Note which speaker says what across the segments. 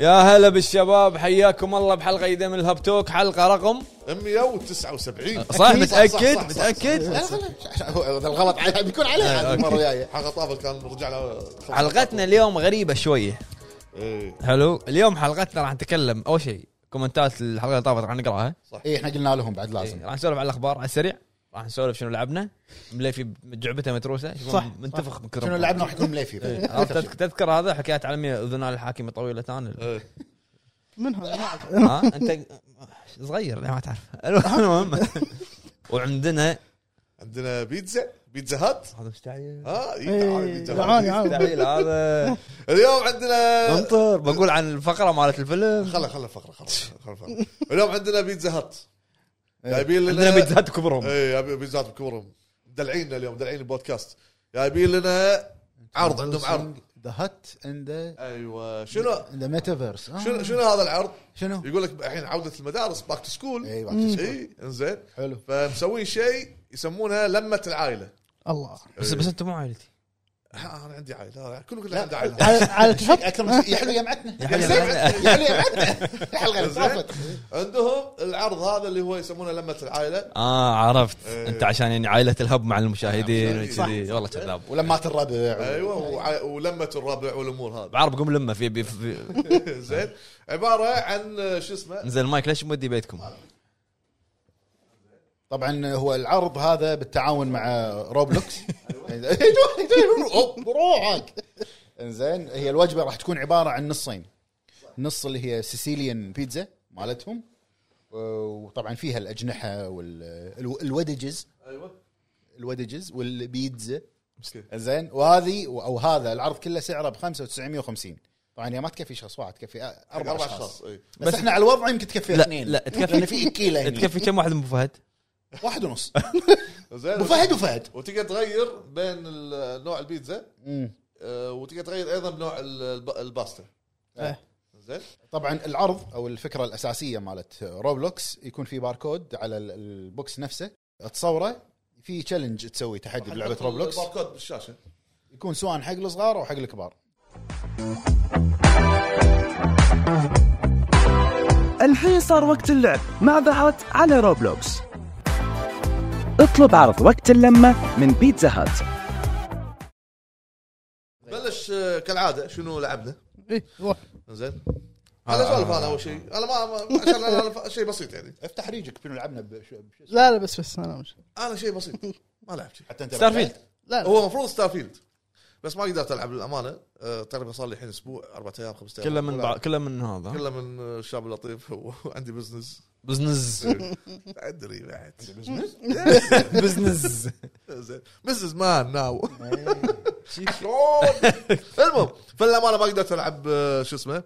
Speaker 1: يا هلا بالشباب حياكم الله بحلقه جديده من الهاب توك حلقه رقم
Speaker 2: 179
Speaker 1: صح
Speaker 3: أكيد، صح،
Speaker 1: متاكد
Speaker 3: صح، صح، صح.
Speaker 1: متاكد
Speaker 3: لا، لا، لا، هذا الغلط عليه بيكون عليه
Speaker 2: إيه،
Speaker 3: عاد المره الجايه
Speaker 2: حلقه طافت كان رجع له
Speaker 1: حلقتنا اليوم غريبه شويه
Speaker 2: ايه
Speaker 1: حلو اليوم حلقتنا راح نتكلم اول شيء كومنتات الحلقه اللي طافت راح نقراها
Speaker 3: اي احنا قلنا لهم بعد لازم
Speaker 1: إيه، راح نسولف على الاخبار على السريع راح نسولف شنو لعبنا مليفي جعبته متروسه شوفون
Speaker 3: صح.
Speaker 1: منتفخ من كثر
Speaker 3: شنو
Speaker 1: ما-
Speaker 3: لعبنا راح يكون مليفي
Speaker 2: إيه.
Speaker 1: عرفت؟ تذك- تذكر هذا حكايات عالميه اذنان الحاكمه طويله ال-
Speaker 2: إيه.
Speaker 4: منها ما أعرف.
Speaker 1: ها انت صغير لا ما تعرف المهم وعندنا
Speaker 2: عندنا بيتزا بيتزا هات
Speaker 1: هذا مستعجل
Speaker 2: ها إيه، تعال
Speaker 4: إيه،
Speaker 2: بيتزا
Speaker 4: عاني
Speaker 2: هات.
Speaker 4: عاني
Speaker 1: مستحيل هذا
Speaker 2: اليوم عندنا
Speaker 1: انطر بقول عن الفقره مالت الفيلم
Speaker 2: خلا خلا فقره خلا خلا فقرة. اليوم عندنا بيتزا هات جايبين لنا
Speaker 1: إيه. عندنا بيتزات كبرهم
Speaker 2: اي بيتزا هات بكبرهم مدلعين اليوم مدلعين البودكاست جايبين لنا عرض عندهم عرض
Speaker 3: ذا هت اند
Speaker 2: ايوه شنو
Speaker 1: آه.
Speaker 3: ذا ميتافيرس
Speaker 2: شنو آه. شنو هذا العرض؟
Speaker 3: شنو
Speaker 2: يقول لك الحين عوده المدارس باك تو سكول
Speaker 1: إيه.
Speaker 3: إي، back to school.
Speaker 2: اي انزين
Speaker 3: حلو
Speaker 2: فمسوين شيء يسمونها لمه العائله
Speaker 4: الله
Speaker 1: بس بس انت مو عائلتي
Speaker 2: ها، انا عندي عائله كله كله
Speaker 3: لا.
Speaker 2: عنده عائله
Speaker 4: على على التفت
Speaker 3: اكثر من يا حلو يا معتنا
Speaker 1: يا حلو يا
Speaker 3: يا حلو يا معتنا الحلقه اللي
Speaker 2: زين.
Speaker 3: طافت
Speaker 2: عندهم العرض هذا اللي هو يسمونه لمه العائله
Speaker 1: اه عرفت
Speaker 2: إيه.
Speaker 1: انت عشان يعني عائله الهب مع المشاهدين
Speaker 2: صح.
Speaker 1: وكذي والله كذاب
Speaker 3: ولمات الربع
Speaker 2: ايوه وع- ولمه الربع والامور هذه
Speaker 1: بعرب قوم لمه في, في, في
Speaker 2: زين عباره عن شو اسمه
Speaker 1: انزل المايك ليش مودي بيتكم
Speaker 3: طبعا هو العرض هذا بالتعاون مع روبلوكس أيوة، أوه، بروحك انزين هي الوجبه راح تكون عباره عن نصين نص اللي هي سيسيليان بيتزا مالتهم وطبعا فيها الاجنحه والودجز
Speaker 2: ايوه
Speaker 3: الودجز والبيتزا
Speaker 2: مسكين.
Speaker 3: زين وهذه او هذا العرض كله سعره ب 5950 طبعا هي ما تكفي شخص واحد تكفي اربع اشخاص
Speaker 2: اي
Speaker 3: بس, بس احنا على الوضع يمكن تكفي
Speaker 1: لا،
Speaker 3: اثنين
Speaker 1: لا، تكفي-
Speaker 3: لان في كيلو هني.
Speaker 1: تكفي كم واحد من ابو فهد؟
Speaker 3: واحد ونص
Speaker 2: زين
Speaker 3: ابو فهد وفهد
Speaker 2: وتقدر تغير بين ال- نوع البيتزا
Speaker 3: مم.
Speaker 2: آه، وتقدر تغير ايضا بنوع ال- الب- الباستا
Speaker 4: إيه.
Speaker 2: زين
Speaker 3: طبعا العرض او الفكره الاساسيه مالت روبلوكس يكون في باركود على ال- البوكس نفسه تصوره في تشالنج تسوي تحدي بلعبه
Speaker 2: حط
Speaker 3: روبلوكس
Speaker 2: الباركود بالشاشه
Speaker 3: يكون سواء حق الصغار او حق الكبار
Speaker 5: الحين صار وقت اللعب مع ذا هات على روبلوكس اطلب عرض وقت اللمة من بيتزا هات
Speaker 2: بلش آه، كالعاده شنو لعبنا
Speaker 4: اي روح
Speaker 2: زين
Speaker 1: آه.
Speaker 2: انا اسولف انا اول شيء انا ما ما- عشان أنا- أنا شيء بسيط يعني
Speaker 3: افتح ريجك شنو لعبنا بش... بش...
Speaker 4: لا لا بس بس انا مش
Speaker 2: انا شيء بسيط ما لعبت شيء
Speaker 3: حتى انت
Speaker 1: ستارفيلد
Speaker 4: لا لا
Speaker 2: هو المفروض ستار فيلد بس ما قدرت العب للامانه أه، تقريبا صار لي الحين اسبوع اربع ايام خمس ايام
Speaker 1: كله من
Speaker 2: ولا-
Speaker 1: بع... كله من هذا
Speaker 2: كله من أه، الشاب اللطيف وعندي بزنس
Speaker 1: بزنس
Speaker 2: ادري بعد
Speaker 1: بزنس
Speaker 2: زين بزنس مان ناو شلون المهم فالامانه ما قدرت العب أه، شو اسمه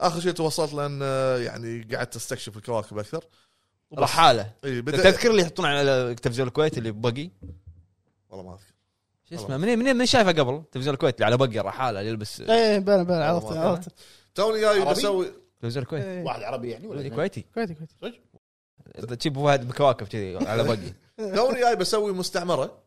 Speaker 2: اخر شيء توصلت لان أه، يعني قعدت استكشف الكواكب اكثر
Speaker 1: رحاله
Speaker 2: اي بدأت
Speaker 1: تذكر اللي يحطون على تلفزيون الكويت اللي بقي
Speaker 2: والله ما اذكر
Speaker 1: شو اسمه منين منين من شايفه قبل تلفزيون الكويت اللي على بقي رحاله اللي يلبس
Speaker 4: اي إيه، بلا بلا عرفت
Speaker 2: والله ما
Speaker 4: عرفت
Speaker 2: توني جاي
Speaker 3: عربي؟
Speaker 2: بسوي
Speaker 1: تلفزيون الكويت
Speaker 4: إيه.
Speaker 3: واحد عربي يعني ولا
Speaker 1: كويتي
Speaker 4: كويتي كويتي
Speaker 1: تجيب ابو فهد بكواكب كذي على بقي
Speaker 2: توني جاي بسوي مستعمره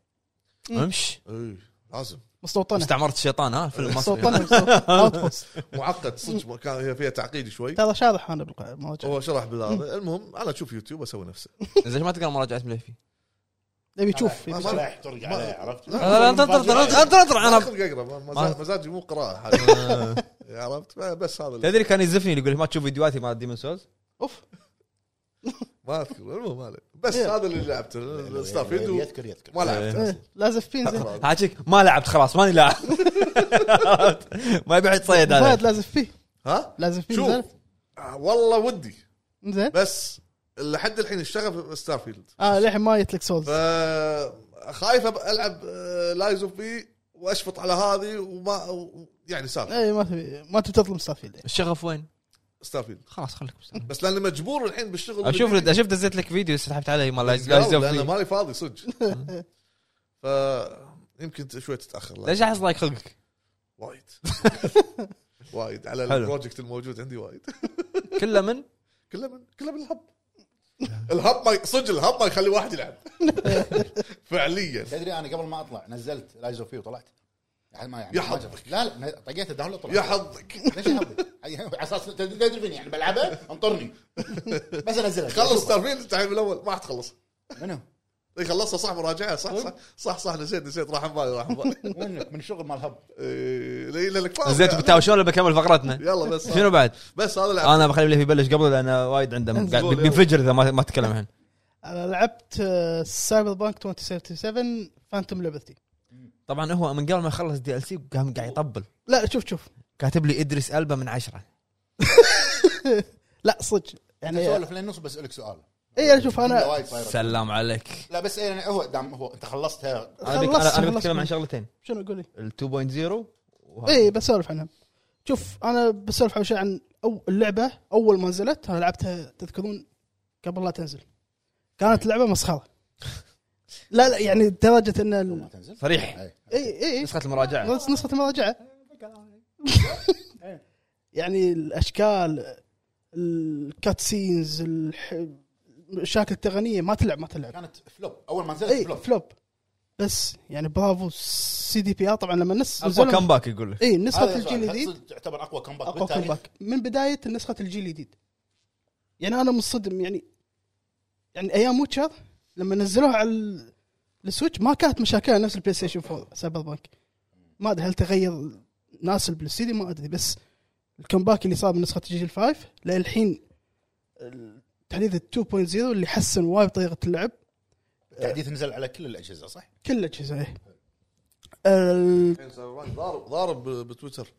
Speaker 1: امش
Speaker 2: اي لازم
Speaker 4: مستوطنه
Speaker 1: استعمرت الشيطان ها فيلم مصري
Speaker 4: مستوطنه مستوطنة. Outpost.
Speaker 2: معقد صدق كان هي فيها تعقيد شوي
Speaker 4: ترى شارح انا بالقاعده ما وجه
Speaker 2: هو شرح بالهذا المهم انا اشوف يوتيوب اسوي نفسه
Speaker 1: زين ما تقرا مراجعه مليفي
Speaker 4: يبي يشوف يبي
Speaker 3: ما
Speaker 4: يشوف.
Speaker 3: صلاح ترجع عليه عرفت
Speaker 1: لا، انطر انطر انطر انطر
Speaker 2: انا
Speaker 1: انا
Speaker 2: خلق اقرا ما- ما
Speaker 1: ما-
Speaker 2: زال- مزاجي مو قراءه حاليا. عرفت ما- بس هذا اللي-
Speaker 1: تدري كان يزفني يقول لي ما تشوف فيديوهاتي مال ديمون سولز
Speaker 4: اوف
Speaker 2: ما اذكر المهم ما عليك. بس
Speaker 4: إيه.
Speaker 2: هذا اللي لعبته الستافيد و-
Speaker 3: يذكر يذكر
Speaker 2: ما لعبته
Speaker 4: إيه، لازف فين زين
Speaker 2: أقرأ.
Speaker 1: حاجيك ما لعبت خلاص ماني لاعب ما يبيع يتصيد
Speaker 4: فهد
Speaker 1: هذا
Speaker 4: لازف فيه
Speaker 2: ها
Speaker 4: لازف فيه
Speaker 2: شوف.
Speaker 4: زين
Speaker 2: آه، والله ودي
Speaker 4: زين
Speaker 2: بس لحد الحين الشغف ستارفيلد
Speaker 4: اه للحين ما جت لك سولز
Speaker 2: فخايف أب- آه، العب لايز اوف بي واشفط على هذه وما و- يعني سالفه
Speaker 4: اي إيه، ما تبي ما تبي تظلم ستارفيلد
Speaker 1: الشغف وين؟
Speaker 2: ستارفيلد
Speaker 1: خلاص خليك بس.
Speaker 2: بس لاني مجبور الحين بالشغل
Speaker 1: اشوف اشوف دزيت لك فيديو سحبت عليه مال لايز
Speaker 2: لا
Speaker 1: لايز أوف
Speaker 2: انا
Speaker 1: بي.
Speaker 2: ماني فاضي صدق ف يمكن شوي تتاخر لا،
Speaker 1: ليش احس ضايق خلقك؟
Speaker 2: وايد وايد على
Speaker 1: حلو.
Speaker 2: البروجكت الموجود عندي وايد
Speaker 1: كله من
Speaker 2: كله من كله من الهب الهب ما ي- صدق الهب ما يخلي واحد يلعب فعليا
Speaker 3: تدري انا قبل ما اطلع نزلت لايز اوف وطلعت على ما يعني
Speaker 2: يا
Speaker 3: ما
Speaker 2: حظك.
Speaker 3: جربت. لا لا أنا طقيته داونلود طلع
Speaker 2: يا حظك
Speaker 3: ليش يا حظي؟ على اساس تدري فيني يعني بلعبها انطرني بس انزلها
Speaker 2: خلص ستارفيلد التعليم الاول ما راح تخلص
Speaker 3: منو؟
Speaker 2: اي خلصها صح مراجعه صح صح صح, صح نسيت نسيت راح عن بالي راح عن بالي
Speaker 3: منك من الشغل مال هب
Speaker 2: إيه، ليلى الكلاس
Speaker 1: زين بتاوشون ولا بكمل فقرتنا؟
Speaker 2: يلا بس
Speaker 1: شنو آه. بعد؟
Speaker 2: بس هذا لعب
Speaker 1: انا بخلي اللي يبلش قبله لانه وايد عنده قاعد
Speaker 2: قول، يلا.
Speaker 1: بينفجر اذا ما ما تكلم الحين
Speaker 4: انا لعبت آه، سايبر بانك 2077 فانتوم ليبرتي
Speaker 1: طبعا هو من قبل ما يخلص دي ال سي قام قاعد يطبل
Speaker 4: لا شوف شوف
Speaker 1: كاتب لي ادريس البا من عشره
Speaker 4: لا صدق يعني
Speaker 3: سولف للنص بسالك سؤال
Speaker 4: اي انا شوف
Speaker 3: إلا
Speaker 4: انا
Speaker 3: وايد فايرة.
Speaker 1: سلام عليك
Speaker 3: لا بس إيه، أنا هو دام هو انت خلصتها
Speaker 1: انا بك-
Speaker 4: خلصت-
Speaker 1: أنا- انا بتكلم
Speaker 4: خلصت
Speaker 1: عن طيب.
Speaker 4: من-
Speaker 1: شغلتين
Speaker 4: شنو قولي
Speaker 1: ال 2.0 وهذا.
Speaker 4: اي بسولف عنها شوف انا بسولف عن شيء عن أو اللعبه اول ما نزلت انا لعبتها تذكرون قبل لا تنزل كانت اللعبه مسخره لا لا يعني لدرجه ان ال-
Speaker 3: تنزل
Speaker 1: صريح
Speaker 3: إيه.
Speaker 4: اي اي
Speaker 1: نسخه المراجعه
Speaker 4: نص- نسخه المراجعه يعني الاشكال الكاتسينز الح- المشاكل التقنيه ما تلعب ما تلعب
Speaker 3: كانت فلوب اول ما نزلت
Speaker 4: اي
Speaker 3: فلوب
Speaker 4: فلوب بس يعني برافو سي دي بي ار طبعا لما نس
Speaker 1: اقوى
Speaker 4: نزلوا-
Speaker 1: كمباك يقول لك
Speaker 4: اي نسخه
Speaker 3: هذا
Speaker 4: الجيل
Speaker 3: سؤال. هل
Speaker 4: الجديد
Speaker 3: صدق تعتبر اقوى كومباك
Speaker 4: اقوى
Speaker 3: بالتاريخ؟
Speaker 4: كومباك من بدايه نسخه الجيل الجديد يعني انا منصدم يعني يعني ايام ويتشر لما نزلوها على ال- السويتش ما كانت مشاكلها نفس البلاي ستيشن 4 سايبر بانك ما ادري هل تغير ناس البلاي ستيدي ما ادري بس الكمباك اللي صار من نسخه الجيل 5 للحين تحديث 2.0 اللي حسن وايد طريقه اللعب
Speaker 3: التحديث نزل على كل الاجهزه صح؟
Speaker 4: كل الاجهزه إيه. ال-
Speaker 2: الحين سايبر بانك ضارب ضارب ب- بتويتر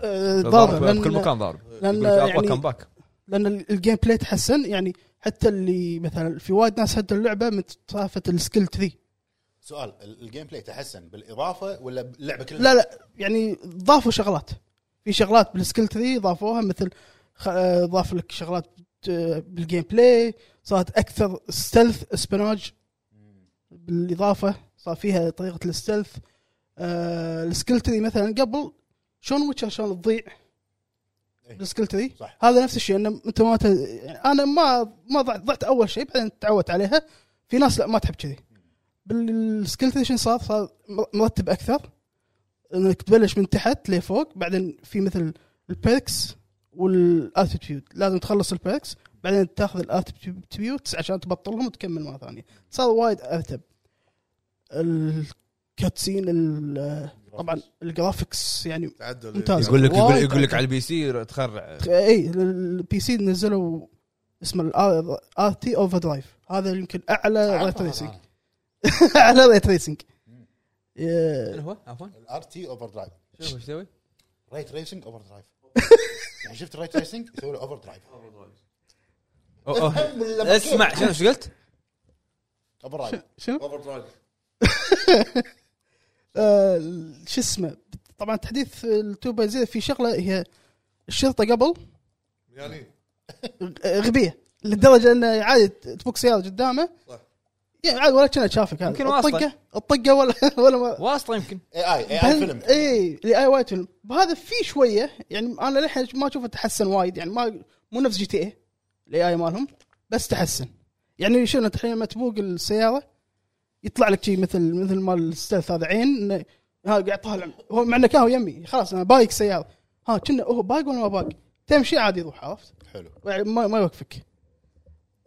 Speaker 4: آه، ضارب
Speaker 1: ضارب
Speaker 4: لأن-
Speaker 1: بكل مكان ضارب
Speaker 4: لأن
Speaker 1: يقول لك اقوى
Speaker 4: يعني-
Speaker 1: كمباك
Speaker 4: لان ال- الجيم بلاي تحسن يعني حتى اللي مثلا في وايد ناس هدوا اللعبه من طرافه السكيل 3
Speaker 3: سؤال ال- الجيم بلاي تحسن بالاضافه ولا اللعبه كلها؟
Speaker 4: لا لا يعني ضافوا شغلات في شغلات بالسكيل 3 ضافوها مثل خ- آه، ضاف لك شغلات آه، بالجيم بلاي صارت اكثر ستيلث اسبناج بالاضافه صار فيها طريقه الستيلث آه، السكيل 3 مثلا قبل شلون ويتشر شلون تضيع
Speaker 3: إيه.
Speaker 4: بالسكيل 3
Speaker 3: صح.
Speaker 4: هذا نفس الشيء انه انت ما ت... يعني انا ما ما ضعت, ضعت اول شيء بعدين تعودت عليها في ناس لا ما تحب كذي بالسكيل 3 شنو صار؟ صار مرتب اكثر انك تبلش من تحت لفوق بعدين في مثل البيركس والاتيتيود لازم تخلص البيركس بعدين تاخذ الاتيتيود عشان تبطلهم وتكمل مره ثانيه صار وايد ارتب الكاتسين ال- طبعا الجرافكس يعني
Speaker 2: تعدل
Speaker 4: ممتاز.
Speaker 1: يقول لك يقول-
Speaker 4: وايد
Speaker 1: يقول لك على البي سي تخرع
Speaker 4: اي البي سي إيه، نزلوا اسمه ار تي اوفر درايف هذا يمكن اعلى ريت
Speaker 3: آه،
Speaker 4: ريسنج اعلى ريت ريسنج
Speaker 1: من هو عفوا
Speaker 3: الار تي اوفر درايف
Speaker 1: شوف ايش يسوي
Speaker 3: ريت ريسنج اوفر درايف يعني شفت ريت ريسنج يسوي له اوفر درايف
Speaker 1: أوه، أوه.
Speaker 3: أفهم لما
Speaker 1: اسمع شنو ايش قلت؟
Speaker 3: اوفر درايف
Speaker 4: شنو؟
Speaker 2: اوفر درايف
Speaker 4: آه، شو اسمه طبعا تحديث ال 2.0 في شغله هي الشرطه قبل
Speaker 2: يعني
Speaker 4: غبيه لدرجه انه عادي تفك سياره قدامه
Speaker 2: صح.
Speaker 4: يعني عادي ولا كانه شافك
Speaker 1: يمكن
Speaker 4: هذا
Speaker 1: واصلة.
Speaker 4: الطقه الطقه ولا ولا ما
Speaker 1: واسطه يمكن
Speaker 4: يعني
Speaker 3: اي اي اي اي إيه، فيلم
Speaker 4: اي الاي واي إيه، فيلم هذا في شويه يعني انا للحين ما اشوفه تحسن وايد يعني ما مو نفس جي تي اي الاي اي مالهم بس تحسن يعني شنو انت الحين لما تبوق السياره يطلع لك شيء مثل مثل مال الستيلث هذا عين إنه ها قاعد طالع هو مع انه كان هو يمي خلاص انا بايق سياره ها كنا هو بايق ولا ما بايق تمشي عادي يروح عرفت
Speaker 3: حلو
Speaker 4: يعني ما ما يوقفك.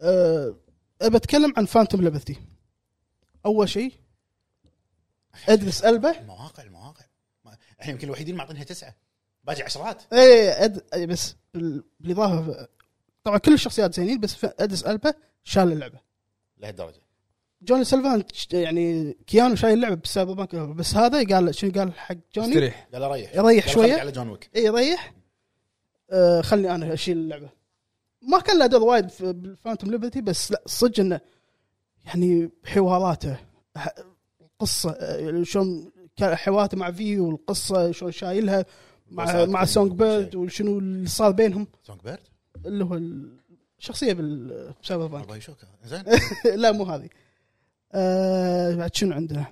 Speaker 4: أه بتكلم عن فانتوم ليبرتي. اول شيء ادرس البه
Speaker 3: المواقع المواقع ما- احنا يمكن الوحيدين معطينها تسعه باجي عشرات
Speaker 4: اي إيه، أد... أي بس بال- بالاضافه طبعا كل الشخصيات زينين بس ف- ادرس البه شال اللعبه.
Speaker 3: لهالدرجه
Speaker 4: جوني سيلفان ش- يعني كيانو شايل اللعبه بالسايبر بانك بس هذا قال شنو قال حق جوني؟
Speaker 1: استريح
Speaker 3: قال ريح
Speaker 4: يريح
Speaker 3: قال
Speaker 4: شوية.
Speaker 3: خليك على جون ويك
Speaker 4: اي ريح آه خلني انا اشيل اللعبه. ما كان له دور وايد في- بالفانتوم ليبرتي بس لا صدق انه يعني حواراته ح- قصه آه، شلون كان حواراته مع في والقصه شلون شايلها مع مع سونج بيرد وشنو اللي صار بينهم
Speaker 3: سونج بيرد
Speaker 4: اللي هو الشخصيه بال- بالسايبر بانك
Speaker 3: الله يشوكه زين
Speaker 4: لا مو هذه آه بعد شنو عندنا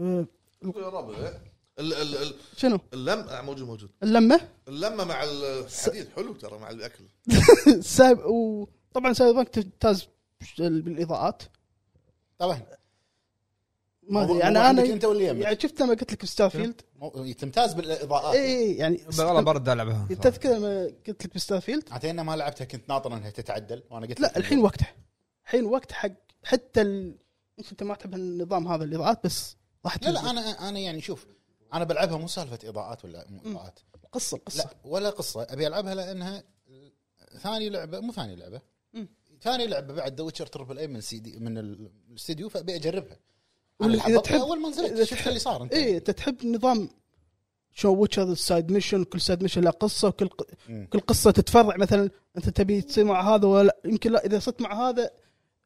Speaker 4: آه
Speaker 2: يا رب ال- ال- ال-
Speaker 4: شنو
Speaker 2: اللم آه، موجود موجود
Speaker 4: اللمه
Speaker 2: اللمه مع الحديد حلو ترى مع الاكل
Speaker 4: سايب وطبعا سايبر بانك تمتاز بالاضاءات
Speaker 3: طبعا
Speaker 4: ما ادري
Speaker 3: يعني
Speaker 4: يعني انا
Speaker 3: انت واللي يمك
Speaker 4: يعني شفت لما قلت لك ستارفيلد
Speaker 3: مو- تمتاز بالاضاءات
Speaker 4: اي يعني
Speaker 1: والله برد العبها
Speaker 4: تذكر لما قلت لك بستارفيلد
Speaker 3: عتينا ما لعبتها كنت ناطر انها تتعدل وانا قلت لك
Speaker 4: لا الحين وقته الحين وقت حق حتى ال... يمكن انت ما تحب النظام هذا الاضاءات بس راح
Speaker 3: لا
Speaker 4: تنزل.
Speaker 3: لا انا انا يعني شوف انا بلعبها مو سالفه اضاءات ولا مو اضاءات
Speaker 4: قصه قصه
Speaker 3: لا ولا قصه ابي العبها لانها ثاني لعبه مو ثاني لعبه
Speaker 4: مم.
Speaker 3: ثاني لعبه بعد ذا ويتشر تربل اي من سي دي من الاستديو فابي اجربها
Speaker 4: وال-
Speaker 3: انا
Speaker 4: إذا
Speaker 3: حببتها
Speaker 4: تحب-
Speaker 3: اول ما
Speaker 4: إذا
Speaker 3: نزلت شفت
Speaker 4: تحب-
Speaker 3: اللي صار انت
Speaker 4: اي انت إيه، تحب نظام شو ويتشر سايد ميشن كل سايد ميشن له قصه وكل ق...
Speaker 3: مم.
Speaker 4: كل قصه تتفرع مثلا انت تبي تصير مع هذا ولا يمكن لا اذا صرت مع هذا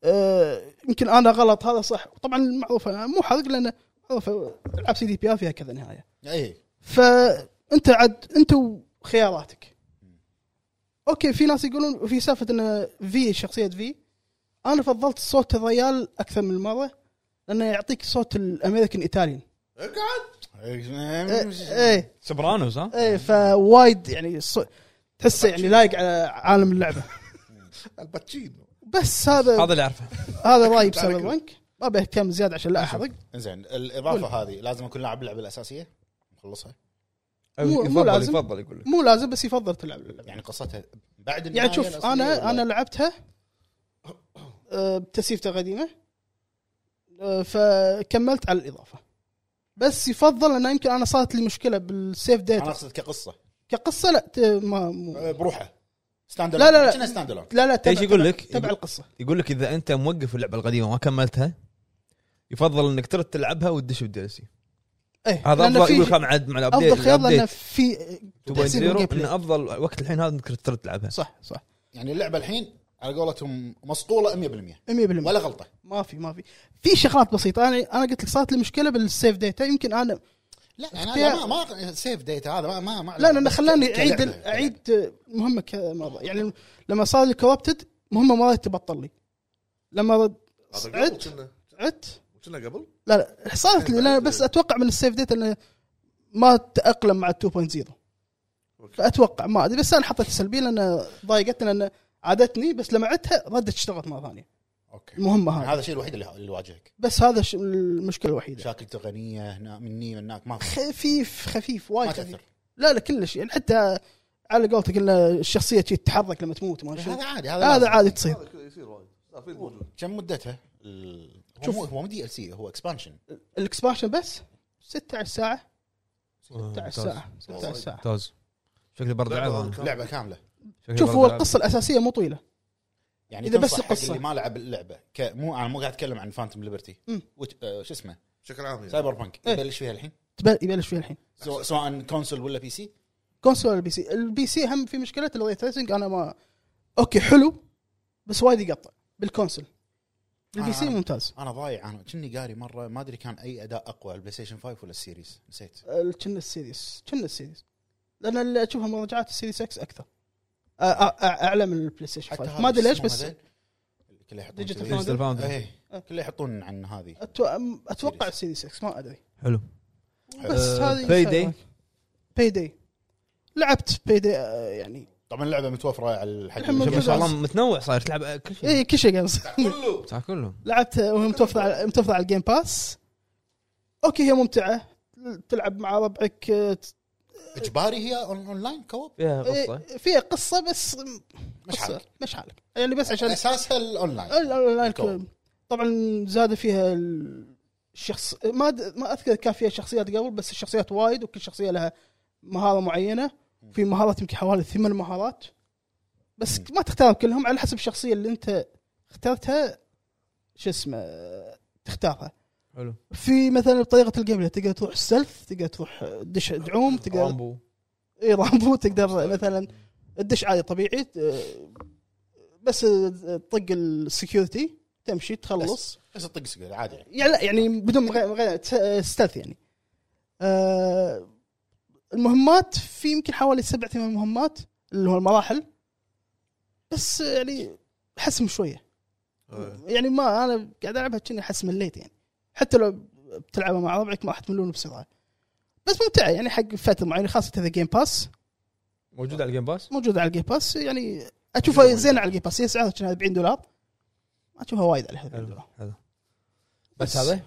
Speaker 4: آه يمكن انا غلط هذا صح طبعا معروفه مو حرق لان معروفه العاب سي دي بي فيها كذا نهايه
Speaker 3: اي
Speaker 4: فانت عاد انت وخياراتك اوكي في ناس يقولون في سالفه ان في شخصيه في انا فضلت صوت الريال اكثر من مره لانه يعطيك صوت الامريكان ايطاليان
Speaker 2: اقعد
Speaker 4: ايه ايه,
Speaker 1: سوبرانوس ها
Speaker 4: إيه فوايد يعني الصو-
Speaker 1: طيب،
Speaker 4: تحسه يعني لايق على عالم اللعبه
Speaker 2: الباتشينو
Speaker 4: بس هذا
Speaker 1: هذا اللي اعرفه
Speaker 4: هذا رايي بسبب بنك ما بهتم زياده عشان لا احرق
Speaker 3: زين الاضافه هذه لازم اكون لاعب اللعبه الاساسيه مخلصها
Speaker 4: مو- مو
Speaker 1: يفضل
Speaker 4: لازم.
Speaker 1: يفضل يقول لك
Speaker 4: مو لازم بس يفضل تلعب اللعبه
Speaker 3: يعني قصتها بعد النهاية
Speaker 4: يعني شوف
Speaker 3: الأصلية
Speaker 4: انا
Speaker 3: ولا-
Speaker 4: انا لعبتها آه، بتسيفتها قديمه آه، فكملت على الاضافه بس يفضل انه يمكن انا صارت لي مشكله بالسيف
Speaker 3: انا
Speaker 1: آه.
Speaker 4: داتا
Speaker 3: اقصد كقصه
Speaker 4: كقصه لا ت- ما مو
Speaker 3: أه، بروحه ستاند
Speaker 4: لا، لا، لا.
Speaker 3: كنا ستاند الون
Speaker 4: لا لا تبع-
Speaker 1: ايش يقول
Speaker 4: تبع-
Speaker 1: لك؟
Speaker 4: تبع القصه
Speaker 1: يقول لك اذا انت موقف اللعبه القديمه ما كملتها يفضل انك ترد تلعبها وتدش بديلسي
Speaker 4: ايه
Speaker 1: هذا
Speaker 4: لأن
Speaker 1: افضل
Speaker 4: في-
Speaker 1: يقول لك مع عد- مع الابديت
Speaker 4: افضل خيار لانه
Speaker 1: الابديت
Speaker 4: في
Speaker 1: 2.0
Speaker 4: تحسين بالجيم بلاي.
Speaker 1: انه افضل وقت الحين هذا انك ترد تلعبها
Speaker 4: صح صح
Speaker 3: يعني اللعبه الحين على قولتهم مسطوله 100%
Speaker 4: 100%
Speaker 3: ولا غلطه
Speaker 4: ما في ما في في شغلات بسيطه انا انا قلت لك صارت لي مشكله بالسيف داتا يمكن انا
Speaker 3: لا يعني
Speaker 4: اختيار-
Speaker 3: هذا ما ما سيف ديتا هذا ما ما, ما
Speaker 4: لا لا أنا
Speaker 3: بس
Speaker 4: خلاني
Speaker 3: ك-
Speaker 4: اعيد
Speaker 3: كلعبة.
Speaker 4: اعيد مهمه كذا مره يعني لما صار لي كوابتد مهمه ما تبطل لي لما رد-
Speaker 2: هذا قبل
Speaker 4: عدت
Speaker 2: كنا
Speaker 4: عدت
Speaker 2: كنا قبل
Speaker 4: لا لا صارت لي لا بس اتوقع من السيف ديت انه ما تاقلم مع 2.0
Speaker 2: أوكي.
Speaker 4: فاتوقع ما ادري بس انا حطيت السلبيه لان ضايقتني لان عادتني بس لما عدتها ردت اشتغلت مره ثانيه
Speaker 3: اوكي
Speaker 4: المهمه
Speaker 3: يعني
Speaker 4: هذه
Speaker 3: هذا الشيء الوحيد اللي اللي يواجهك
Speaker 4: بس هذا الش- المشكله الوحيده
Speaker 3: مشاكل تقنيه هنا مني من هناك ما
Speaker 4: خفيف خفيف
Speaker 3: ما
Speaker 4: وايد خفيف
Speaker 3: تاثر
Speaker 4: لا لا كلش يعني حتى على قولتك ان الشخصيه شي تتحرك لما تموت ما شي.
Speaker 3: هذا عادي
Speaker 4: هذا
Speaker 3: لازم.
Speaker 4: عادي تصير
Speaker 2: هذا كذا يصير وايد لا، في الموجود
Speaker 3: كم مدتها؟ ال- هو
Speaker 4: شوف.
Speaker 3: مو- هو مو دي ال سي هو اكسبانشن
Speaker 4: الاكسبانشن بس 16 ساعه
Speaker 1: آه،
Speaker 4: 16
Speaker 1: ممتاز.
Speaker 4: ساعه 16 ساعه
Speaker 1: ممتاز شكلي برد
Speaker 2: لعبة
Speaker 1: العبها
Speaker 2: كاملة.
Speaker 3: لعبه كامله
Speaker 1: شكلي
Speaker 4: شوف
Speaker 1: برد
Speaker 4: هو
Speaker 1: العبها.
Speaker 4: القصه الاساسيه مو طويله
Speaker 3: يعني
Speaker 4: إذا
Speaker 3: اذا
Speaker 4: بس
Speaker 3: بس
Speaker 4: القصة.
Speaker 3: اللي ما لعب اللعبه ك- مو انا مو قاعد اتكلم عن فانتوم ليبرتي
Speaker 4: مم.
Speaker 3: وت- آه، شو اسمه
Speaker 2: بشكل عام يعني.
Speaker 3: سايبر بانك
Speaker 4: إيه.
Speaker 3: يبلش فيها الحين
Speaker 4: تبل- يبلش فيها الحين
Speaker 3: سواء- سواء كونسول ولا بي سي
Speaker 4: كونسول البي سي البي سي هم في مشكله الري تريسنج انا ما اوكي حلو بس وايد يقطع بالكونسول البي سي
Speaker 3: آه.
Speaker 4: ممتاز
Speaker 3: انا ضايع انا كني قاري مره ما ادري كان اي اداء اقوى البلاي ستيشن 5 ولا السيريز نسيت
Speaker 4: ال- كنا السيريس كنا السيريس لان اللي اشوفها مراجعات السيريس اكس اكثر أ- أ- أ- اعلى من البلاي ستيشن 5
Speaker 3: هذا
Speaker 4: ما ادري ليش
Speaker 3: اسمه
Speaker 4: بس
Speaker 3: هذا؟ كله يحطون
Speaker 4: Digital
Speaker 3: كذي.
Speaker 4: Foundry. آه.
Speaker 1: ديجيتال فاوندري
Speaker 3: إيه، كله يحطون عن هذه
Speaker 4: أتو- اتوقع السيريس اكس ما ادري
Speaker 1: حلو
Speaker 4: بس
Speaker 3: آه،
Speaker 1: أه،
Speaker 4: هذه
Speaker 1: Payday.
Speaker 4: باي داي لعبت باي داي يعني
Speaker 3: طبعا اللعبه متوفره على الحق
Speaker 4: الحين
Speaker 1: شوف
Speaker 4: موجود.
Speaker 1: ما شاء الله متنوع صاير تلعب كل شيء
Speaker 4: اي إيه، كل شيء جيمز
Speaker 2: كله
Speaker 1: صح كله
Speaker 4: لعبت أه، وهي متوفره على متوفره على الجيم باس اوكي هي ممتعه تلعب مع ربعك آه،
Speaker 3: اجباري هي اون اونلاين كوب
Speaker 1: فيها
Speaker 4: آه،
Speaker 1: قصه
Speaker 4: فيها قصه بس
Speaker 3: مش
Speaker 4: قصة.
Speaker 3: حالك.
Speaker 4: مش حالك يعني بس عشان
Speaker 3: اساسها الاونلاين
Speaker 4: ال- ال-
Speaker 3: الكو.
Speaker 4: ال- طبعا زاد فيها ال- الشخص ما د... ما اذكر كان فيها شخصيات قبل بس الشخصيات وايد وكل شخصيه لها مهاره معينه في مهارات يمكن حوالي ثمان مهارات بس ما تختار كلهم على حسب الشخصيه اللي انت اخترتها شو اسمه تختارها
Speaker 1: حلو
Speaker 4: في مثلا بطريقه الجيم بلاي، تقدر تروح سلف تقدر تروح دش دعوم تقدر
Speaker 1: رامبو
Speaker 4: اي رامبو تقدر مثلا الدش عادي طبيعي ت- بس تطق السكيورتي تمشي تخلص
Speaker 3: بس تطق سكيل عادي يعني.
Speaker 4: يعني لا يعني بدون من غير من غير ت- ستيلث يعني آه، المهمات في يمكن حوالي سبع ثمان مهمات اللي هو المراحل بس يعني حسم شويه
Speaker 2: آه.
Speaker 4: يعني ما انا قاعد العبها كأني احس مليت يعني حتى لو بتلعبها مع ربعك ما راح تملون بسرعه بس ممتعه يعني حق فتره معينه خاصه اذا جيم باس
Speaker 1: موجود على الجيم باس
Speaker 4: موجود على الجيم باس يعني اشوفها
Speaker 1: إيه،
Speaker 4: زين على الجيم باس هي سعرها كان 40 دولار اشوفها وايد على 40
Speaker 1: حلو
Speaker 4: دولار
Speaker 1: حلو بس هذا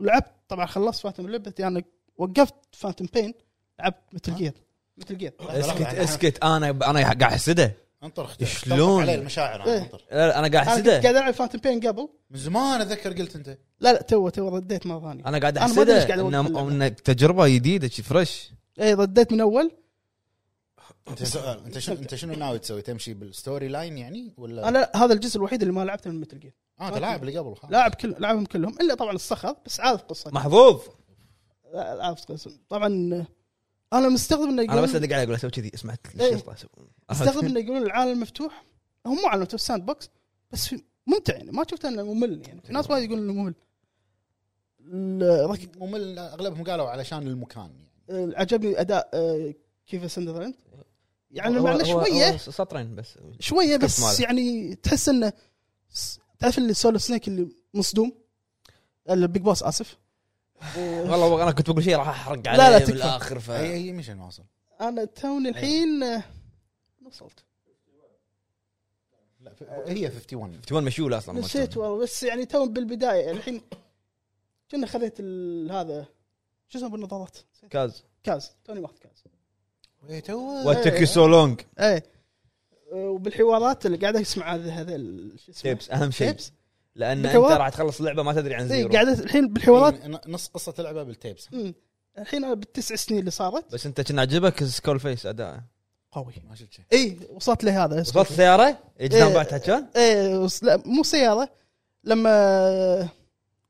Speaker 4: لعبت طبعا خلصت فانتوم لعبه يعني وقفت فانتوم بين لعبت
Speaker 1: آه.
Speaker 4: مثل جير مثل جير
Speaker 1: اسكت اسكت انا انا قاعد احسده
Speaker 3: انطر اختي
Speaker 1: شلون؟
Speaker 3: عليه المشاعر أنا،
Speaker 4: إيه.
Speaker 3: انطر
Speaker 1: لا، لا، انا قاعد
Speaker 4: انا كنت
Speaker 1: احسده
Speaker 4: قاعد العب فانتوم بين قبل
Speaker 3: من زمان اتذكر قلت انت
Speaker 4: لا لا تو تو رديت مره ثانيه
Speaker 1: انا قاعد
Speaker 4: أنا ما أدري إيش
Speaker 1: احسده
Speaker 4: قاعد أقول
Speaker 1: إنه-
Speaker 4: بالله.
Speaker 1: انه تجربه جديده شي فريش
Speaker 4: اي إيه، رديت من اول
Speaker 3: انت سؤال انت آه، شنو انت شنو ناوي تسوي تمشي بالستوري لاين يعني ولا
Speaker 4: انا هذا الجزء الوحيد اللي ما لعبته من مثل جير
Speaker 3: اه انت لاعب اللي قبل خلاص.
Speaker 4: لاعب كل لعبهم كلهم الا طبعا الصخر بس عارف قصته
Speaker 1: محظوظ
Speaker 4: لا، عارف قصته طبعا آه، انا مستغرب انه
Speaker 1: انا بس
Speaker 4: يقولون
Speaker 1: اللي قاعد اقول اسوي كذي اسمع طيب.
Speaker 4: إيه.
Speaker 1: الشرطه أسوي.
Speaker 4: مستغرب انه يقولون العالم مفتوح هو مو عالم مفتوح ساند بوكس بس في- ممتع يعني ما شفت انه ممل يعني في ناس وايد يقولون انه ممل ال- رك-
Speaker 3: ممل اغلبهم قالوا علشان المكان يعني
Speaker 4: آه، عجبني اداء آه، كيف سندرلاند يعني
Speaker 1: هو-
Speaker 4: مع إنه
Speaker 1: هو-
Speaker 4: شويه
Speaker 1: هو سطرين بس
Speaker 4: شويه
Speaker 1: كف
Speaker 4: بس
Speaker 1: ماله.
Speaker 4: يعني تحس انه س- تعرف اللي سولو سنيك اللي مصدوم البيج بوس اسف
Speaker 1: والله انا كنت بقول شيء راح احرق عليه
Speaker 4: لا،
Speaker 1: لا
Speaker 4: تكفى.
Speaker 1: بالاخر ف
Speaker 3: اي اي مشن واصل
Speaker 4: انا توني الحين آه، وصلت
Speaker 3: لا ف- هي 51
Speaker 1: تبون مشيول اصلا ما
Speaker 4: نسيت
Speaker 1: تبون.
Speaker 4: والله بس يعني تو بالبدايه يعني الحين كنا خذيت ال- هذا شو اسمه بالنظارات
Speaker 1: كاز
Speaker 4: كاز توني ماخذ كاز
Speaker 3: إيه، تو
Speaker 1: وات تك سو لونج
Speaker 4: ايه آه، وبالحوارات اللي قاعد اسمع هذا هذا شو اسمه
Speaker 1: تيبس اهم شيء
Speaker 4: تيبس
Speaker 1: لان انت
Speaker 4: بالحوار.
Speaker 1: راح تخلص اللعبه ما تدري عن
Speaker 4: إيه،
Speaker 1: زيرو
Speaker 4: قاعد الحين بالحوارات
Speaker 3: إيه، نص قصه اللعبه بالتيبس
Speaker 4: مم. الحين انا بالتسع سنين اللي صارت
Speaker 1: بس انت كان عجبك سكول فيس اداءه
Speaker 4: قوي
Speaker 3: ما شفت شيء
Speaker 4: اي إيه، وصلت لهذا
Speaker 1: وصلت سياره يجي
Speaker 4: إيه.
Speaker 1: بعتها كان
Speaker 4: ايه وص- لا مو سياره لما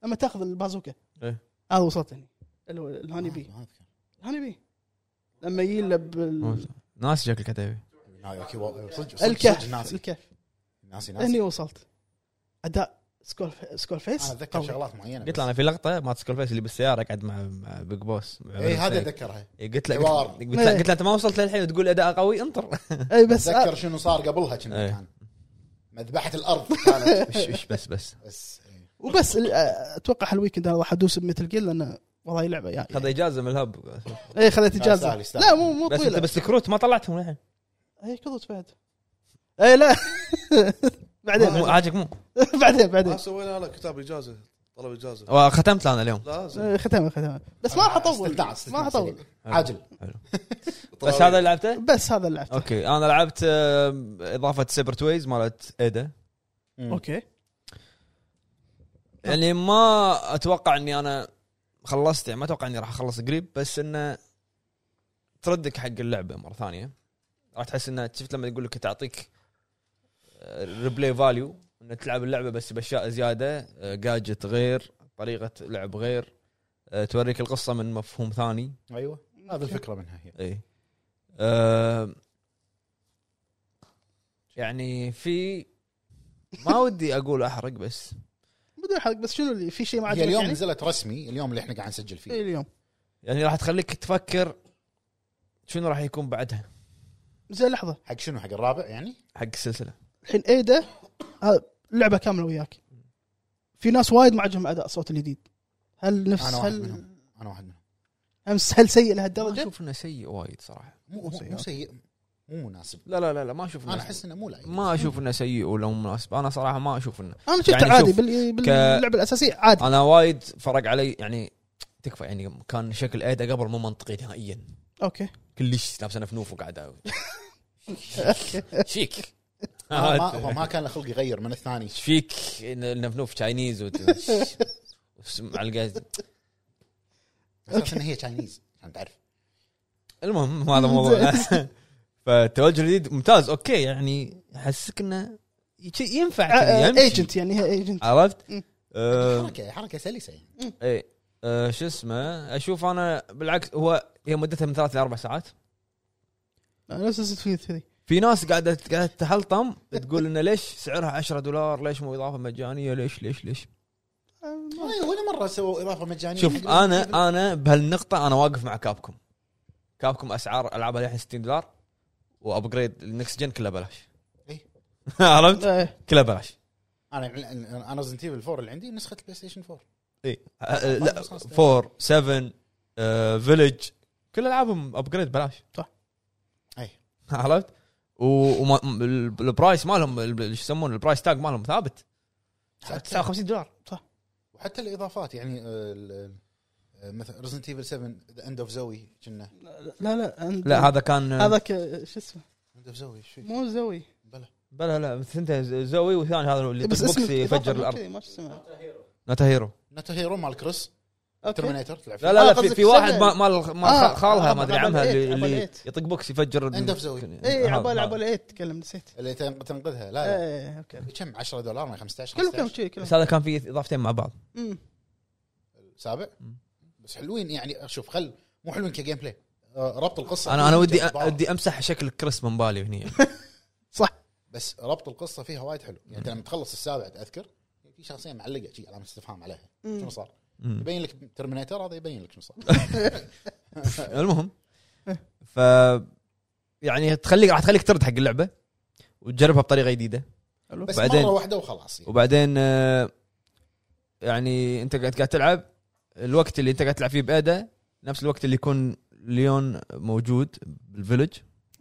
Speaker 4: لما تاخذ البازوكا
Speaker 1: إيه.
Speaker 4: هذا وصلت هني اللي هو الهاني بي
Speaker 3: ما أذكر.
Speaker 4: الهاني بي لما يجي له بال
Speaker 1: ناس شكل كتابي
Speaker 3: آه، أوكي، و- صدق صدق- صدق
Speaker 4: الكهف
Speaker 3: ناسي
Speaker 4: الكهف
Speaker 3: ناسي ناسي
Speaker 4: هني وصلت اداء سكول سكول فيس
Speaker 3: انا اتذكر
Speaker 4: قوي.
Speaker 3: شغلات معينه
Speaker 1: قلت له انا في لقطه مالت سكول فيس اللي بالسياره قاعد مع مع بيج بوس مع
Speaker 3: اي هذا
Speaker 1: سنيك.
Speaker 3: اتذكرها
Speaker 1: إيه، قلت له
Speaker 3: حوار.
Speaker 1: قلت
Speaker 4: إيه.
Speaker 1: له قلت له انت ما وصلت للحين وتقول اداء قوي انطر
Speaker 4: اي إيه، بس
Speaker 3: اتذكر شنو صار قبلها كنا
Speaker 1: إيه.
Speaker 3: كان مذبحه الارض
Speaker 1: إيش-
Speaker 3: كانت
Speaker 1: إيش بس بس
Speaker 3: بس إيه.
Speaker 4: وبس ال- اتوقع هالويكند هذا راح ادوس بمثل جير لان والله لعبه يعني
Speaker 1: خذ اجازه من الهب
Speaker 4: اي خذيت
Speaker 3: لا،
Speaker 4: اجازه
Speaker 3: يستاهل- يستاهل.
Speaker 4: إيه، لا مو مو
Speaker 1: بس انت
Speaker 4: طويله
Speaker 1: بس كروت ما طلعتهم للحين
Speaker 4: اي كذبت بعد اي لا بعدين
Speaker 1: مو- عاجبك مو
Speaker 4: بعدين
Speaker 2: ما
Speaker 4: بعدين
Speaker 2: سوينا له كتاب اجازه طلب اجازه
Speaker 1: وختمت انا اليوم
Speaker 2: لازم
Speaker 4: آه، ختمها ختمها بس ما
Speaker 3: آه،
Speaker 4: راح اطول
Speaker 3: استثناء-
Speaker 4: ما
Speaker 3: استثناء
Speaker 4: راح اطول
Speaker 3: عاجل
Speaker 1: بس هذا اللي لعبته
Speaker 4: بس هذا اللي لعبته
Speaker 1: اوكي انا لعبت آم، اضافه سيبر تويز مالت ايدا
Speaker 4: اوكي
Speaker 1: يعني ما اتوقع اني انا خلصت يعني ما اتوقع اني راح اخلص قريب بس انه تردك حق اللعبه مره ثانيه راح تحس انه شفت لما يقول لك تعطيك آه، ريبلاي فاليو ان تلعب اللعبه بس باشياء زياده جاجت غير طريقه لعب غير آه، توريك القصه من مفهوم ثاني
Speaker 3: ايوه هذا الفكره منها هي
Speaker 1: اي أه يعني في ما ودي اقول احرق بس
Speaker 4: بدون حرق بس شنو اللي في شيء ما
Speaker 3: هي
Speaker 4: عجبك
Speaker 3: اليوم
Speaker 4: يعني؟
Speaker 3: نزلت رسمي اليوم اللي احنا قاعد نسجل
Speaker 4: إيه
Speaker 3: فيه
Speaker 4: اليوم
Speaker 1: يعني راح تخليك تفكر شنو راح يكون بعدها
Speaker 4: زين لحظه
Speaker 3: حق شنو حق الرابع يعني
Speaker 1: حق السلسله
Speaker 4: الحين ايدا آه، لعبه كامله وياك في ناس وايد ما عجبهم اداء صوت الجديد هل نفس
Speaker 3: أنا واحد
Speaker 4: هل
Speaker 3: منهم. انا واحد منهم
Speaker 4: أمس- هل سيء
Speaker 1: ما
Speaker 4: لهالدرجه؟
Speaker 1: اشوف انه سيء وايد صراحه
Speaker 3: مو مو- مو سيء مو مناسب
Speaker 1: لا لا لا, لا ما اشوف
Speaker 3: انا
Speaker 1: انه
Speaker 3: احس انه مو لائق
Speaker 1: ما اشوف انه سيء ولا مو مناسب انا صراحه ما اشوف انه
Speaker 4: انا شفته
Speaker 1: يعني
Speaker 4: عادي
Speaker 1: شوف،
Speaker 4: بال- باللعبه الاساسيه عادي
Speaker 1: انا وايد فرق علي يعني تكفى يعني كان شكل ايدا قبل مو منطقي نهائيا
Speaker 4: اوكي
Speaker 1: كلش لابسه نفنوف وقاعده شيك
Speaker 3: ما- ما- هو ما كان له خلق يغير من الثاني
Speaker 1: ايش فيك نفنوف تشاينيز وت- ومعلقه
Speaker 3: اساس انها هي تشاينيز عشان تعرف
Speaker 1: المهم هذا موضوع فالتوجه الجديد ممتاز اوكي يعني احسسك انه شيء ينفع كذي، يمشي.
Speaker 4: ايجنت يعني هي ايجنت
Speaker 1: عرفت؟
Speaker 4: مم.
Speaker 1: آه،
Speaker 3: حركه حركه سلسه يعني
Speaker 1: ايه آه، شو اسمه اشوف انا بالعكس هو هي مدتها من ثلاث لاربع ساعات
Speaker 4: نفس السويت كذي
Speaker 1: في ناس قاعده قاعده تحلطم تقول انه ليش سعرها 10 دولار ليش مو اضافه مجانيه ليش ليش ليش
Speaker 3: ما- طيب، ولا مره سووا اضافه مجانيه
Speaker 1: طيب. شوف انا انا بهالنقطه انا واقف مع كابكم كابكم اسعار العابها الحين 60 دولار وابجريد النكست جن كلها بلاش
Speaker 3: إيه.
Speaker 1: عرفت؟
Speaker 4: إيه.
Speaker 1: كلها بلاش
Speaker 3: انا انا ريزنت ايفل 4 اللي عندي نسخه البلاي ستيشن 4
Speaker 1: اي أه،
Speaker 3: ما
Speaker 1: لا
Speaker 3: خلاص.
Speaker 1: 4 7 فيلج كل العابهم ابجريد بلاش
Speaker 4: صح.
Speaker 3: أي.
Speaker 1: عرفت؟ و- وما- م- ال- البرايس مالهم ال- ال- شو يسمونه البرايس تاج مالهم ثابت
Speaker 3: حتى-
Speaker 1: 59 دولار
Speaker 3: وحتى الاضافات يعني آه، ال- آه، مثلا ريزنت ايفل 7 ذا اند اوف زوي كنا
Speaker 4: لا لا أنت-
Speaker 1: لا هذا كان
Speaker 4: هذاك شو اسمه
Speaker 3: اند اوف زوي شو
Speaker 4: مو زوي
Speaker 3: بلا
Speaker 1: بلا لا ثنتين زوي والثاني هذا اللي
Speaker 4: بس
Speaker 1: بوكس
Speaker 4: اسمه
Speaker 1: يفجر
Speaker 4: إضافة
Speaker 1: الارض
Speaker 4: كذي، ما شو اسمه
Speaker 1: ناتا هيرو
Speaker 3: ناتو هيرو مال كريس
Speaker 4: اوكي
Speaker 3: ترمينيتر تلعب
Speaker 1: لا لا
Speaker 4: آه،
Speaker 1: لا في,
Speaker 4: قصدك
Speaker 1: في واحد
Speaker 4: سنة.
Speaker 1: ما مال ما
Speaker 4: آه،
Speaker 1: خالها ما
Speaker 4: عبال-
Speaker 1: ادري عمها
Speaker 4: عبال
Speaker 1: اللي,
Speaker 4: إيت، عبال
Speaker 1: اللي
Speaker 4: إيت.
Speaker 1: يطق بوكس يفجر
Speaker 3: End of Zoe.
Speaker 4: اي
Speaker 1: هذا-
Speaker 4: عبال
Speaker 1: هذا.
Speaker 4: عبال ايت تكلم نسيت
Speaker 3: اللي تن- تنقذها لا لا
Speaker 4: اي اوكي
Speaker 1: إيه.
Speaker 3: كم 10 دولار ما 15
Speaker 4: كلهم كلهم
Speaker 3: 15
Speaker 4: كذي كلهم
Speaker 1: بس هذا كان فيه اضافتين مع بعض
Speaker 4: أمم.
Speaker 3: سابع
Speaker 1: مم.
Speaker 3: بس حلوين يعني شوف خل مو حلوين كجيم بلاي آه، ربط القصه
Speaker 1: انا انا
Speaker 3: فيه
Speaker 1: ودي
Speaker 3: جذب بعض.
Speaker 1: ودي امسح شكل كريس من بالي هنا
Speaker 4: صح
Speaker 3: بس ربط القصه فيها وايد حلو يعني انت لما تخلص السابع تاذكر في شخصيه معلقه شي علامه استفهام عليها
Speaker 4: أمم.
Speaker 3: شنو صار؟ يبين لك ترمينيتر هذا يبين لك شنو صار
Speaker 1: المهم ف يعني تخليك راح تخليك ترد حق اللعبه وتجربها بطريقه جديده
Speaker 4: حلو.
Speaker 3: بس
Speaker 1: بعدين-
Speaker 3: مره واحده وخلاص يعني.
Speaker 1: وبعدين آه، يعني انت قاعد قاعد تلعب الوقت اللي انت قاعد تلعب فيه بادا نفس الوقت اللي يكون ليون موجود بالفيلج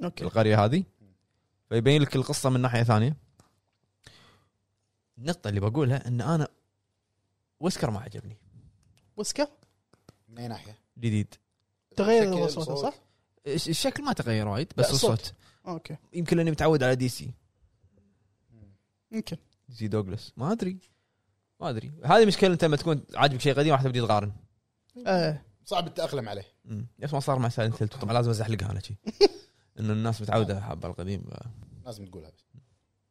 Speaker 4: اوكي
Speaker 1: القريه هذه فيبين لك القصه من ناحيه ثانيه النقطه اللي بقولها ان انا وسكر ما عجبني
Speaker 4: وسكر
Speaker 3: من اي ناحيه؟
Speaker 1: جديد
Speaker 4: تغير
Speaker 3: شكل،
Speaker 4: هو صوته،
Speaker 3: صوت.
Speaker 4: صح؟
Speaker 1: الش- الشكل ما تغير وايد بس
Speaker 4: لا، الصوت.
Speaker 1: الصوت
Speaker 4: اوكي
Speaker 1: يمكن لاني متعود على دي سي
Speaker 4: يمكن
Speaker 1: زي دوغلاس ما ادري ما ادري هذه مشكله انت لما تكون عاجبك شيء قديم راح تبدي تقارن
Speaker 4: ايه
Speaker 3: صعب التاقلم عليه
Speaker 1: مم. نفس ما صار مع سايلنت هيل طبعا لازم ازحلقها انا شي انه الناس متعوده حابه القديم ف-
Speaker 3: لازم تقولها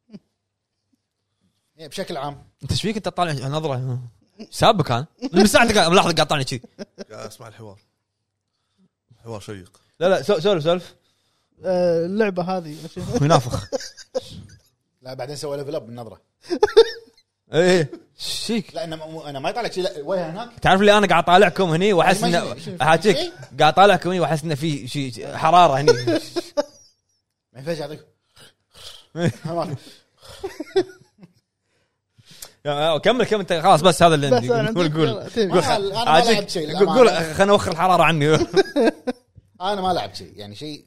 Speaker 3: بس يعني بشكل عام
Speaker 1: انت ايش فيك انت طالع نظره سابك انا آه. من ساعتك ملاحظه قاعد طالع كذي
Speaker 2: قاعد اسمع الحوار حوار شيق
Speaker 1: لا لا سو- سولف سولف
Speaker 4: آه، اللعبه هذه شو اسمها؟
Speaker 1: ينافخ
Speaker 3: لا بعدين سوى ليفل اب بالنظره
Speaker 1: ايه
Speaker 2: إيه.
Speaker 1: ايه ايش فيك
Speaker 3: لا انا مو- انا ما يطالع شيء لا وجهه هناك
Speaker 1: تعرف اللي انا قاعد اطالعكم هني واحس
Speaker 3: ما إيه.
Speaker 1: انه
Speaker 3: شي-
Speaker 1: احاكيك
Speaker 3: شي.
Speaker 1: قاعد اطالعكم هني واحس انه في شيء حراره هني
Speaker 3: ما ينفعش اعطيك
Speaker 1: آه، كمل كمل انت خلاص بس هذا اللي عندي
Speaker 4: بس أنا
Speaker 1: قول
Speaker 4: عندي-
Speaker 1: قول
Speaker 4: يلا، تبي.
Speaker 1: قول
Speaker 3: أنا- أنا ما
Speaker 1: عاجبك.
Speaker 3: لعبت شيء،
Speaker 1: قول
Speaker 3: للأمانة.
Speaker 1: قول خليني اوخر الحراره عني
Speaker 3: انا ما لعبت شيء يعني شيء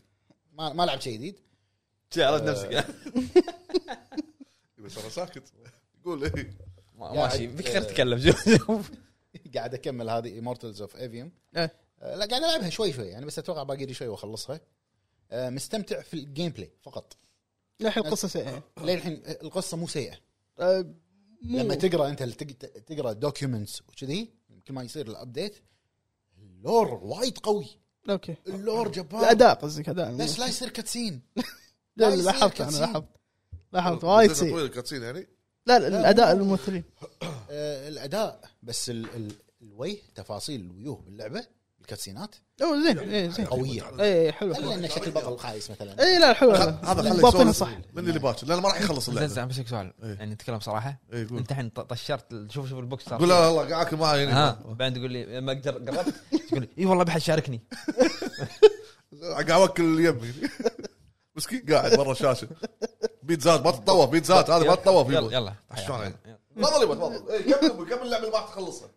Speaker 3: ما ما لعبت شيء جديد
Speaker 1: عرفت نفسك
Speaker 2: يبي ترى ساكت قول ايه
Speaker 1: ما- ماشي
Speaker 3: قاعد-
Speaker 1: فيك خير تتكلم شوف شوف
Speaker 3: قاعد اكمل هذه ايمورتلز اوف ايفيوم لا
Speaker 4: إيه.
Speaker 3: قاعد العبها شوي شوي يعني بس اتوقع باقي لي شوي واخلصها آه، مستمتع في الجيم بلاي فقط
Speaker 4: للحين القصه سيئه
Speaker 3: للحين القصه مو سيئه
Speaker 4: آه، مو
Speaker 3: لما تقرا انت التق- تقرا دوكيومنتس وكذي كل ما يصير الابديت اللور وايد قوي
Speaker 4: اوكي
Speaker 3: اللور جبار
Speaker 4: الاداء قصدك اداء
Speaker 3: بس لا يصير كاتسين
Speaker 4: لا،
Speaker 3: لا يصير
Speaker 4: لاحظت انا
Speaker 3: كاتسين.
Speaker 4: لاحظت لاحظت وايد
Speaker 2: طويل
Speaker 4: سيء
Speaker 2: الكاتسين يعني
Speaker 4: لا لا، الاداء الممثلين
Speaker 3: آه الاداء بس ال ال الوجه تفاصيل الوجوه باللعبه الكاتسينات
Speaker 4: اوه زين اي زين
Speaker 3: قويه
Speaker 4: اي حلو
Speaker 3: الا ان شكل البطل خايس مثلا
Speaker 4: اي لا حلو
Speaker 2: هذا خليه
Speaker 4: ضابطينها
Speaker 2: يسولف
Speaker 4: صح
Speaker 2: من اللي باكر لانه ما راح يخلص
Speaker 1: زين
Speaker 2: اللعبه
Speaker 1: زين بسك سؤال
Speaker 2: إيه.
Speaker 1: يعني نتكلم صراحه
Speaker 2: اي قول
Speaker 1: انت الحين ط- طشرت شوف شوف البوكس صار
Speaker 2: قول لا لا لا قاعد يعني. اكل معي
Speaker 1: ها
Speaker 2: هنا
Speaker 1: بعدين تقول لي ما اقدر قربت تقول لي اي والله بحد شاركني
Speaker 2: قاعد اوكل يمي مسكين قاعد برا الشاشه بيتزات ما تتطوف بيتزات هذه ما تتطوف
Speaker 1: يلا
Speaker 2: يلا
Speaker 1: يلا
Speaker 2: شلون يعني؟ تفضل يبا تفضل إيه، كمل كمل اللعبه اللي ما راح تخلصها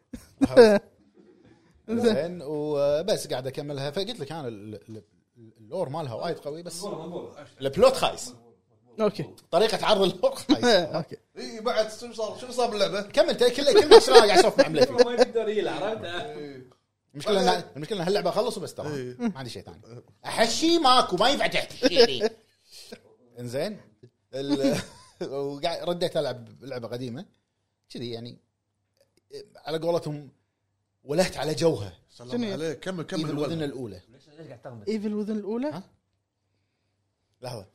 Speaker 3: زين وبس قاعد اكملها فقلت لك انا ال- ال- اللور مالها وايد قوي بس البلوت خايس
Speaker 4: اوكي
Speaker 3: طريقه عرض اللور خايس
Speaker 4: إيه، اوكي
Speaker 2: اي بعد شنو صار شنو صار باللعبه؟
Speaker 3: كمل كله كله شلون قاعد اسولف مع ملفي
Speaker 1: ما يقدر يلعب عرفت
Speaker 3: المشكله ان المشكله ان هاللعبه اخلص وبس ترى
Speaker 2: إيه.
Speaker 3: ما عندي شيء ثاني احشي ماكو ما ينفع تحشي انزين ال- وقاعد رديت العب لعبه قديمه كذي يعني على قولتهم ولهت على جوها
Speaker 2: سلام عليك كمل كمل
Speaker 3: الودن
Speaker 2: الولد
Speaker 3: الاولى
Speaker 1: ليش قاعد تغمز؟
Speaker 4: ايفل وذن الاولى
Speaker 3: ها؟ لحظه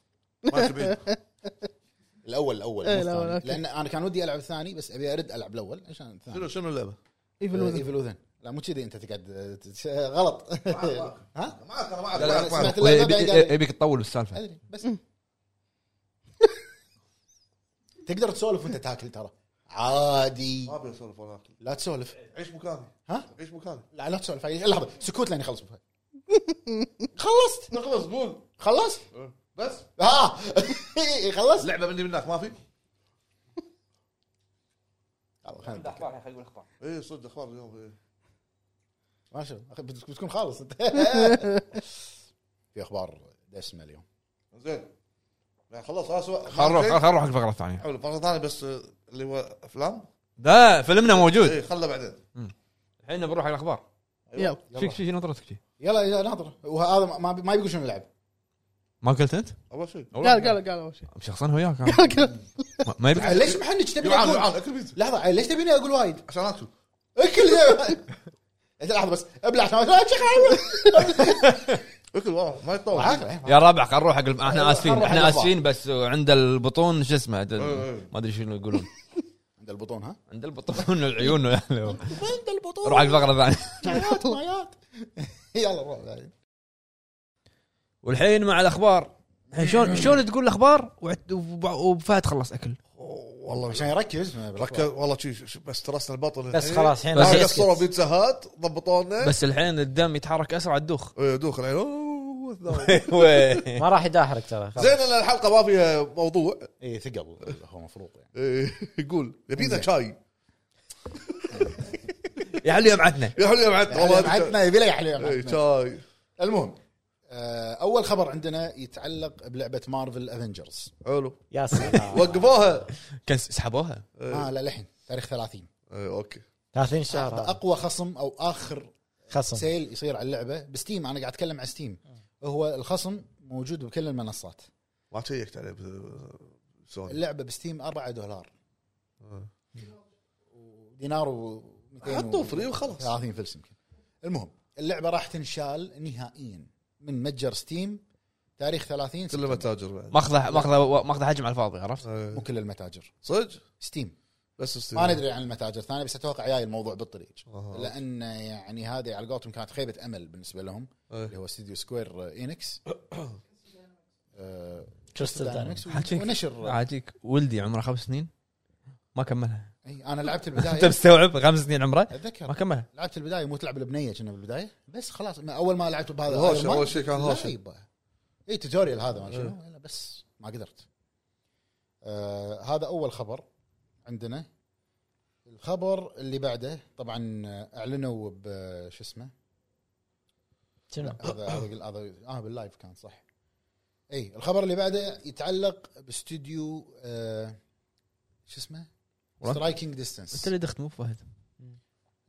Speaker 2: ما تبين
Speaker 3: الاول الاول مو
Speaker 4: إيه، الأول،
Speaker 3: الثاني.
Speaker 4: أوكي.
Speaker 3: لان انا كان ودي العب الثاني بس ابي ارد العب الاول عشان الثاني
Speaker 2: شنو شنو اللعبه؟
Speaker 4: ايفل وذن
Speaker 3: ايفل وذن لا مو كذي انت تقعد غلط ها
Speaker 2: معك انا معك
Speaker 3: لا، لا،
Speaker 2: معك معك
Speaker 3: سمعت اللعبة بعيد عليك.
Speaker 1: يبيك تطول بالسالفه
Speaker 3: ادري بس تقدر تسولف وانت تاكل ترى عادي
Speaker 2: ما ابي اسولف ولا اكل
Speaker 3: لا تسولف
Speaker 2: عيش مكاني
Speaker 3: ها
Speaker 2: عيش مكاني
Speaker 3: لا لا تسولف عيش- لحظه سكوت لين يخلص بها. خلصت
Speaker 2: نخلص قول
Speaker 3: خلصت
Speaker 2: بس
Speaker 3: اه خلصت
Speaker 2: لعبه مني منك ما في؟
Speaker 3: يلا، خلنا نتأكد.
Speaker 2: اي صدق اخبار اليوم إيه.
Speaker 3: ما شاء الله. أخي، بت- بتكون خالص انت في اخبار دسمه اليوم
Speaker 2: زين يعني خلاص خلاص
Speaker 1: خل نروح خل نروح الفقره الثانيه
Speaker 2: حلو فقره ثانيه بس آه، اللي هو افلام
Speaker 1: لا فيلمنا موجود
Speaker 2: اي خله بعدين
Speaker 1: الحين بنروح على الاخبار
Speaker 4: يلا
Speaker 1: شيك شيك نظرتك شي
Speaker 3: يلا يلا ناظر وهذا ما- ما ما يقول شنو يلعب
Speaker 1: ما قلت انت؟
Speaker 2: اول شيء
Speaker 4: قال قال قال اول شيء
Speaker 1: شخصا هو وياك أنا.
Speaker 4: قال قال
Speaker 1: ما- ما يبي
Speaker 3: ليش محنك تبي
Speaker 2: يعان
Speaker 3: اقول
Speaker 2: يعان اكل بيتزا
Speaker 3: لحظه ليش تبيني اقول وايد؟
Speaker 2: عشان اكل
Speaker 3: اكل زي- انت لحظه بس ابلع عشان ما
Speaker 2: اكل واو ما يتطور
Speaker 3: عارف.
Speaker 1: يا ربع خل نروح حق الب- احنا اسفين
Speaker 3: نروح حق
Speaker 1: احنا
Speaker 3: الأخبار. أه.
Speaker 1: اسفين بس عند البطون شو اسمه د-
Speaker 2: إيه.
Speaker 1: ما ادري شنو يقولون
Speaker 3: عند البطون ها؟
Speaker 1: عند البطون العيون يعني
Speaker 3: عند البطون
Speaker 1: روح حق الفقره الثانيه
Speaker 3: معيات معيات يلا روح
Speaker 1: والحين مع الاخبار الحين
Speaker 3: أه.
Speaker 1: شلون شلون تقول الاخبار وعد- وب- وفهد خلص اكل
Speaker 2: والله
Speaker 3: عشان يركز
Speaker 2: ركز والله شي- شي- بس ترسنا البطن
Speaker 6: بس خلاص الحين
Speaker 1: بس
Speaker 2: بس
Speaker 6: راح
Speaker 2: قصروا
Speaker 6: يسكت
Speaker 2: بيتزا هات ضبطوا لنا
Speaker 1: بس الحين الدم يتحرك اسرع الدوخ
Speaker 2: إيه، دوخ العين أوه، والثوب.
Speaker 6: ما راح يداحرك ترى خلاص.
Speaker 2: زين ان الحلقه ما فيها موضوع
Speaker 3: اي ثقل إيه، هو المفروض يعني
Speaker 2: إيه، يقول يبينا شاي
Speaker 1: يا حلو يبعتنا
Speaker 2: يا حلو يا معد والله أنت-
Speaker 3: معتنا آه، يبي له يحلي
Speaker 2: إيه،
Speaker 3: معتنا.
Speaker 2: شاي
Speaker 3: المهم آه، اول خبر عندنا يتعلق بلعبه مارفل افنجرز
Speaker 2: حلو
Speaker 6: يا سلام
Speaker 2: وقفوها
Speaker 1: كان س- سحبوها
Speaker 3: اه لا للحين تاريخ 30
Speaker 2: إيه، اوكي
Speaker 6: 30 شهر
Speaker 3: اقوى خصم او اخر
Speaker 6: خصم
Speaker 3: سيل يصير على اللعبه بستيم انا قاعد اتكلم عن ستيم هو الخصم موجود بكل المنصات
Speaker 2: ما شيكت عليه ب- سوني
Speaker 3: اللعبه بستيم 4 دولار
Speaker 2: آه.
Speaker 3: دينار و
Speaker 2: حطوا فري وخلاص.
Speaker 3: 30 فلس يمكن المهم اللعبه راح تنشال نهائيا من متجر ستيم تاريخ 30
Speaker 2: كل
Speaker 3: سبتمبر.
Speaker 2: متاجر بعد
Speaker 1: ماخذه ماخذه ماخذه حجم على الفاضي عرفت؟
Speaker 2: إيه.
Speaker 3: مو كل المتاجر
Speaker 2: صدق
Speaker 3: ستيم
Speaker 2: بس استيل.
Speaker 3: ما ندري عن المتاجر الثانيه بس اتوقع جاي الموضوع بالطريق
Speaker 2: أها.
Speaker 3: لان يعني هذه على قولتهم كانت خيبه امل بالنسبه لهم اللي
Speaker 2: إيه.
Speaker 3: هو استديو سكوير اينكس
Speaker 6: كريستال داينامكس
Speaker 1: حاجيك.
Speaker 3: آه، ونشر
Speaker 1: عاجيك ولدي عمره خمس سنين ما كملها أيوه.
Speaker 3: اي انا لعبت
Speaker 1: انت
Speaker 3: البدايه
Speaker 1: مستوعب خمس سنين عمره ما
Speaker 3: اتذكر
Speaker 1: كملها
Speaker 3: لعبت البدايه مو تلعب البنيه كنا بالبدايه بس خلاص ما اول ما لعبت بهذا
Speaker 2: الهوشة،
Speaker 3: Iron Man،
Speaker 2: أول شيء كان
Speaker 3: لا
Speaker 2: هوشة.
Speaker 3: يبا. اي توتوريال إيه، هذا ما شنو لا، بس ما قدرت آه هذا اول خبر عندنا الخبر اللي بعده طبعا آه، اعلنوا ب شو اسمه
Speaker 6: شنو؟
Speaker 3: لا، هذا هذا هذا اه باللايف كان صح اي الخبر اللي بعده يتعلق باستوديو آه شو اسمه سترايكينج
Speaker 1: انت
Speaker 3: ديستنس
Speaker 1: اللي دخت مو فهد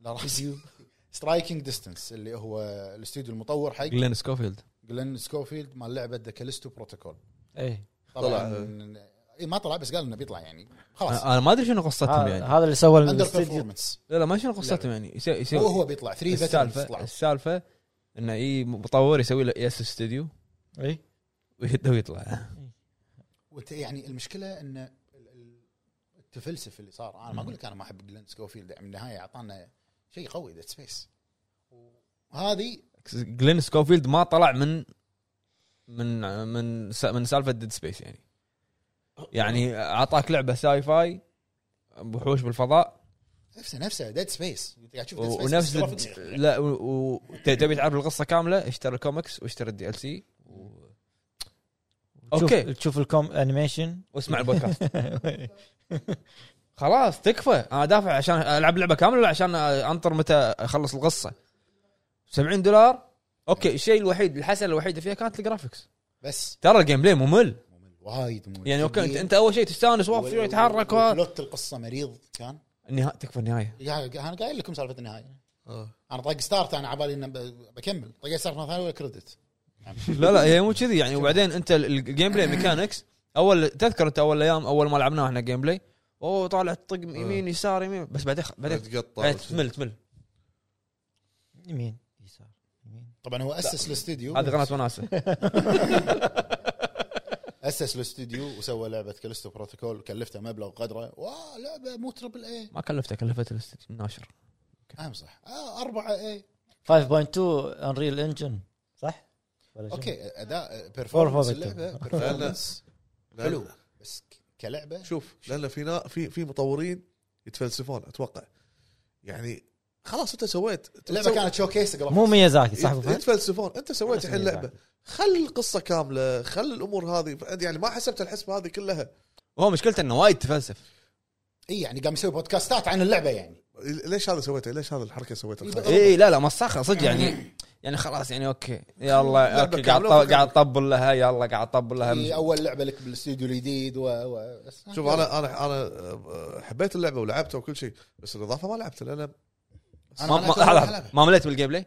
Speaker 3: لا راح سترايكينج ديستنس اللي هو الاستوديو المطور حق
Speaker 1: جلين سكوفيلد
Speaker 3: جلن سكوفيلد مال لعبه ذا كاليستو بروتوكول
Speaker 6: اي
Speaker 1: إيه.
Speaker 2: طلع.
Speaker 1: آه.
Speaker 3: طبعا اي إيه، ما طلع بس قال انه بيطلع يعني خلاص
Speaker 1: انا ما ادري شنو قصتهم
Speaker 6: ه-
Speaker 1: يعني
Speaker 6: هذا اللي سوى
Speaker 3: اندر
Speaker 6: الاستديو
Speaker 3: بيرفورمنس
Speaker 1: لا لا ما شنو قصتهم يعني يسوي يسوي
Speaker 3: هو هو بيطلع 3
Speaker 1: السالفه السالفه انه اي مطور يسوي له ياسس استوديو
Speaker 6: اي
Speaker 1: ويده ويطلع
Speaker 3: وت- يعني المشكله ان ال- ال- التفلسف اللي صار انا ما اقول لك انا ما احب جلن سكوفيلد يعني بالنهايه اعطانا شيء قوي ذا سبيس وهذه
Speaker 1: جلين سكوفيلد ما طلع من من من س- من سالفه ديد سبيس يعني يعني اعطاك لعبه ساي فاي وحوش بالفضاء
Speaker 3: نفسه نفسه ديد سبيس انت قاعد تشوف Dead Space
Speaker 1: ونفس
Speaker 3: بس
Speaker 1: ال-
Speaker 3: graphics.
Speaker 1: لا وتبي تعرف القصه كامله اشتري الكوميكس واشتري الدي ال سي اوكي.
Speaker 6: اوكي تشوف الكوم انيميشن
Speaker 1: واسمع البودكاست خلاص تكفى انا دافع عشان العب لعبه كامله ولا عشان انطر متى اخلص القصه 70 دولار اوكي الشيء الوحيد الحسنه الوحيده فيها كانت الجرافكس
Speaker 3: بس
Speaker 1: ترى الجيم بلاي ممل
Speaker 3: ممل وايد ممل
Speaker 1: يعني اوكي انت, انت اول شيء تستانس واقف شوي يتحرك و-
Speaker 3: بلوت القصه مريض كان
Speaker 1: النها... تكفى النهايه
Speaker 3: يا- انا قايل لكم سالفه النهايه
Speaker 2: آه.
Speaker 3: انا طاق ستارت انا على بالي انه ب- بكمل طق ستارت مره ثانيه ولا كريدت
Speaker 1: لا لا هي مو كذي يعني وبعدين انت ال- الجيم بلاي ميكانكس اول تذكر انت اول ايام اول ما لعبناه احنا جيم بلاي اوه طالع تطق يمين يسار يمين بس بعدين خ- بعدين
Speaker 2: تقطع
Speaker 1: بعدين تمل تمل
Speaker 6: يمين يسار يمين
Speaker 3: طبعا هو اسس الاستوديو
Speaker 1: هذه قناه وناسه
Speaker 3: اسس الاستوديو وسوى لعبه كاليستو بروتوكول كلفته مبلغ قدره واه لعبه مو تربل اي
Speaker 1: ما كلفته كلفت الاستديو الناشر
Speaker 3: نعم صح آه أربعة اي
Speaker 6: 5.2 انريل انجن صح؟ ولا شنو؟
Speaker 3: اوكي اداء بيرفورمنس
Speaker 6: Performance.
Speaker 3: اللعبه بيرفورمنس
Speaker 2: لأن-
Speaker 3: حلو بس ك- كلعبه
Speaker 2: شوف لان في نا- في في مطورين يتفلسفون اتوقع يعني خلاص انت سويت
Speaker 3: اللعبه كانت شوكيس قبل
Speaker 6: مو ميازاكي صح ابو فهد؟
Speaker 2: يتفلسفون انت سويت الحين
Speaker 6: ميازاكي.
Speaker 2: لعبه خل القصه كامله خل الامور هذه يعني ما حسبت الحسبه هذه كلها
Speaker 1: وهو مشكلته انه وايد تفلسف
Speaker 3: اي يعني قام يسوي بودكاستات عن اللعبه يعني
Speaker 2: ليش هذا سويته ليش هذا الحركه سويتها
Speaker 1: اي إيه، لا لا مسخه صدق يعني يعني خلاص يعني اوكي يلا
Speaker 2: لعبة
Speaker 1: اوكي قاعد
Speaker 2: كاملة
Speaker 1: طب- قاعد طبل لها يلا قاعد طبل
Speaker 3: هي
Speaker 1: لها
Speaker 3: اول لعبه لك بالاستوديو الجديد و, و... بس-
Speaker 2: أه، شوف انا انا انا آه، حبيت اللعبه ولعبتها وكل شيء بس الاضافه ما لعبتها لان
Speaker 1: ما ما- لحظة، لحظة. ما مليت بالجيم بلاي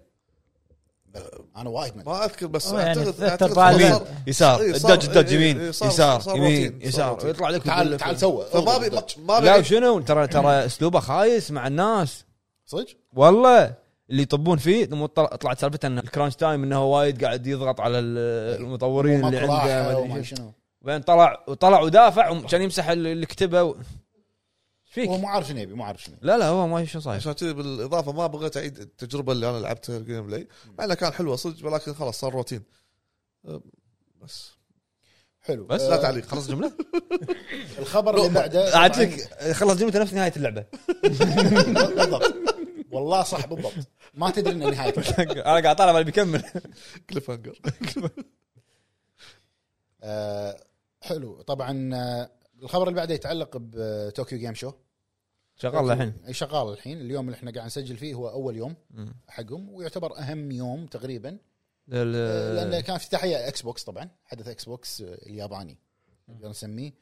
Speaker 3: انا وايد مليت.
Speaker 2: ما اذكر بس
Speaker 6: أوه، يعني
Speaker 2: اعتقد
Speaker 6: أتذكر
Speaker 2: اعتقد
Speaker 6: بعد-
Speaker 2: صار-
Speaker 1: يسار
Speaker 2: إيه، صار-
Speaker 1: الدج الدج
Speaker 2: إيه، إيه،
Speaker 1: يمين
Speaker 2: إيه، صار-
Speaker 1: يسار
Speaker 2: صار
Speaker 1: يمين
Speaker 2: روتين، صار
Speaker 1: يسار
Speaker 2: روتين.
Speaker 1: يطلع لك
Speaker 3: تعال
Speaker 1: يقول لك- إيه.
Speaker 3: تعال سوى
Speaker 2: فما بي ما
Speaker 1: لا
Speaker 2: بي
Speaker 1: وشنو ترى ترى اسلوبه خايس مع الناس
Speaker 3: صدق
Speaker 1: والله اللي يطبون فيه ثم طل- طلعت سالفه ان الكرانش تايم انه وايد قاعد يضغط على ال- المطورين اللي
Speaker 3: ماكو راحه
Speaker 1: عنده ما
Speaker 3: وما
Speaker 1: أدري شنو.
Speaker 3: شنو
Speaker 1: وبعدين طلع وطلع ودافع وكان يمسح اللي اللي كتبه و- ايش
Speaker 3: هو
Speaker 1: فيك؟
Speaker 3: مو عارف شنو يبي مو عارف شنو يبي.
Speaker 1: لا لا هو ما أدري شو صاير
Speaker 2: عشان كذي بالاضافه ما بغيت اعيد التجربه اللي انا لعبتها الجيم بلاي مع انها كان حلوه صدق ولكن خلاص صار روتين أه، بس
Speaker 3: حلو
Speaker 1: بس
Speaker 2: لا
Speaker 3: آه،
Speaker 2: تعليق خلص جمله
Speaker 3: الخبر اللي بعده
Speaker 1: قعدت لك خلص جملته نفس نهايه اللعبه
Speaker 3: بالضبط والله صح بالضبط ما تدري ان نهايته
Speaker 1: انا قاعد طالع بالي بيكمل
Speaker 2: كليف هانجر
Speaker 3: آه، حلو طبعا آه، الخبر اللي بعده يتعلق آه، بطوكيو جيم شو
Speaker 1: شغال الحين
Speaker 3: أي شغال الحين اليوم اللي احنا قاعد نسجل فيه هو اول يوم
Speaker 1: مم.
Speaker 3: حقهم ويعتبر اهم يوم تقريبا آه،
Speaker 1: ال-
Speaker 3: لان كان افتتاحيه اكس بوكس طبعا حدث اكس بوكس آه، الياباني نقدر نسميه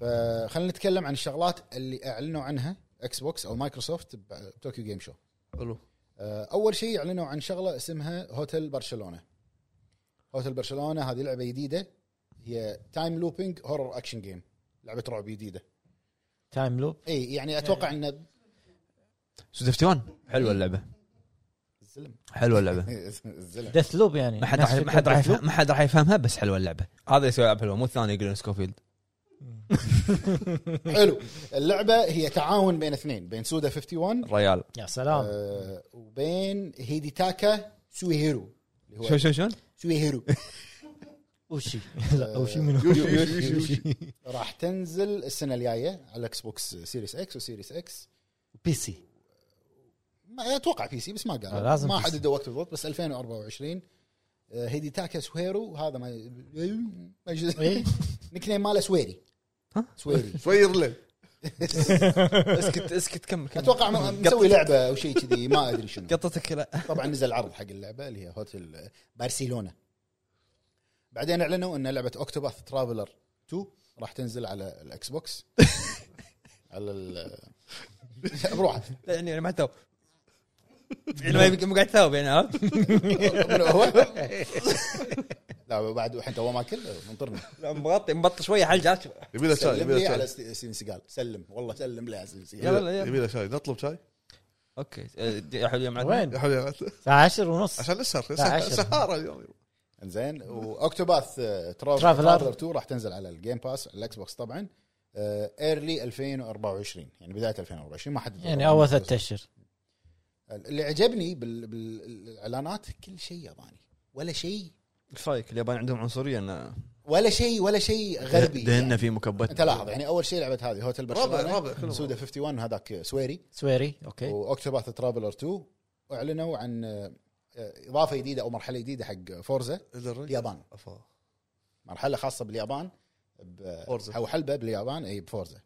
Speaker 3: فخلينا نتكلم عن الشغلات اللي اعلنوا عنها اكس بوكس او مايكروسوفت بطوكيو جيم شو
Speaker 2: حلو
Speaker 3: آه، اول شيء اعلنوا عن شغله اسمها هوتيل برشلونه هوتيل برشلونه هذه لعبه جديده هي تايم لوبينج هورر اكشن جيم لعبه رعب جديده
Speaker 6: تايم لوب
Speaker 3: اي يعني اتوقع ان
Speaker 1: شفتون حلوه اللعبه
Speaker 3: الزلم
Speaker 1: حلوه اللعبه
Speaker 3: الزلم
Speaker 6: ديث لوب يعني
Speaker 1: ما حد
Speaker 6: نفس
Speaker 1: راح
Speaker 6: فكرة
Speaker 1: ما حد راح
Speaker 6: Deathloop.
Speaker 1: يفهم- ما حد راح يفهمها بس حلوه اللعبه هذا اللي يسوي يلعب حلوه مو الثاني يقولون سكوفيلد
Speaker 3: حلو اللعبه هي تعاون بين اثنين بين سودا 51
Speaker 1: ريال
Speaker 6: يا سلام
Speaker 3: آه، وبين هيديتاكا سويهيرو اللي
Speaker 1: شو
Speaker 3: هو
Speaker 1: شو شو
Speaker 3: سويهيرو
Speaker 6: اوشي لا اوشي منو
Speaker 3: راح تنزل السنه الجايه على الاكس بوكس سيريس اكس وسيريس اكس
Speaker 6: بي سي
Speaker 3: ما اتوقع بي سي بس ما قال
Speaker 6: آه، لازم
Speaker 3: ما
Speaker 6: PC.
Speaker 3: حددوا وقت بالضبط بس 2024 آه، هيديتاكا سويرو هذا ما ما يجوز.
Speaker 6: إيه.
Speaker 3: نيكنيم ماله سويري
Speaker 1: ها؟
Speaker 3: سويري
Speaker 2: صغير له
Speaker 1: اسكت اسكت كمل كمل
Speaker 3: اتوقع م- مسوي لعبه او شيء كذي ما ادري شنو
Speaker 1: قطتك لا
Speaker 3: طبعا نزل عرض حق اللعبه اللي هي هوتل برشلونه بعدين اعلنوا ان لعبه اوكتوباث ترافلر 2 راح تنزل على الاكس بوكس على ال بروحه
Speaker 1: يعني يعني ما تو يعني ما يبقى- مو قاعد تثاوب يعني عرفت؟
Speaker 3: من هو لا بعد الحين تو ما اكل منطرنا
Speaker 1: لا، مغطي مبطل شويه حلقه عرفت؟
Speaker 2: يبي له شاي
Speaker 3: سلم
Speaker 2: يبي
Speaker 3: لي
Speaker 2: له
Speaker 3: على
Speaker 2: شاي
Speaker 3: س- سين سيجال سلم والله سلم لي على سين سيجال
Speaker 1: يلا يلا
Speaker 2: يبي له شاي نطلب شاي
Speaker 1: اوكي أه، يا حلو يا معلم
Speaker 6: وين؟
Speaker 2: يا حبيبي
Speaker 6: الساعه 10 ونص
Speaker 2: عشان نسهر
Speaker 6: عشرة.
Speaker 2: سهاره اليوم
Speaker 3: انزين واوكتوباث ترافلر
Speaker 6: ترافلر.
Speaker 3: 2 راح تنزل على الجيم باس على الاكس بوكس آه، طبعا ايرلي 2024 يعني بدايه 2024 ما حد
Speaker 6: يعني اول ثلاث اشهر
Speaker 3: اللي عجبني بال- بال- بالاعلانات كل شيء ياباني ولا شيء
Speaker 1: ايش رايك اليابان عندهم عنصريه انه
Speaker 3: ولا شيء ولا شيء غربي
Speaker 1: دهنا
Speaker 3: يعني.
Speaker 1: في مكبات
Speaker 3: انت لاحظ يعني اول شيء لعبه هذه هوتل برشلونه
Speaker 2: رابع- رابع كلهم.
Speaker 3: سودا 51 هذاك سويري
Speaker 6: سويري
Speaker 1: إيه.
Speaker 6: اوكي
Speaker 3: واوكتوباث ترافلر 2 اعلنوا عن آه، اضافه جديده او مرحله جديده حق فورزا اليابان مرحله خاصه باليابان ب-
Speaker 2: فورزا.
Speaker 3: او حلبه باليابان اي بفورزا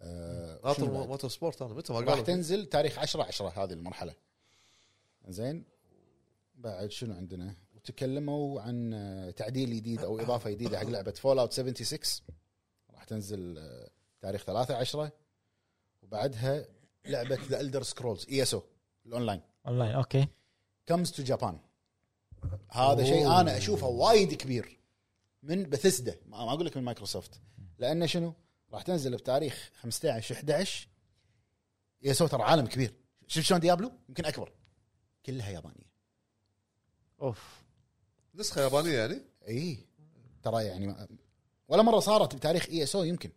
Speaker 3: آه، شنو
Speaker 2: ناطر
Speaker 3: بعد؟
Speaker 2: موتور سبورت انا متى ما
Speaker 3: راح
Speaker 2: قالوا
Speaker 3: تنزل تاريخ 10 10 هذه المرحله زين بعد شنو عندنا تكلموا عن آه، تعديل جديد او اضافه جديده حق لعبه فول اوت 76 راح تنزل آه، تاريخ 3 10 وبعدها لعبه ذا الدر سكرولز اي اس او الاونلاين
Speaker 6: اونلاين اوكي
Speaker 3: كمز تو جابان هذا شيء انا اشوفه وايد كبير من بثسدا ما ما اقول لك من مايكروسوفت لانه شنو راح تنزل بتاريخ 15 11 يا سو ترى عالم كبير شوف شلون ديابلو يمكن اكبر كلها يابانيه
Speaker 6: اوف
Speaker 2: نسخه يابانيه يعني
Speaker 3: اي ترى يعني ما ولا مره صارت بتاريخ اي اس او يمكن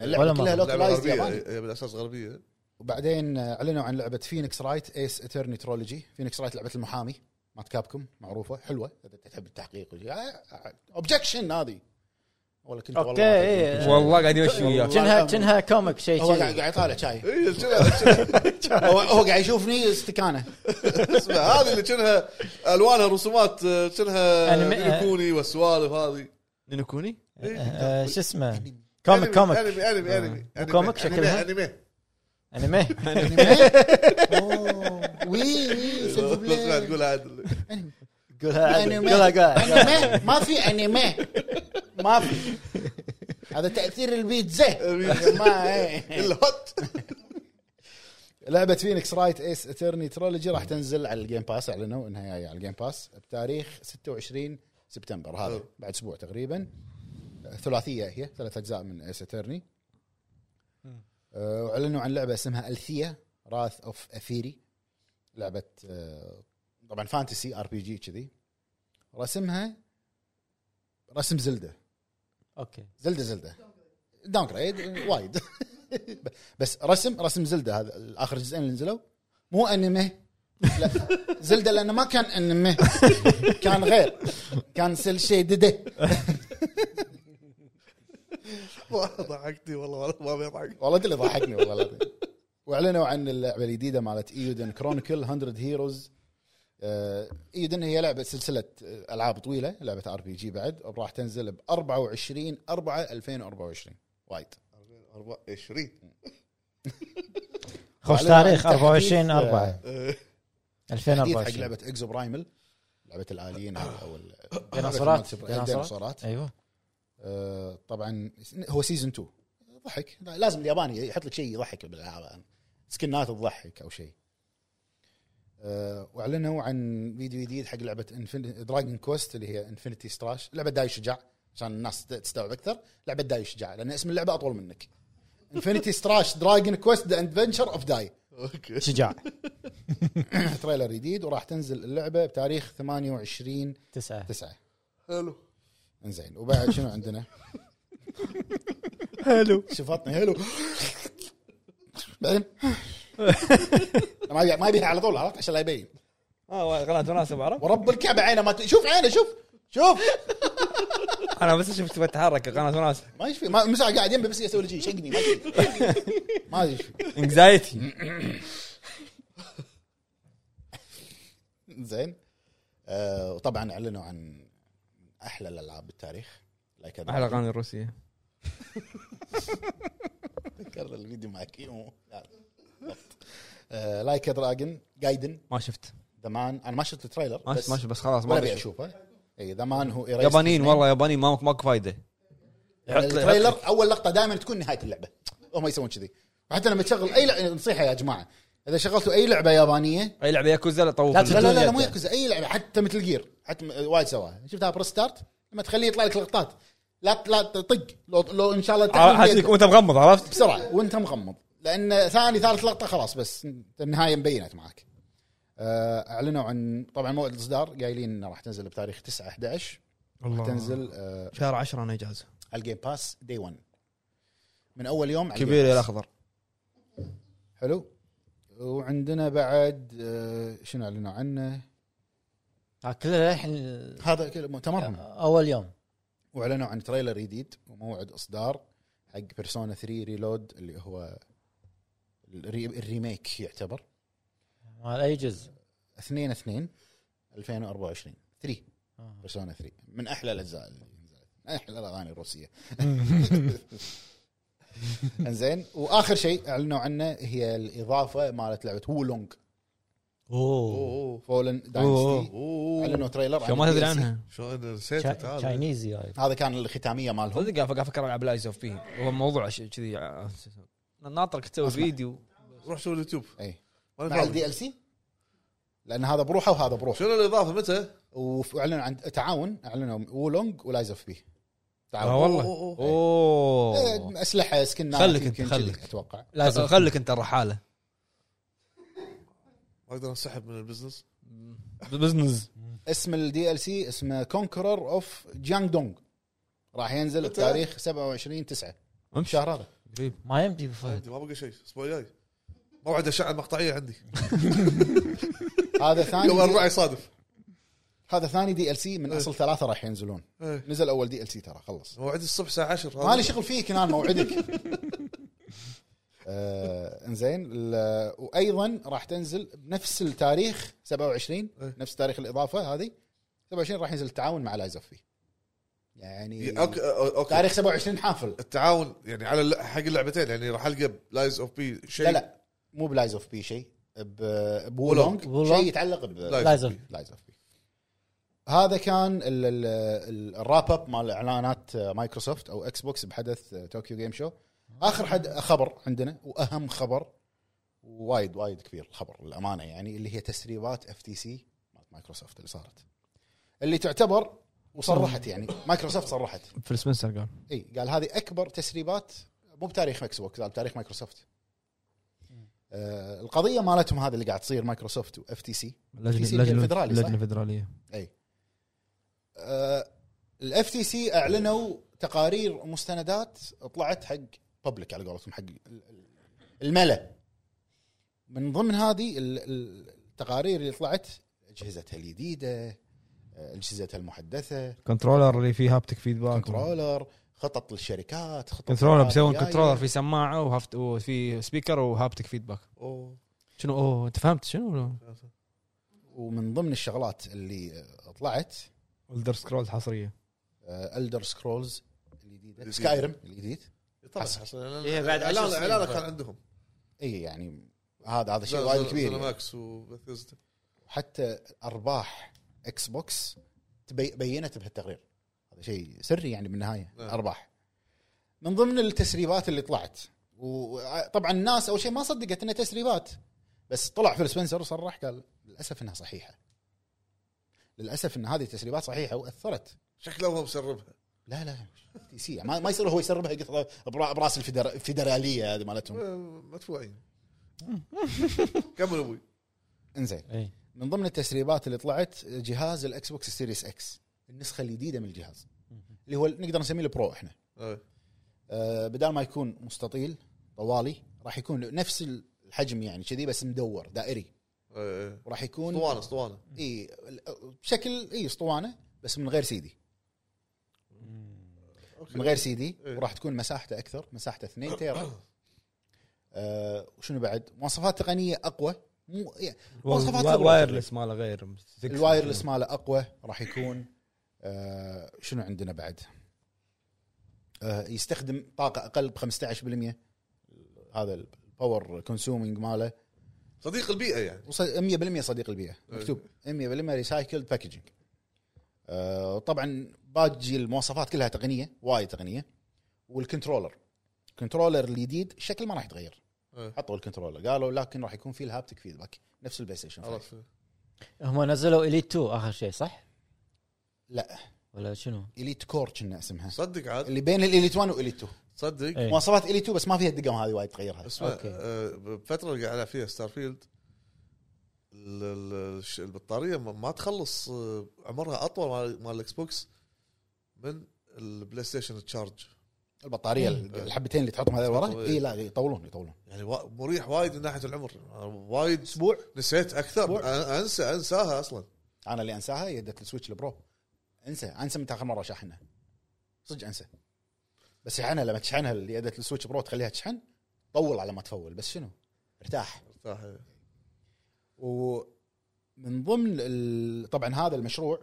Speaker 3: اللعبه
Speaker 6: ولا
Speaker 3: ولا
Speaker 6: مرة.
Speaker 3: كلها
Speaker 2: لعبه
Speaker 3: لوكلايزد
Speaker 2: غربيه
Speaker 3: ياباني
Speaker 2: هي بالاساس غربيه
Speaker 3: وبعدين اعلنوا عن لعبه فينيكس رايت ايس اترني ترولوجي فينيكس رايت لعبه المحامي مات كابكم معروفه حلوه اذا انت تحب التحقيق اوبجكشن هذه والله كنت
Speaker 6: اوكي
Speaker 3: والله
Speaker 6: إيه.
Speaker 1: والله قاعد يمشي وياك
Speaker 6: كأنها كأنها كوميك شيء
Speaker 3: هو قاعد
Speaker 6: كذي
Speaker 3: قاعد يطالع شاي
Speaker 2: اي الجنة-
Speaker 3: هو هو قاعد يشوفني استكانه
Speaker 2: اسمع، هذه اللي كانها الوانها رسومات آه،
Speaker 6: أنمي-
Speaker 2: كانها يكوني والسوالف هذه إيه.
Speaker 1: نكوني
Speaker 6: آه، شو اسمه كوميك كوميك آه،
Speaker 2: انمي انمي انمي انمي
Speaker 6: كوميك
Speaker 2: أنمي-
Speaker 6: شكلها؟
Speaker 2: انمي
Speaker 6: انمي
Speaker 3: وي وي
Speaker 2: بس قاعد تقول عادل
Speaker 6: قولها عدل.
Speaker 3: أنمي.
Speaker 6: قولها قولها
Speaker 3: انمي ما في انمي ما في هذا تاثير البيتزا ما إيه.
Speaker 2: الهوت
Speaker 3: لعبه فينيكس رايت ايس اترني ترولوجي راح تنزل على الجيم باس اعلنوا انها جايه على الجيم باس بتاريخ 26 سبتمبر هذا
Speaker 2: حلو.
Speaker 3: بعد اسبوع تقريبا ثلاثيه هي ثلاث اجزاء من ايس اترني واعلنوا عن لعبه اسمها الثيا راث اوف اثيري لعبه آه، طبعا فانتسي ار بي جي كذي رسمها رسم زلده
Speaker 6: اوكي
Speaker 3: زلده زلده داون جريد وايد بس رسم رسم زلده هذا اخر جزئين اللي نزلوا مو انمي لا زلده لانه ما كان انمي كان غير كان سل شيدده
Speaker 2: ضحكتني والله والله ما بيضحك
Speaker 3: والله أنت اللي ضحكني والله العظيم واعلنوا عن اللعبه الجديده مالت ايودن كرونيكل 100 هيروز ايودن آه، هي لعبه سلسله آه، العاب طويله لعبه ار بي جي بعد راح تنزل ب 24 4 2024 وايد
Speaker 2: 24
Speaker 6: خوش
Speaker 3: أعلنوا عن
Speaker 6: تاريخ
Speaker 3: تحديث،
Speaker 6: 24
Speaker 3: آه،
Speaker 6: 4
Speaker 3: تحديث حق
Speaker 6: 2024
Speaker 3: لعبه اكزو برايمل لعبه الاليين هذه او ال-
Speaker 6: ديناصورات.
Speaker 3: الديناصورات
Speaker 6: ايوه
Speaker 3: آه، طبعا هو سيزون 2 ضحك لا، لازم الياباني يحط لك شيء يضحك بالالعاب سكنات تضحك او شيء آه، واعلنوا عن فيديو جديد حق لعبه دراجون كوست اللي هي انفنتي ستراش لعبه داي شجاع عشان الناس تستوعب اكثر لعبه داي شجاع لان اسم اللعبه اطول منك انفنتي ستراش دراجون كوست ذا ادفنشر اوف داي
Speaker 2: اوكي
Speaker 6: شجاع
Speaker 3: تريلر جديد وراح تنزل اللعبه بتاريخ 28
Speaker 6: تسعه
Speaker 3: 9
Speaker 2: حلو
Speaker 3: انزين وبعد شنو عندنا؟
Speaker 6: حلو
Speaker 3: شفطني حلو بعدين ما يبي- ما يبيها على طول عرفت عشان لا يبين
Speaker 1: اه قناه وناس أبو عرب
Speaker 3: ورب الكعبه عينه ما ت- شوف عينه شوف شوف
Speaker 1: انا بس شفت بتحرك قناه وناس
Speaker 3: ما يشفي ما مساء قاعد يمي بس يسوي لي شيء شقني ما يشفي. ما يشفي
Speaker 1: انكزايتي
Speaker 3: زين آه، وطبعا اعلنوا عن احلى الالعاب بالتاريخ لا كذا
Speaker 1: احلى قناه الروسيه
Speaker 3: كرر الفيديو معك لايك دراجون جايدن
Speaker 1: ما شفت
Speaker 3: ذا مان انا ما شفت التريلر
Speaker 1: ما شفت
Speaker 3: بس
Speaker 1: ما شفت بس خلاص
Speaker 3: ولا
Speaker 1: ما
Speaker 3: ابي
Speaker 1: أبي أشوف.
Speaker 3: اشوفه اي ذا مان هو erased
Speaker 1: يابانيين
Speaker 3: his name.
Speaker 1: والله يابانيين ماكو ماكو فايده
Speaker 3: يعني
Speaker 1: حط لي-
Speaker 3: التريلر اول لقطه دائما تكون نهايه اللعبه هم يسوون كذي وحتى لما تشغل اي لعبه نصيحه يا جماعه اذا شغلتوا اي لعبه يابانيه
Speaker 1: اي لعبه ياكوزا لا طوف
Speaker 6: لا
Speaker 3: لا لا لا, لا
Speaker 6: يده.
Speaker 3: مو ياكوزا اي لعبه حتى مثل جير حتى م- وايد سواها شفتها بريس ستارت لما تخليه يطلع لك لقطات لا لا تطق لو, لو ان شاء الله تعمل
Speaker 1: حاسك
Speaker 3: بيدك
Speaker 1: وانت مغمض عرفت
Speaker 3: بسرعه وانت مغمض لان ثاني ثالث لقطه خلاص بس النهايه مبينت معك آه، اعلنوا عن طبعا موعد الاصدار قايلين انه راح تنزل بتاريخ 9 11 راح تنزل آه،
Speaker 1: شهر 10 انا اجازه
Speaker 3: على الجيم باس دي 1 من اول يوم على
Speaker 1: كبير
Speaker 3: الجيم
Speaker 1: يا
Speaker 3: باس.
Speaker 1: الاخضر
Speaker 3: حلو وعندنا بعد آه، شنو اعلنوا عنه
Speaker 6: ها، كله للحين
Speaker 3: هذا كله مؤتمرهم
Speaker 6: اول يوم
Speaker 3: واعلنوا عن تريلر جديد وموعد اصدار حق بيرسونا 3 ريلود اللي هو الري- الريميك يعتبر
Speaker 6: مال اي جزء
Speaker 3: 2 2 2024 3
Speaker 6: آه.
Speaker 3: بيرسونا 3 من احلى الاجزاء اللي نزلت من احلى الاغاني الروسيه انزين واخر شيء اعلنوا عنه هي الاضافه مالت لعبه وولونج
Speaker 6: اوه
Speaker 2: اوه
Speaker 3: فولن
Speaker 1: أوه.
Speaker 3: داينستي اعلنوا
Speaker 2: اوه
Speaker 3: تريلر عن
Speaker 1: شو ما تدري
Speaker 3: DLC.
Speaker 1: عنها
Speaker 2: شلون نسيت
Speaker 6: شا-
Speaker 2: تعال
Speaker 6: شاينيزي هاي
Speaker 3: هذا كان الختاميه مالهم
Speaker 1: صدق قاعد افكر العب لايز اوف بي هو موضوع شيء كذي آه، ناطرك تسوي
Speaker 3: أسمع.
Speaker 1: فيديو
Speaker 2: روح شوف اليوتيوب
Speaker 3: اي
Speaker 2: ما
Speaker 3: مع الدي
Speaker 2: نفهم.
Speaker 3: ال سي لان هذا بروحه وهذا بروحه
Speaker 2: شنو الاضافه متى؟
Speaker 3: واعلنوا عن تعاون اعلنوا وولونج ولايز اوف بي تعاون
Speaker 1: آه، والله.
Speaker 2: أوه، أوه.
Speaker 1: اوه
Speaker 3: آه، اسلحه سكنات
Speaker 1: خلك
Speaker 3: يمكن
Speaker 1: أنت،
Speaker 3: كذي
Speaker 1: خلك.
Speaker 3: اتوقع
Speaker 1: لازم خليك انت الرحاله
Speaker 2: ما اقدر انسحب من البزنس
Speaker 1: بزنس
Speaker 3: اسم الدي ال سي اسمه كونكرر اوف جانج دونج راح ينزل
Speaker 2: متى؟
Speaker 3: بتاريخ 27 9
Speaker 1: امشي
Speaker 3: الشهر هذا
Speaker 6: ما يمدي بفهد
Speaker 2: عندي ما بقى شيء الاسبوع الجاي موعد اشعه المقطعيه عندي
Speaker 3: هذا
Speaker 2: يوم
Speaker 3: ثاني
Speaker 2: الاربعاء يصادف
Speaker 3: هذا ثاني دي ال سي من اصل ثلاثه راح ينزلون
Speaker 2: إيه.
Speaker 3: نزل اول دي ال سي ترى خلص
Speaker 2: موعدي الصبح الساعه 10
Speaker 3: مالي شغل فيك انا موعدك آه، انزين ال- وايضا راح تنزل بنفس التاريخ 27
Speaker 2: إيه.
Speaker 3: نفس تاريخ الاضافه هذه 27 راح ينزل التعاون مع لايزوفي يعني
Speaker 2: اوكي اوكي
Speaker 3: تاريخ 27 حافل
Speaker 2: التعاون يعني على الل- حق اللعبتين يعني راح القى لايز اوف بي شيء
Speaker 3: لا لا مو بلايز اوف بي شيء ب- بولونج
Speaker 6: بولونج.
Speaker 3: شيء يتعلق
Speaker 2: لا.
Speaker 3: ب
Speaker 2: لا.
Speaker 6: لازم
Speaker 3: لايز اوف بي هذا كان ال- ال- الراب اب مال اعلانات مايكروسوفت او اكس بوكس بحدث طوكيو جيم شو اخر حد خبر عندنا واهم خبر وايد وايد كبير الخبر الامانه يعني اللي هي تسريبات اف تي سي مالت مايكروسوفت اللي صارت اللي تعتبر وصرحت يعني مايكروسوفت صرحت
Speaker 1: فيل سبنسر قال
Speaker 3: اي قال هذه اكبر تسريبات مو بتاريخ مكس بوكس لا بتاريخ مايكروسوفت آه القضيه مالتهم هذه اللي قاعد تصير مايكروسوفت واف تي سي في سي
Speaker 1: لجنه
Speaker 3: الفدرالي، صح؟ آه،
Speaker 1: لجنه فدراليه
Speaker 3: الاف تي سي اعلنوا تقارير ومستندات طلعت حق ببليك على قولتهم حق ال- ال- الملا من ضمن هذه ال- ال- التقارير اللي طلعت اجهزتها الجديده آه، اجهزتها المحدثه
Speaker 1: كنترولر اللي فيه هابتك فيدباك
Speaker 3: كنترولر آه، خطط للشركات خطط
Speaker 1: كنترولر
Speaker 3: للشركات
Speaker 1: بيسوون
Speaker 3: الجاية.
Speaker 1: كنترولر في سماعه وهافت وفي سبيكر وهابتك فيدباك
Speaker 2: أوه.
Speaker 1: شنو اوه انت فهمت شنو؟
Speaker 3: ومن ضمن الشغلات اللي آه، طلعت آه،
Speaker 1: ولدر سكرولز حصريه
Speaker 3: الدر سكرولز الجديده
Speaker 2: الجديد.
Speaker 3: سكايرم الجديد
Speaker 2: طبعا
Speaker 3: حصل.
Speaker 2: حصل.
Speaker 7: إيه، بعد عشر
Speaker 2: إعلان-
Speaker 7: سنين.
Speaker 2: إعلانه كان عندهم
Speaker 3: اي يعني هذا هذا شيء وايد كبير يعني.
Speaker 2: ماكس وبثيزدا
Speaker 3: حتى ارباح اكس بوكس تبي- بينت بهالتقرير هذا شيء سري يعني بالنهايه
Speaker 2: نعم.
Speaker 3: ارباح من ضمن التسريبات اللي طلعت وطبعا الناس اول شيء ما صدقت انها تسريبات بس طلع فيل سبنسر وصرح قال للاسف انها صحيحه للاسف ان هذه التسريبات صحيحه واثرت
Speaker 2: شكله هو مسربها
Speaker 3: لا لا تي سي ما, ما يصير هو يسربها يقطع برا- براس الفدر- الفدراليه هذه مالتهم
Speaker 2: آه، مدفوعين كمل ابوي
Speaker 3: انزين
Speaker 6: اي
Speaker 3: من ضمن التسريبات اللي طلعت جهاز الاكس بوكس سيريس اكس النسخه الجديده من الجهاز اللي هو نقدر نسميه البرو احنا
Speaker 2: آه.
Speaker 3: آه، بدال ما يكون مستطيل طوالي راح يكون نفس الحجم يعني كذي بس مدور دائري
Speaker 2: آه.
Speaker 3: وراح يكون
Speaker 2: اسطوانه اسطوانه
Speaker 3: اي بشكل اي اسطوانه بس من غير سي دي من غير سي دي
Speaker 2: إيه.
Speaker 3: وراح تكون مساحته اكثر مساحته 2 تيرا آه وشنو بعد مواصفات تقنيه اقوى مو يعني مواصفات
Speaker 1: وا-
Speaker 3: الروتر.
Speaker 1: وايرلس ماله غير
Speaker 3: الوايرلس ماله اقوى راح يكون آه شنو عندنا بعد؟ آه يستخدم طاقه اقل ب 15% هذا الباور كونسيومينج ماله
Speaker 2: صديق البيئه يعني
Speaker 3: وص- 100% صديق البيئه مكتوب 100% ريسايكلد باكجينج طبعا آه، باجي المواصفات كلها تقنيه وايد تقنيه والكنترولر الكنترولر الجديد الشكل ما راح يتغير
Speaker 2: إيه.
Speaker 3: حطوا الكنترولر قالوا لكن راح يكون فيه الهابتك فيدباك نفس البلاي ستيشن فايف.
Speaker 2: عرفت
Speaker 6: هم نزلوا اليت 2 اخر شيء صح؟
Speaker 3: لا
Speaker 6: ولا شنو؟
Speaker 3: اليت كور كنا اسمها
Speaker 2: صدق عاد
Speaker 3: اللي بين الاليت 1 واليت 2
Speaker 2: صدق
Speaker 6: إيه.
Speaker 3: مواصفات الي 2 بس ما فيها الدقم هذه وايد تغيرها
Speaker 2: اسمع
Speaker 6: أوكي.
Speaker 2: آه، بالفتره اللي قاعد ألعب فيها ستار فيلد ال- ال- الش- البطاريه ما- ما تخلص آه، عمرها اطول مال- مال الاكس بوكس من البلاي ستيشن تشارج
Speaker 3: البطاريه الحبتين اللي تحطهم هذول ورا
Speaker 2: إيه.
Speaker 3: اي لا يطولون يطولون
Speaker 2: يعني وا- مريح وايد من ناحيه العمر أنا وايد
Speaker 3: اسبوع
Speaker 2: نسيت اكثر
Speaker 3: أسبوع.
Speaker 2: أنا- انسى انساها اصلا
Speaker 3: انا اللي انساها يدة السويتش البرو انسى انسى متى اخر مره شاحنها صدق انسى بس يحنها لما تشحنها اللي يدة السويتش برو تخليها تشحن طول على ما تفول بس شنو ارتاح
Speaker 2: ارتاح
Speaker 3: ومن ضمن ال- طبعا هذا المشروع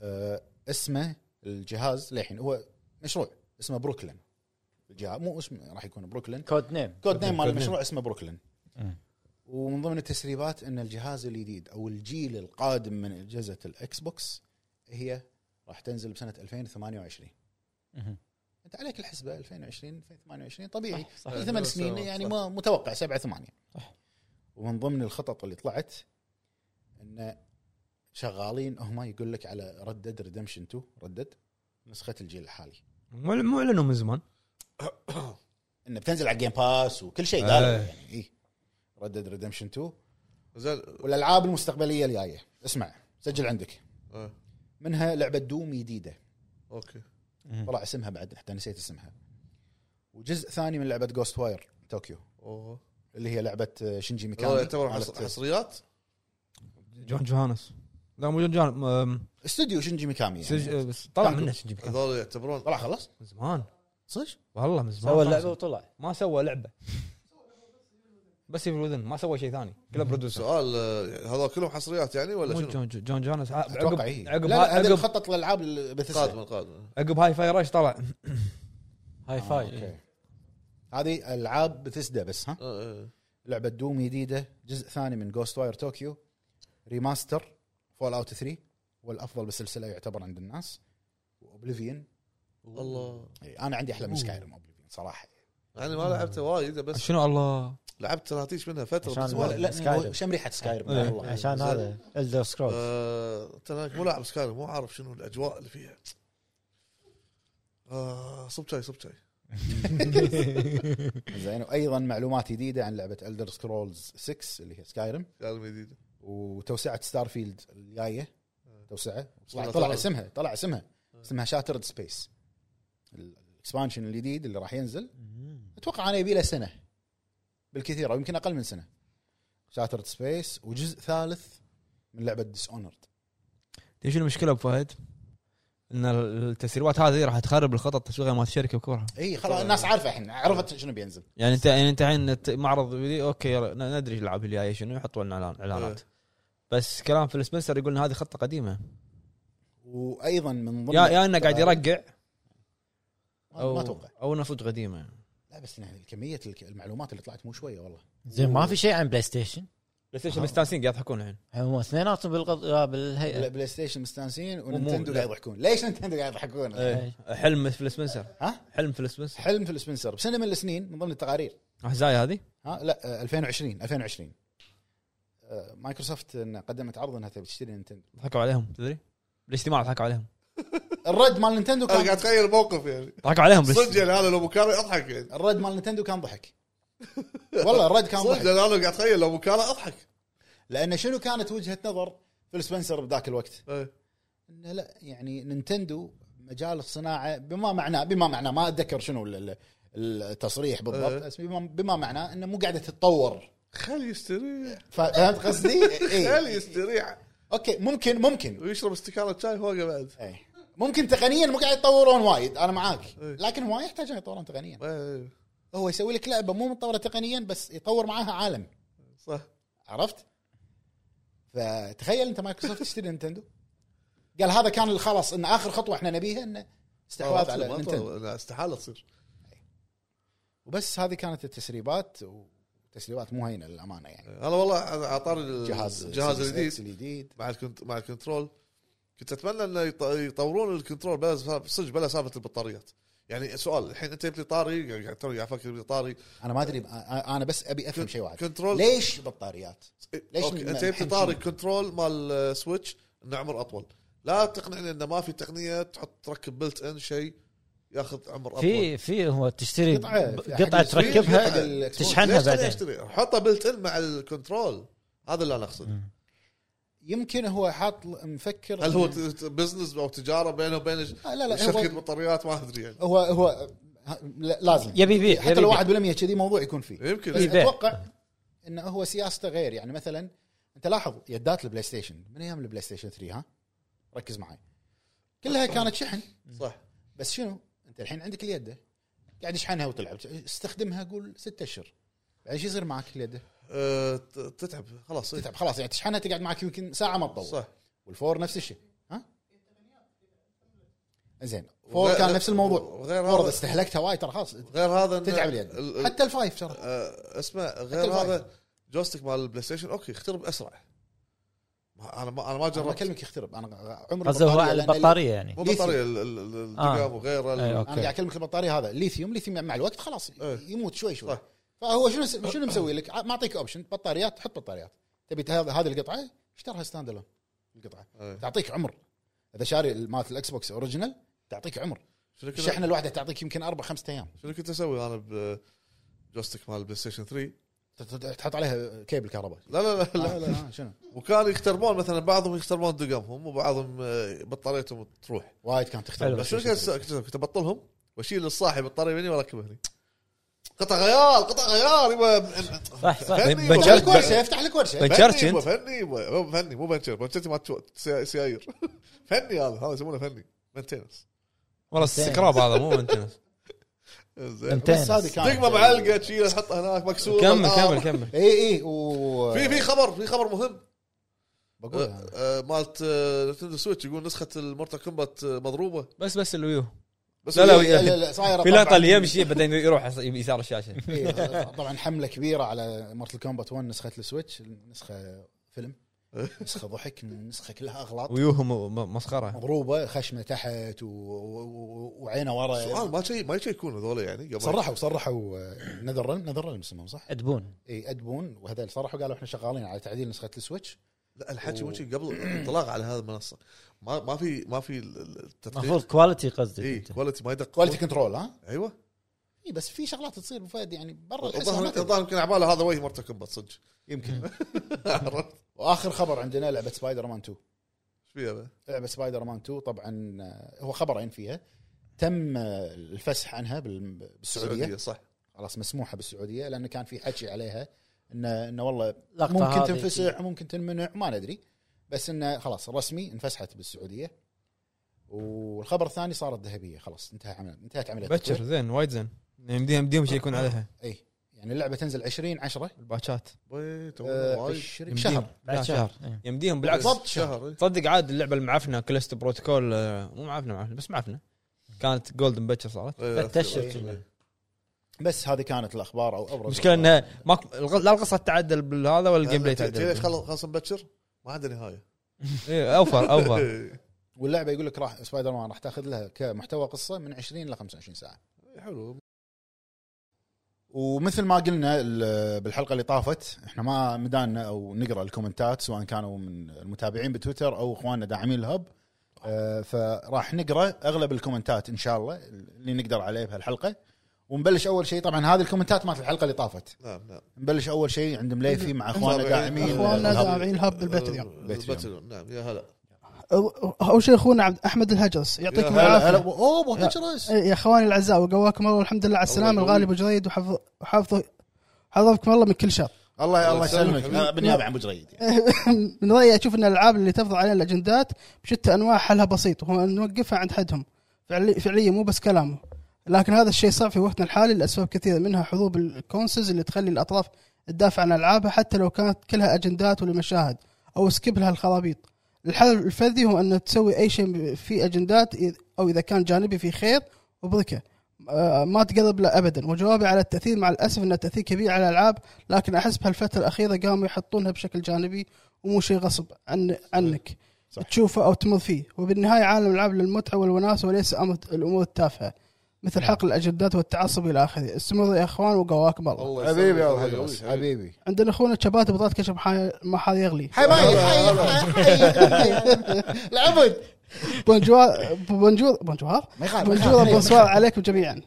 Speaker 3: آه، اسمه الجهاز للحين هو مشروع اسمه بروكلين الجهاز مو اسمه راح يكون بروكلين
Speaker 6: كود نيم
Speaker 3: كود نيم مال
Speaker 1: كود نيم.
Speaker 3: المشروع اسمه بروكلين
Speaker 6: مم.
Speaker 3: ومن ضمن التسريبات ان الجهاز الجديد او الجيل القادم من اجهزه الاكس بوكس هي راح تنزل بسنه 2028 انت عليك الحسبه 2020 2028 طبيعي
Speaker 6: صح، صح.
Speaker 3: صح ثمان سنين
Speaker 2: صح.
Speaker 3: يعني ما متوقع سبعه ثمانيه
Speaker 6: صح.
Speaker 3: ومن ضمن الخطط اللي طلعت ان شغالين هم يقول لك على ردد ريدمشن 2 ردد نسخه الجيل الحالي
Speaker 1: مو مو اعلنوا من زمان
Speaker 3: انه بتنزل على الجيم باس وكل شيء
Speaker 1: آه.
Speaker 3: قالوا يعني اي ردد ريدمشن 2
Speaker 2: زين
Speaker 3: والالعاب المستقبليه الجايه اسمع سجل عندك
Speaker 2: آه،
Speaker 3: منها لعبه دوم جديده
Speaker 2: اوكي
Speaker 3: طلع اسمها بعد حتى نسيت اسمها وجزء ثاني من لعبه جوست واير طوكيو
Speaker 2: اوه
Speaker 3: اللي هي لعبه شنجي ميكامي
Speaker 2: هذا يعتبر
Speaker 3: مالت-
Speaker 2: حص- حصريات
Speaker 1: جون جوهانس لا مو جون جوهانس
Speaker 3: استوديو شنجي ميكامي يعني.
Speaker 1: سج... بس طلع منه سجن بكاس.
Speaker 2: هذول يعتبرون
Speaker 3: طلع خلص
Speaker 1: من زمان
Speaker 3: صدق
Speaker 1: والله من زمان
Speaker 6: سوى
Speaker 1: خلاص.
Speaker 6: اللعبه وطلع
Speaker 1: ما سوى لعبه بس في الوذن ما سوى شيء ثاني كله برودوسر
Speaker 2: سؤال آه، هذول كلهم حصريات يعني ولا
Speaker 1: مو
Speaker 2: شنو؟
Speaker 1: جون جون جونس ع- عقب
Speaker 3: اتوقع هي آه، إيه. لا
Speaker 1: عقب
Speaker 3: لا هذا
Speaker 1: عقب
Speaker 3: خطط الالعاب بثسدا
Speaker 2: قادمه قادمه
Speaker 1: عقب هاي فاي راش طلع
Speaker 3: آه،
Speaker 6: هاي فاي
Speaker 3: هذه العاب بثسدا بس ها
Speaker 2: آه، آه.
Speaker 3: لعبه دوم جديده جزء ثاني من جوست واير طوكيو ريماستر فول اوت 3 والافضل بالسلسله يعتبر عند الناس واوبليفيون
Speaker 2: الله
Speaker 3: انا عندي احلى من سكايرم اوبليفيون صراحه
Speaker 2: يعني ما لعبته وايد بس
Speaker 1: شنو الله
Speaker 2: لعبت تراتيش منها فتره
Speaker 6: عشان
Speaker 2: بس
Speaker 3: ولا-
Speaker 2: ما-
Speaker 3: لا
Speaker 6: سكاي
Speaker 3: هو شم ريحه سكاير
Speaker 1: إيه.
Speaker 3: والله
Speaker 6: عشان
Speaker 2: زين.
Speaker 6: هذا الدر سكرول
Speaker 2: آه، ترى مو لاعب سكاي مو عارف شنو الاجواء اللي فيها آه، صب شاي صب شاي
Speaker 3: زين وايضا معلومات جديده عن لعبه الدر سكرولز 6 اللي هي سكايرم
Speaker 2: قال جديد
Speaker 3: وتوسعه ستار فيلد الجايه توسعه طلع,
Speaker 2: والله
Speaker 3: طلع
Speaker 2: طلع.
Speaker 3: اسمها طلع اسمها اسمها شاترد سبيس الاكسبانشن الجديد اللي راح ينزل اتوقع انا يبي له سنه بالكثير او يمكن اقل من سنه شاترد سبيس وجزء ثالث من لعبه ديس اونرد
Speaker 1: تدري شنو المشكله ابو فهد؟ ان التسريبات هذه راح تخرب الخطط التسويقيه مالت الشركه بكورها
Speaker 3: اي خلاص الناس عارفه الحين عرفت شنو بينزل
Speaker 1: يعني انت يعني انت الحين الت- معرض يدي، اوكي يلا، ن- ندري الالعاب اللي جايه شنو يحطوا لنا إعلان-
Speaker 3: إيه.
Speaker 1: اعلانات بس كلام في السبنسر يقول ان هذه خطه قديمه
Speaker 3: وايضا من ضمن
Speaker 1: يا يا انه قاعد يرقع
Speaker 3: آه، ما
Speaker 1: او
Speaker 3: ما اتوقع
Speaker 1: او انه صدق قديمه
Speaker 3: لا بس يعني كميه الك- المعلومات اللي طلعت مو شويه والله
Speaker 6: زين ما في شيء عن بلاي ستيشن
Speaker 1: بلاي ستيشن مستانسين قاعد يضحكون الحين
Speaker 6: هم اثنيناتهم بالغض آه، بالهيئه
Speaker 3: بلاي ستيشن مستانسين
Speaker 1: مو-
Speaker 3: وننتندو قاعد يضحكون ليش ننتندو قاعد يضحكون
Speaker 1: إيه. حلم في السبنسر
Speaker 3: ها؟
Speaker 1: حلم في السبنسر
Speaker 3: حلم في السبنسر بسنه من السنين من ضمن التقارير
Speaker 1: احزاي هذه
Speaker 3: ها لا آه، 2020 2020 آه، مايكروسوفت إن قدمت عرض انها تبي تشتري نينتندو
Speaker 1: ضحكوا عليهم تدري بالاجتماع ضحكوا عليهم
Speaker 3: الرد مال نينتندو
Speaker 2: انا قاعد
Speaker 3: كان
Speaker 2: اتخيل الموقف يعني
Speaker 1: ضحكوا عليهم بس
Speaker 2: صدق يعني هذا لو مكانه اضحك يعني
Speaker 3: الرد مال نينتندو كان ضحك والله الرد كان
Speaker 2: صدق
Speaker 3: ضحك
Speaker 2: يعني انا قاعد اتخيل لو مكانه اضحك
Speaker 3: لان شنو كانت وجهه نظر فيل سبنسر بذاك الوقت؟
Speaker 2: إيه.
Speaker 3: انه لا يعني نينتندو مجال الصناعه بما معناه بما معناه ما اتذكر شنو ال- ال- التصريح بالضبط
Speaker 2: أه.
Speaker 3: بس بما, بما معناه انه مو قاعده تتطور
Speaker 2: خل يستريح
Speaker 3: ف- فهمت قصدي؟
Speaker 2: خل
Speaker 3: اي
Speaker 2: يستريح
Speaker 3: اوكي ممكن ممكن
Speaker 2: ويشرب استكاله شاي فوقه بعد
Speaker 3: اي ممكن تقنيا مو قاعد يتطورون وايد انا معاك
Speaker 2: إيه.
Speaker 3: لكن هو يحتاج ان يتطورون تقنيا
Speaker 2: إيه،
Speaker 3: هو يسوي لك لعبه مو متطوره تقنيا بس يطور معاها عالم
Speaker 2: صح
Speaker 3: عرفت؟ فتخيل انت مايكروسوفت تشتري نينتندو قال هذا كان خلاص ان اخر خطوه احنا نبيها انه استحواذ على
Speaker 2: ما طلع-
Speaker 3: نينتندو
Speaker 2: لا، استحاله تصير
Speaker 3: وبس هذه كانت التسريبات وتسريبات مو هينه للامانه يعني
Speaker 2: انا والله اعطاني
Speaker 3: جهاز
Speaker 2: الجهاز الجديد
Speaker 3: الجديد
Speaker 2: مع الكنت... مع الكنترول كنت اتمنى انه يط... يطورون الكنترول بلا صدق بلا سالفه البطاريات يعني سؤال الحين انت جبت لي طاري قاعد قاعد- قاعد افكر بلي طاري
Speaker 3: انا ما ادري انا بس ابي افهم شيء واحد
Speaker 2: كنترول
Speaker 3: ليش بطاريات؟ ليش
Speaker 2: اوكي انت
Speaker 3: ما-
Speaker 2: جبت لي
Speaker 3: الحين
Speaker 2: طاري
Speaker 3: شنو؟
Speaker 2: كنترول مال آه، سويتش انه عمر اطول لا تقنعني انه ما في تقنيه تحط تركب بلت ان شيء ياخذ عمر اطول
Speaker 6: في في هو تشتري
Speaker 3: قطعة-
Speaker 6: ب-
Speaker 3: حق
Speaker 6: قطعه
Speaker 3: السويتش، حق
Speaker 6: تركبها
Speaker 3: الإكس بوكس.
Speaker 6: تشحنها
Speaker 2: ليش تقنية
Speaker 6: بعدين
Speaker 2: اشتري حطه بلت ان مع الكنترول هذا اللي انا اقصده
Speaker 3: يمكن هو حاط مفكر
Speaker 2: هل هو
Speaker 3: إنه-
Speaker 2: بزنس او تجاره بينه وبين
Speaker 3: آه، لا لا
Speaker 2: شركه
Speaker 3: هو
Speaker 2: بطاريات ما ادري يعني
Speaker 3: هو, هو ه- لا- لازم
Speaker 6: يبي يبيع
Speaker 3: حتى
Speaker 6: يبي
Speaker 3: لو
Speaker 6: يبيع.
Speaker 3: 1% كذي موضوع يكون فيه
Speaker 2: يمكن
Speaker 3: بس
Speaker 6: يبيع.
Speaker 3: اتوقع انه هو سياسته غير يعني مثلا انت لاحظ يدات البلاي ستيشن من ايام البلاي ستيشن 3 ها ركز معي كلها كانت شحن
Speaker 2: صح
Speaker 3: بس شنو انت الحين عندك اليده قاعد يشحنها وتلعب استخدمها قول ستة اشهر بعدين شو يصير معك اليده؟
Speaker 2: أه، ت- تتعب خلاص إيه.
Speaker 3: تتعب خلاص يعني تشحنها تقعد معك يمكن ساعه ما تطول
Speaker 2: صح
Speaker 3: والفور نفس الشيء ها؟ زين فور كان نفس الموضوع
Speaker 2: غير
Speaker 3: فور اذا
Speaker 2: هذا
Speaker 3: استهلكتها وايد ترى خلاص
Speaker 2: غير هذا إن-
Speaker 3: تتعب اليد
Speaker 2: ال- ال-
Speaker 3: حتى الفايف ترى
Speaker 2: أه، اسمه غير
Speaker 3: الفايف.
Speaker 2: هذا جوستيك مال البلاي ستيشن اوكي اخترب اسرع ما- انا ما انا ما
Speaker 3: انا
Speaker 2: جربت
Speaker 3: اكلمك يخترب انا عمري
Speaker 6: قصده هو على
Speaker 3: لأن
Speaker 6: البطاريه يعني
Speaker 2: مو
Speaker 3: ليثيوم.
Speaker 2: بطاريه ال- ال- ال- الدقام وغيره ال-
Speaker 6: آه. أي،
Speaker 3: انا قاعد
Speaker 6: اوكي
Speaker 3: اكلمك البطاريه هذا الليثيوم الليثيوم مع الوقت خلاص
Speaker 2: إيه.
Speaker 3: يموت شوي شوي
Speaker 2: صح.
Speaker 3: فهو شنو شنو مسوي لك؟ ع- معطيك اوبشن بطاريات تحط بطاريات تبي ت- هذا- هذه القطعه اشترها ستاند الون القطعه
Speaker 2: أي.
Speaker 3: تعطيك عمر اذا شاري مالت الاكس بوكس اوريجينال تعطيك عمر
Speaker 2: شنو كنت-
Speaker 3: الشحنه الواحده تعطيك يمكن اربع خمسة ايام
Speaker 2: شنو كنت اسوي انا بجوستيك مال البلاي ستيشن 3
Speaker 3: ت- ت- تحط عليها كيبل كهرباء
Speaker 2: لا لا لا, لا, لا.
Speaker 3: آه، شنو
Speaker 2: وكانوا يختربون مثلا بعضهم يختربون دقمهم وبعضهم أه، بطاريتهم تروح
Speaker 3: وايد كانت تختلف
Speaker 6: حلو.
Speaker 2: بس شنو كنت أسوي؟ كنت- كنت ابطلهم واشيل الصاحي بطاريه مني واركبها هني قطع غيار قطع غيار يبا
Speaker 6: صح صح
Speaker 2: فني يبا.
Speaker 3: افتح لك ورشه افتح لك ورشه
Speaker 1: بن- بنشرش
Speaker 2: فني يبا،
Speaker 1: انت؟
Speaker 2: فني يبا. مو فني مو بنشر بنشرتي ما تشو- سي- سيايير فني هذا هذا يسمونه فني مينتينس
Speaker 1: والله السكراب هذا مو ممتنس
Speaker 2: زين
Speaker 3: بس هذه
Speaker 6: ممتاز
Speaker 3: كانت
Speaker 2: دقمه معلقه تشيلها تحطها هناك مكسوره
Speaker 1: كمل
Speaker 2: بالآر.
Speaker 1: كمل كمل
Speaker 3: اي اي إيه، و
Speaker 2: في في خبر في خبر مهم
Speaker 3: بقول
Speaker 2: آه،
Speaker 3: أنا.
Speaker 2: آه، مالت آه، نتندو سويتش يقول نسخه المورتال كومبات آه، مضروبه
Speaker 1: بس بس الويو
Speaker 2: بس
Speaker 1: لا، لا،
Speaker 2: هي-
Speaker 1: وي-
Speaker 3: لا، لا، صايرة
Speaker 1: في لقطه
Speaker 3: طبعاً-
Speaker 1: اللي يمشي بعدين يروح يس- يسار الشاشه
Speaker 3: إيه، طبعا حمله كبيره على مارتل كومبات 1 نسخه السويتش نسخه فيلم نسخه ضحك النسخه كلها اغلاط
Speaker 1: ويوهم م- مسخره
Speaker 3: مضروبه خشمه تحت و- و- و- وعينه ورا
Speaker 2: سؤال ما شي ما يشيكون هذول يعني قبل
Speaker 3: صرحوا صرحوا آه، نذر رلم نذر رلم اسمهم صح؟ إيه،
Speaker 6: ادبون
Speaker 3: اي ادبون وهذول صرحوا قالوا احنا شغالين على تعديل نسخه السويتش
Speaker 2: لا الحكي مو شي قبل الانطلاق على هذه المنصه ما ما في ما في التدقيق
Speaker 6: المفروض كواليتي قصدك
Speaker 2: اي
Speaker 6: انت
Speaker 2: كواليتي إيه، ما يدقق
Speaker 3: كواليتي كنترول ها؟
Speaker 2: ايوه
Speaker 3: اي بس في شغلات تصير ابو فهد يعني برا الحسبة ما
Speaker 2: الظاهر
Speaker 3: تدري.
Speaker 2: الظاهر يمكن عباله هذا وجه مرته كبت صدق
Speaker 3: يمكن
Speaker 2: عرفت
Speaker 3: واخر خبر عندنا لعبه سبايدر مان 2
Speaker 2: ايش فيها بقى؟
Speaker 3: لعبه سبايدر مان 2 طبعا آه، هو خبرين فيها تم آه، الفسح عنها بال- بالسعوديه
Speaker 2: صح
Speaker 3: خلاص مسموحه بالسعوديه لانه كان في حكي عليها انه انه والله
Speaker 6: لقطة
Speaker 3: ممكن
Speaker 6: هذه
Speaker 3: تنفسح وممكن تنمنع ما ندري بس انه خلاص رسمي انفسحت بالسعوديه والخبر الثاني صارت ذهبيه خلاص انتهى عمل انتهت عمليه
Speaker 1: بكر
Speaker 3: التطوير.
Speaker 1: زين وايد زين يمديهم يمديهم يشيكون عليها
Speaker 3: اي يعني اللعبه تنزل 20 10
Speaker 1: الباتشات
Speaker 2: وي تو
Speaker 3: آه،
Speaker 2: وايد.
Speaker 3: بالشركة
Speaker 1: يمديهم.
Speaker 3: شهر
Speaker 1: لا،
Speaker 6: بعد شهر إيه.
Speaker 1: يمديهم بالعكس
Speaker 2: بالضبط شهر
Speaker 1: تصدق عاد اللعبه المعفنه كلست بروتوكول آه، مو معفنه معفنه بس معفنه كانت جولدن بكر صارت
Speaker 6: ثلاث أشهر
Speaker 2: إيه.
Speaker 6: كنا.
Speaker 3: بس هذه كانت الاخبار او ابرز
Speaker 1: المشكله انه ما لا القصه تعدل بالهذا ولا الجيم بلاي
Speaker 2: تدري ليش
Speaker 1: تعدل
Speaker 2: خلص خلص مبكر ما إيه، عنده نهايه
Speaker 1: إيه، اوفر اوفر
Speaker 3: واللعبه يقول لك راح سبايدر مان راح تاخذ لها كمحتوى قصه من 20 ل 25 ساعه
Speaker 2: حلو
Speaker 3: ومثل ما قلنا ال- بالحلقه اللي طافت احنا ما مدانا او نقرا الكومنتات سواء كانوا من المتابعين بتويتر او اخواننا داعمين الهب آه، فراح نقرا اغلب الكومنتات ان شاء الله اللي نقدر عليه بهالحلقه ونبلش اول شيء طبعا هذه الكومنتات مالت الحلقه اللي طافت
Speaker 2: نعم نعم
Speaker 3: نبلش اول شيء عند مليفي مع اخواننا داعمين
Speaker 4: اخواننا
Speaker 3: الهب.
Speaker 4: داعمين الهب بالباتريون
Speaker 2: الباتريون نعم يا هلا
Speaker 4: أو- اول شيء اخونا عبد احمد الهجرس يعطيكم
Speaker 3: هلا هلا
Speaker 4: العافيه
Speaker 3: اوه ابو هجرس
Speaker 4: إيه، يا اخواني الاعزاء وقواكم الله والحمد لله على السلامه
Speaker 2: يقويك.
Speaker 4: الغالي ابو جريد وحفظ حفظ حفظكم الله من كل شر
Speaker 3: الله الله يسلمك
Speaker 2: يسلمك.
Speaker 3: أنا بالنيابه عن ابو جريد
Speaker 4: من رايي اشوف ان الالعاب اللي تفرض علينا الاجندات بشتى انواع حلها بسيط وهو ان نوقفها عند حدهم فعلي فعليا مو بس كلامه لكن هذا الشيء صعب في وقتنا الحالي لاسباب كثيره منها حروب الكونسز اللي تخلي الاطراف تدافع عن العابها حتى لو كانت كلها اجندات ولا مشاهد او سكيب لها الخرابيط الحل الفردي هو ان تسوي اي شيء في اجندات إذ- او اذا كان جانبي في خير وبركه آه، ما تقرب له ابدا وجوابي على التاثير مع الاسف ان التاثير كبير على الالعاب لكن احس بهالفتره الاخيره قاموا يحطونها بشكل جانبي ومو شيء غصب عن عنك صح. تشوفه او تمر فيه وبالنهايه عالم الالعاب للمتعه والوناسه وليس أمر- الامور التافهه مثل حرق الاجندات والتعصب الى اخره استمروا يا اخوان وقواكم الله
Speaker 2: الله يسلمك.
Speaker 3: حبيبي يا ابو
Speaker 2: الله
Speaker 3: هجرس
Speaker 2: يقويك.
Speaker 3: حبيبي
Speaker 4: عندنا اخونا شبات بطاط كشف ما حال يغلي
Speaker 3: حبايب حبايب العبد
Speaker 4: بونجوار بونجور بونجوار
Speaker 3: ما يخالف، ما يخالف.
Speaker 4: بونجور بونسوار عليكم جميعا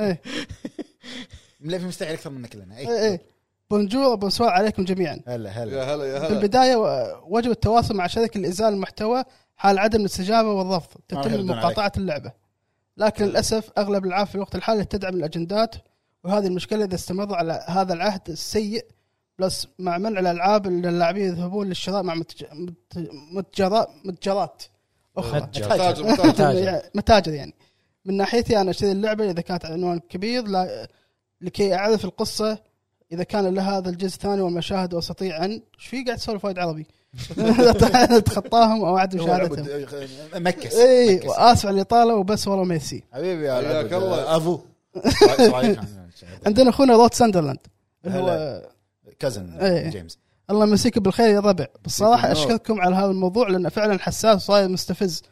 Speaker 4: ايه
Speaker 3: ملفي مستعير اكثر منا كلنا
Speaker 4: ايه ايه بونجور بونسوار عليكم جميعا
Speaker 3: إيه. هلا
Speaker 2: يا
Speaker 3: هلا
Speaker 2: هلا يا
Speaker 4: في
Speaker 2: هلا
Speaker 4: البدايه و- وجب التواصل مع شركه لازاله المحتوى حال عدم الاستجابه والرفض
Speaker 3: راح
Speaker 4: تتم
Speaker 3: يردون
Speaker 4: مقاطعه اللعبه لكن للاسف اغلب الالعاب في الوقت الحالي تدعم الاجندات وهذه المشكله اذا استمر على هذا العهد السيء بلس مع منع الالعاب ان اللاعبين يذهبون للشراء مع متج... مت- متجرا- متجرات اخرى
Speaker 6: متجر.
Speaker 2: محتاج محتاج
Speaker 6: متاجر.
Speaker 4: متاجر يعني من ناحيتي انا اشتري اللعبه اذا كانت عنوان كبير لا لكي اعرف القصه اذا كان لها هذا الجزء الثاني والمشاهد واستطيع ان ايش في قاعد تسولف وايد عربي اتخطاهم او اعدم
Speaker 3: هو العبد،
Speaker 4: مشاهدتهم
Speaker 3: آه، مكس
Speaker 4: اي
Speaker 3: مكس.
Speaker 4: واسف على الاطاله وبس والله ميسي
Speaker 3: حبيبي يا
Speaker 2: حياك
Speaker 3: العبد.
Speaker 2: الله.
Speaker 3: افو شو رايك عن-
Speaker 4: عندنا اخونا روت ساندرلاند اللي هو
Speaker 3: هلا. كازن
Speaker 4: إيه.
Speaker 3: جيمس
Speaker 4: الله يمسيك بالخير يا ربع بالصراحه
Speaker 3: بالنور.
Speaker 4: اشكركم على هذا الموضوع لانه فعلا حساس وصاير مستفز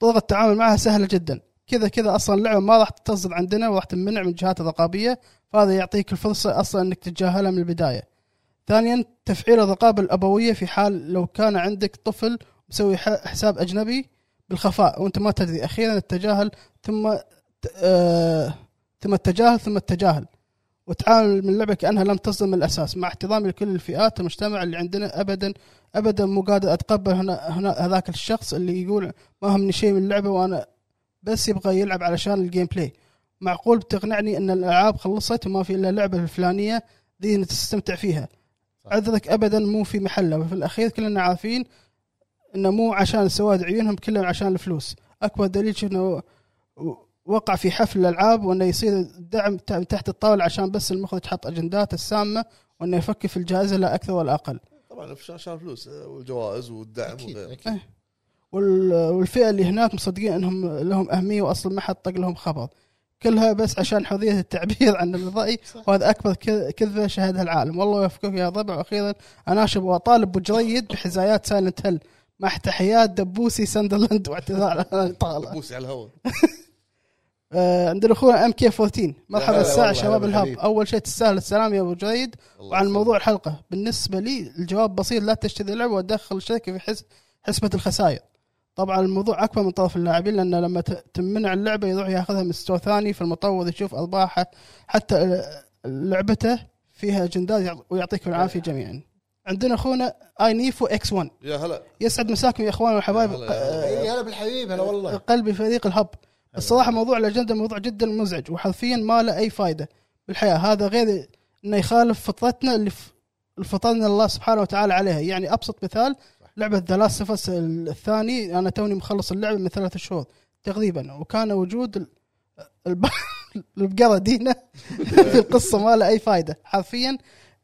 Speaker 4: طرق التعامل معها سهله جدا كذا كذا اصلا اللعبه ما راح تتصدر عندنا وراح تمنع من الجهات الرقابيه فهذا يعطيك الفرصه اصلا انك تتجاهلها من البدايه ثانيا تفعيل الرقابه الابويه في حال لو كان عندك طفل مسوي ح- حساب اجنبي بالخفاء وانت ما تدري اخيرا التجاهل ثم ت- آه ثم التجاهل ثم التجاهل وتعامل من اللعبه كانها لم تصدر من الاساس مع احترامي لكل الفئات المجتمع اللي عندنا ابدا ابدا مو قادر اتقبل هنا, هنا هذاك الشخص اللي يقول ما همني شيء من اللعبه وانا بس يبغى يلعب علشان الجيم بلاي معقول بتقنعني ان الالعاب خلصت وما في الا اللعبه الفلانيه ذي اللي تستمتع فيها عذرك ابدا مو في محله وفي الاخير كلنا عارفين انه مو عشان سواد عيونهم كلهم عشان الفلوس اكبر دليل شفنا وقع في حفل الالعاب وانه يصير الدعم ت- تحت الطاوله عشان بس المخرج حط اجندات السامه وانه يفكر في الجائزه لا اكثر ولا اقل
Speaker 2: طبعا عشان عشان الفلوس آه، والجوائز والدعم
Speaker 3: أكيد،
Speaker 2: وغيره
Speaker 3: أكيد.
Speaker 4: وال- والفئه اللي هناك مصدقين انهم لهم اهميه واصلا ما حد طق لهم خبر كلها بس عشان حريه التعبير عن الراي وهذا اكبر ك- كذبه شهدها العالم والله يوفقك يا ضبع واخيرا اناشب واطالب بجريد بحزايات سايلنت هيل مع تحيات دبوسي ساندرلاند واعتذار على الاطاله
Speaker 2: بوسي على الهواء
Speaker 4: آه، عندنا اخونا ام كي 14
Speaker 3: هلا
Speaker 4: مرحبا الساعه
Speaker 3: والله،
Speaker 4: شباب
Speaker 3: هلا
Speaker 4: الهاب
Speaker 3: بالحبيب.
Speaker 4: اول شيء تستاهل السلام يا ابو جريد
Speaker 2: الله
Speaker 4: وعن
Speaker 2: يسلمك.
Speaker 4: موضوع الحلقه بالنسبه لي الجواب بسيط لا تشتري لعبه ودخل الشركه في حس حسبه الخسائر طبعا الموضوع اكبر من طرف اللاعبين لان لما ت- تمنع اللعبه يروح ياخذها من ستور ثاني فالمطور يشوف ارباحه حتى لعبته فيها جندات يعط- ويعطيكم العافيه جميعا عندنا اخونا اي نيفو اكس 1
Speaker 2: يا هلا
Speaker 4: يسعد مساكم يا اخوان والحبايب
Speaker 2: يا هلا،
Speaker 4: آه.
Speaker 2: يا هلا.
Speaker 3: اي هلا بالحبيب هلا والله
Speaker 4: قلبي فريق الهب الصراحه موضوع الاجنده موضوع جدا مزعج وحرفيا ما له اي فائده بالحياه هذا غير انه يخالف فطرتنا اللي ف- اللي فطرنا الله سبحانه وتعالى عليها يعني ابسط مثال لعبه ذا لاست اوف الثاني انا توني مخلص اللعبه من ثلاث شهور تقريبا وكان وجود ال- الب... البقره دينا في القصه ما له اي فائده حرفيا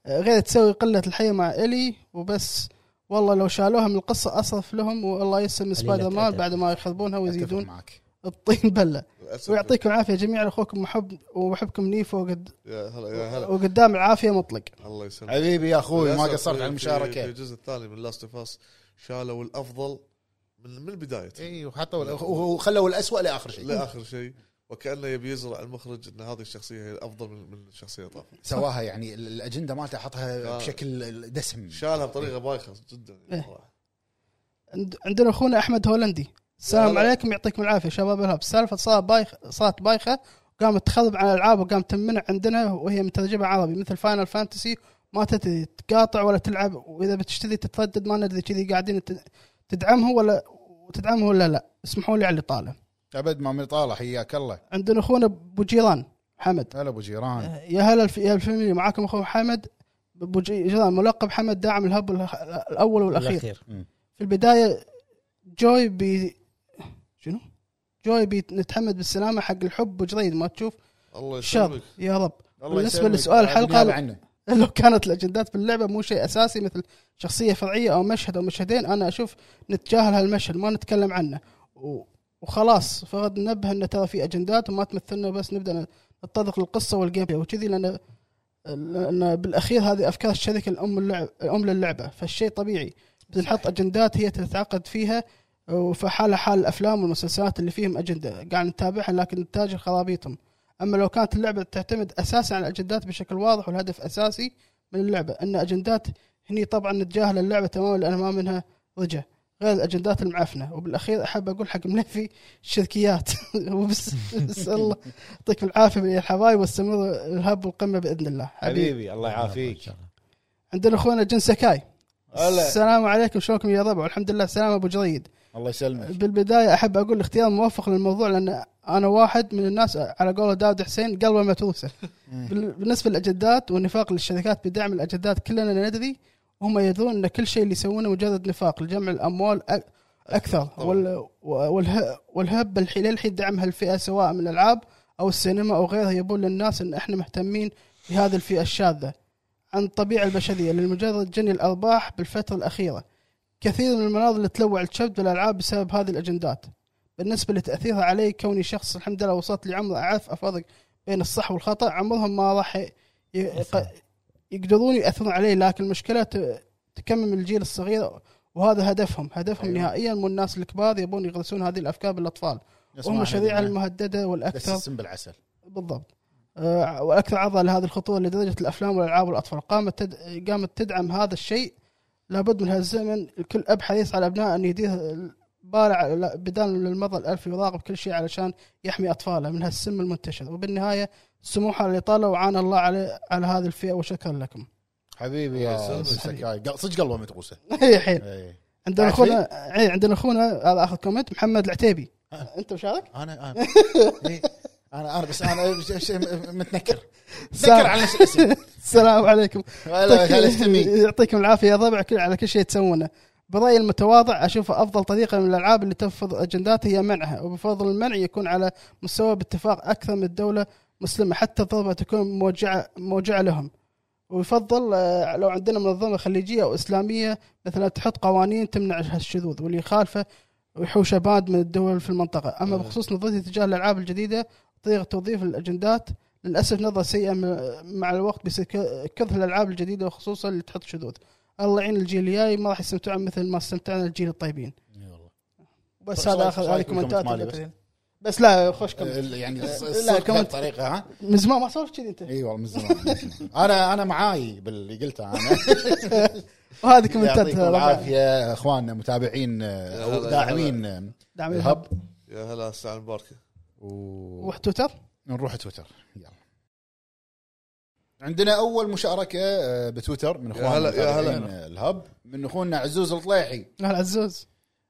Speaker 4: آه، غير تسوي قله الحياه مع الي وبس والله لو شالوها من القصه اصرف لهم والله يسلم سبايدر مان
Speaker 6: أدب.
Speaker 4: بعد ما يخربونها
Speaker 3: اتفق
Speaker 4: ويزيدون
Speaker 3: معك
Speaker 4: الطين بله
Speaker 2: للأسف.
Speaker 4: ويعطيكم العافيه جميعا اخوكم محب ومحبكم نيفو وقد...
Speaker 2: يا هلا يا هلا
Speaker 4: وقدام العافيه مطلق
Speaker 2: الله يسلمك
Speaker 3: حبيبي يا اخوي ما
Speaker 2: للأسف
Speaker 3: قصرت
Speaker 2: في-
Speaker 3: على
Speaker 2: في في
Speaker 3: المشاركه
Speaker 2: الجزء الثاني من لاست اوف اس شالوا الافضل من من البدايه
Speaker 3: اي وحطوا وخلوا الاسوء لاخر إيه، شيء
Speaker 2: لاخر شيء وكانه يبي يزرع المخرج ان هذه الشخصيه هي الافضل من من الشخصيه طافت
Speaker 3: سواها يعني ال- الاجنده مالته حطها
Speaker 2: آه.
Speaker 3: بشكل دسم
Speaker 2: شالها بطريقه بايخه جدا
Speaker 4: إيه.
Speaker 2: صراحه
Speaker 4: عند- عندنا اخونا احمد هولندي السلام
Speaker 2: هلا.
Speaker 4: عليكم يعطيكم العافيه شباب الهب السالفه صارت بايخ صارت بايخه وقامت تخرب على الالعاب وقامت تمنع عندنا وهي مترجمه عربي مثل فاينل فانتسي ما تدري تقاطع ولا تلعب واذا بتشتري تتردد ما ندري كذي قاعدين ت- تدعمه ولا وتدعمه ولا لا اسمحوا لي على الاطاله
Speaker 3: ابد ما من طالع حياك الله
Speaker 4: عندنا اخونا ابو جيران حمد
Speaker 3: هلا ابو جيران
Speaker 4: يا هلا الف- يا الفاميلي معاكم اخو حمد ابو جيران ملقب حمد داعم الهب الأخ- الاول والاخير في البدايه جوي بي شنو؟ جوي بنتحمد بالسلامه حق الحب وجريد ما تشوف
Speaker 2: الله
Speaker 4: شر
Speaker 2: يسلمك
Speaker 4: يا رب
Speaker 3: الله
Speaker 4: بالنسبة
Speaker 3: يسلمك.
Speaker 4: لسؤال الحلقة،
Speaker 3: بعدني هذا عنه
Speaker 4: لو كانت الاجندات باللعبه مو شيء اساسي مثل شخصيه فرعيه او مشهد او مشهدين انا اشوف نتجاهل هالمشهد ما نتكلم عنه و- وخلاص فقط ننبه ان ترى في اجندات وما تمثلنا بس نبدا نتطرق للقصه والجيم بلاي وكذي لان لان بالاخير هذه افكار الشركه الام اللعب الام للعبه فالشيء طبيعي بنحط اجندات هي تتعاقد فيها فحالها حال الافلام والمسلسلات اللي فيهم اجنده قاعد نتابعها لكن نتاجر خرابيطهم اما لو كانت اللعبه تعتمد اساسا على الاجندات بشكل واضح والهدف اساسي من اللعبه ان اجندات هني طبعا نتجاهل اللعبه تماما لان ما منها رجع غير الاجندات المعفنه وبالاخير احب اقول حق ملفي الشركيات وبس بس الله يعطيكم العافيه يا حبايب واستمروا الهب والقمه باذن الله حبيبي
Speaker 3: حبيبي الله يعافيك
Speaker 4: عندنا اخونا جن سكاي
Speaker 3: هلا.
Speaker 4: السلام عليكم شلونكم يا ربع والحمد لله سلام ابو جريد
Speaker 3: الله يسلمك
Speaker 4: بالبدايه احب اقول اختيار موفق للموضوع لان انا واحد من الناس على قول داود حسين قلبه متروسه بال- بالنسبه للاجدات والنفاق للشركات بدعم الاجدات كلنا ندري وهم يدرون ان كل شيء اللي يسوونه مجرد نفاق لجمع الاموال أ- اكثر وال والهب, والهب الحين للحين دعم هالفئه سواء من الالعاب او السينما او غيرها يبون للناس ان احنا مهتمين بهذه الفئه الشاذه عن الطبيعه البشريه لمجرد جني الارباح بالفتره الاخيره كثير من المناظر اللي تلوع الشبت بالالعاب بسبب هذه الاجندات بالنسبه لتاثيرها علي كوني شخص الحمد لله وصلت لعمر اعرف افرق بين الصح والخطا عمرهم ما راح ي- يق- يقدرون ياثرون علي لكن المشكله ت- تكمم الجيل الصغير وهذا هدفهم هدفهم أيوة. نهائيا مو الناس الكبار يبون يغرسون هذه الافكار بالاطفال وهم الشريعه المهدده
Speaker 3: بس
Speaker 4: والاكثر
Speaker 3: السم بالعسل
Speaker 4: بالضبط آه، واكثر عرضه لهذه الخطوره لدرجه الافلام والالعاب والاطفال قامت تد... قامت تدعم هذا الشيء لابد من هالزمن الكل اب حريص على ابنائه ان يديه بارع لا- بدال من المضى الالف يراقب كل شيء علشان يحمي اطفاله من هالسم المنتشر وبالنهايه سموحه للاطاله وعان الله على على هذه الفئه وشكرا لكم.
Speaker 3: حبيبي يا سكاي قل- صدق قلبه متروسه
Speaker 4: يا حيل
Speaker 3: إي.
Speaker 4: عندنا
Speaker 3: بعد
Speaker 4: اخونا إيه، عندنا اخونا هذا اخذ كومنت محمد العتيبي
Speaker 3: أه.
Speaker 4: انت مشارك؟
Speaker 3: انا انا إي. انا انا إيه. بس انا ش- ش- متنكر
Speaker 4: سلام.
Speaker 3: تذكر على نفس الاسم
Speaker 4: السلام عليكم
Speaker 3: هلا هلا استمي
Speaker 4: يعطيكم العافيه يا ضبع كل على كل شيء تسوونه برايي المتواضع اشوف افضل طريقه من الالعاب اللي تنفذ اجندات هي منعها وبفضل المنع يكون على مستوى باتفاق اكثر من الدوله مسلمه حتى الضربه تكون موجعه موجعه لهم ويفضل آه، لو عندنا منظمه خليجيه او اسلاميه مثلا تحط قوانين تمنع هالشذوذ واللي يخالفه ويحوشه باد من الدول في المنطقه اما بخصوص نظرتي تجاه الالعاب الجديده طريقه توظيف الاجندات للاسف نظره سيئه م- مع الوقت بيصير ك- كثر الالعاب الجديده وخصوصا اللي تحط شذوذ الله يعين الجيل الجاي ما راح يستمتعون مثل ما استمتعنا الجيل الطيبين
Speaker 3: طيب،
Speaker 4: بس
Speaker 3: شو
Speaker 4: هذا
Speaker 3: رأيك-
Speaker 4: اخر
Speaker 3: شو
Speaker 4: هذه
Speaker 3: رأيك بالكومنت
Speaker 4: كومنتات
Speaker 3: مالي
Speaker 4: بس. بس لا خوش كومنت
Speaker 3: ال- يعني
Speaker 4: لا،
Speaker 3: الصدق
Speaker 4: كمان-
Speaker 3: بهالطريقه ها
Speaker 4: من زمان ما سولفت كذي انت
Speaker 3: اي والله من زمان من زمان. انا انا معاي باللي قلته انا
Speaker 4: وهذه كومنتات
Speaker 3: يعطيكم العافيه اخواننا متابعين آه،
Speaker 2: يا هلا،
Speaker 3: او
Speaker 2: يا
Speaker 3: داعمين آه،
Speaker 4: دعم الهب
Speaker 3: الهب
Speaker 2: يا هلا استعان باركه
Speaker 3: و-
Speaker 4: روح تويتر
Speaker 3: نروح تويتر يلا عندنا اول مشاركه آه، بتويتر من اخواننا
Speaker 2: هلا، يا هلا.
Speaker 3: متابعين، آه، الهب من اخونا عزوز الطليحي
Speaker 4: اهل عزوز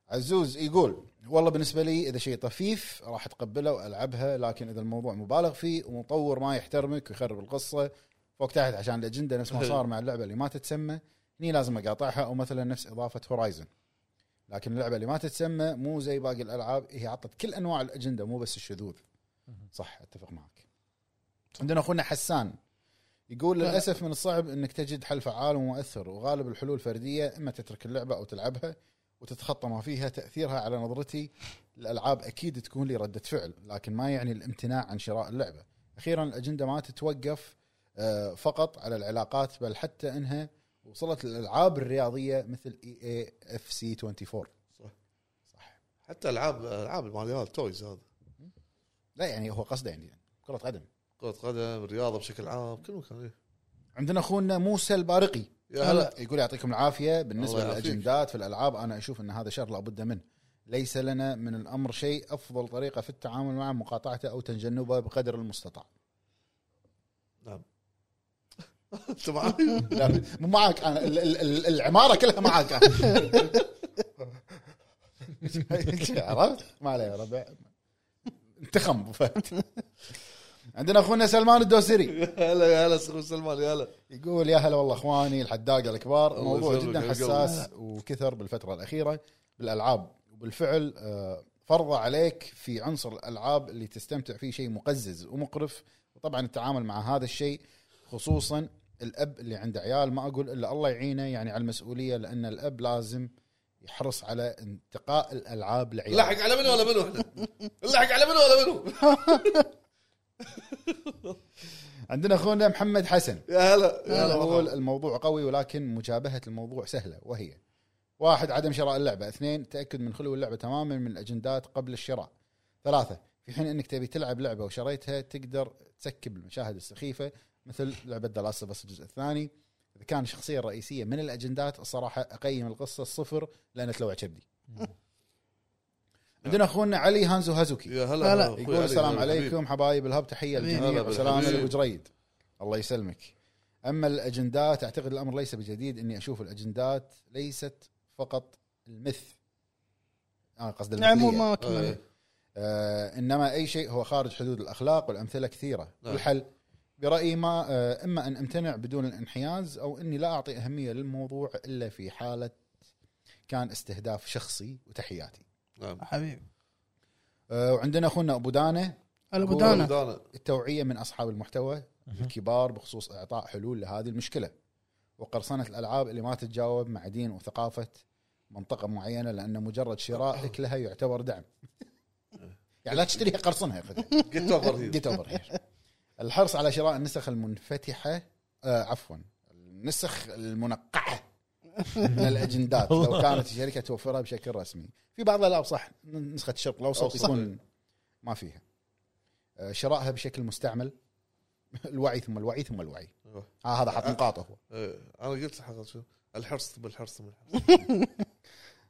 Speaker 3: عزوز يقول والله بالنسبه لي اذا شيء طفيف راح اتقبله والعبها لكن اذا الموضوع مبالغ فيه ومطور ما يحترمك ويخرب القصه فوق تحت عشان الاجنده نفس ما صار مع اللعبه اللي ما تتسمى هني لازم اقاطعها او مثلا نفس اضافه هورايزن لكن اللعبه اللي ما تتسمى مو زي باقي الالعاب هي عطت كل انواع الاجنده مو بس الشذوذ صح اتفق معك عندنا اخونا حسان يقول للاسف من الصعب انك تجد حل فعال ومؤثر وغالب الحلول فرديه اما تترك اللعبه او تلعبها وتتخطى ما فيها تاثيرها على نظرتي الالعاب اكيد تكون لي رده فعل لكن ما يعني الامتناع عن شراء اللعبه اخيرا الاجنده ما تتوقف آه، فقط على العلاقات بل حتى انها وصلت للالعاب الرياضيه مثل اي اي اف سي 24
Speaker 2: حتى العاب العاب الماليات تويز هذا
Speaker 3: لا يعني هو قصده يعني كره قدم
Speaker 2: كره قدم الرياضه بشكل عام كل مكان إيه.
Speaker 3: عندنا اخونا موسى البارقي
Speaker 2: يا هلا
Speaker 3: يقول يعطيكم العافيه بالنسبه
Speaker 2: الله يعافيك.
Speaker 3: للاجندات في الالعاب انا اشوف ان هذا شر لابد منه ليس لنا من الامر شيء افضل طريقه في التعامل معه مقاطعته او تجنبه بقدر المستطاع
Speaker 2: انت معي
Speaker 3: لا، يعني مو معك انا ال- ال- ال- العماره كلها معك أنا. عرفت؟ ما عليه يا ربع انتخم أبو فهد عندنا اخونا سلمان الدوسري
Speaker 2: يا هلا يا هلا اخوي سلمان يا هلا
Speaker 3: يقول يا هلا والله اخواني الحداقه الكبار
Speaker 2: الله
Speaker 3: موضوع
Speaker 2: يسلمك
Speaker 3: جدا
Speaker 2: يا
Speaker 3: حساس وكثر بالفتره الاخيره بالالعاب وبالفعل آه، فرض عليك في عنصر الالعاب اللي تستمتع فيه شيء مقزز ومقرف وطبعا التعامل مع هذا الشيء خصوصا الاب اللي عنده عيال ما اقول الا الله يعينه يعني على المسؤوليه لان الاب لازم يحرص على انتقاء الالعاب لعياله
Speaker 2: نلحق على منو ولا منو احنا نلحق على منو ولا منو
Speaker 3: عندنا اخونا محمد حسن
Speaker 2: يا هلا يا هلا
Speaker 3: يقول
Speaker 2: مرحبا.
Speaker 3: الموضوع قوي ولكن مجابهة الموضوع سهلة وهي واحد عدم شراء اللعبة اثنين تأكد من خلو اللعبة تماما من الأجندات قبل الشراء ثلاثة في حين أنك تبي تلعب لعبة وشريتها تقدر تسكب المشاهد السخيفة مثل لعبة ذا لاست الجزء الثاني إذا كان الشخصية الرئيسية من الأجندات الصراحة أقيم القصة صفر لأن تلوع كبدي عندنا أخونا علي هانزو هازوكي
Speaker 2: يا هلا
Speaker 4: هلا.
Speaker 2: يا أخوي
Speaker 3: يقول
Speaker 2: علي،
Speaker 3: السلام
Speaker 2: يا حبيبي.
Speaker 3: عليكم حبايب الهب تحيه
Speaker 4: حبيبي.
Speaker 2: هلا
Speaker 3: للجميع وسلام
Speaker 2: بالحبيب.
Speaker 3: لابو جريد الله يسلمك اما الاجندات اعتقد الامر ليس بجديد اني اشوف الاجندات ليست فقط المث انا قصد
Speaker 4: يعني مو
Speaker 3: المثليه
Speaker 4: ما
Speaker 2: آه،
Speaker 4: كمل
Speaker 3: آه انما اي شيء هو خارج حدود الاخلاق والامثله كثيره
Speaker 2: نعم.
Speaker 3: الحل برايي ما آه اما ان امتنع بدون الانحياز او اني لا اعطي اهميه للموضوع الا في حاله كان استهداف شخصي وتحياتي
Speaker 2: نعم
Speaker 4: حبيبي
Speaker 3: آه وعندنا اخونا ابو دانه
Speaker 4: هلا
Speaker 3: أبو
Speaker 4: بدانا
Speaker 2: بدانا
Speaker 3: التوعيه من اصحاب المحتوى الكبار بخصوص اعطاء حلول لهذه المشكله وقرصنه الالعاب اللي ما تتجاوب مع دين وثقافه منطقه معينه لان مجرد شرائك لها يعتبر دعم يعني لا تشتريها قرصنها يا اخي
Speaker 2: جيت اوفر هيل
Speaker 3: جيت اوفر هير. الحرص على شراء النسخ المنفتحه آه عفوا النسخ المنقعه من الاجندات لو كانت الشركه توفرها بشكل رسمي في بعض الالعاب صح نسخه الشرق الاوسط
Speaker 2: أوسط.
Speaker 3: يكون ما فيها آه شرائها بشكل مستعمل الوعي ثم الوعي ثم الوعي
Speaker 2: أيوه.
Speaker 3: آه هذا حط نقاطه هو
Speaker 2: إيه، انا قلت لحق شو الحرص بالحرص بالحرص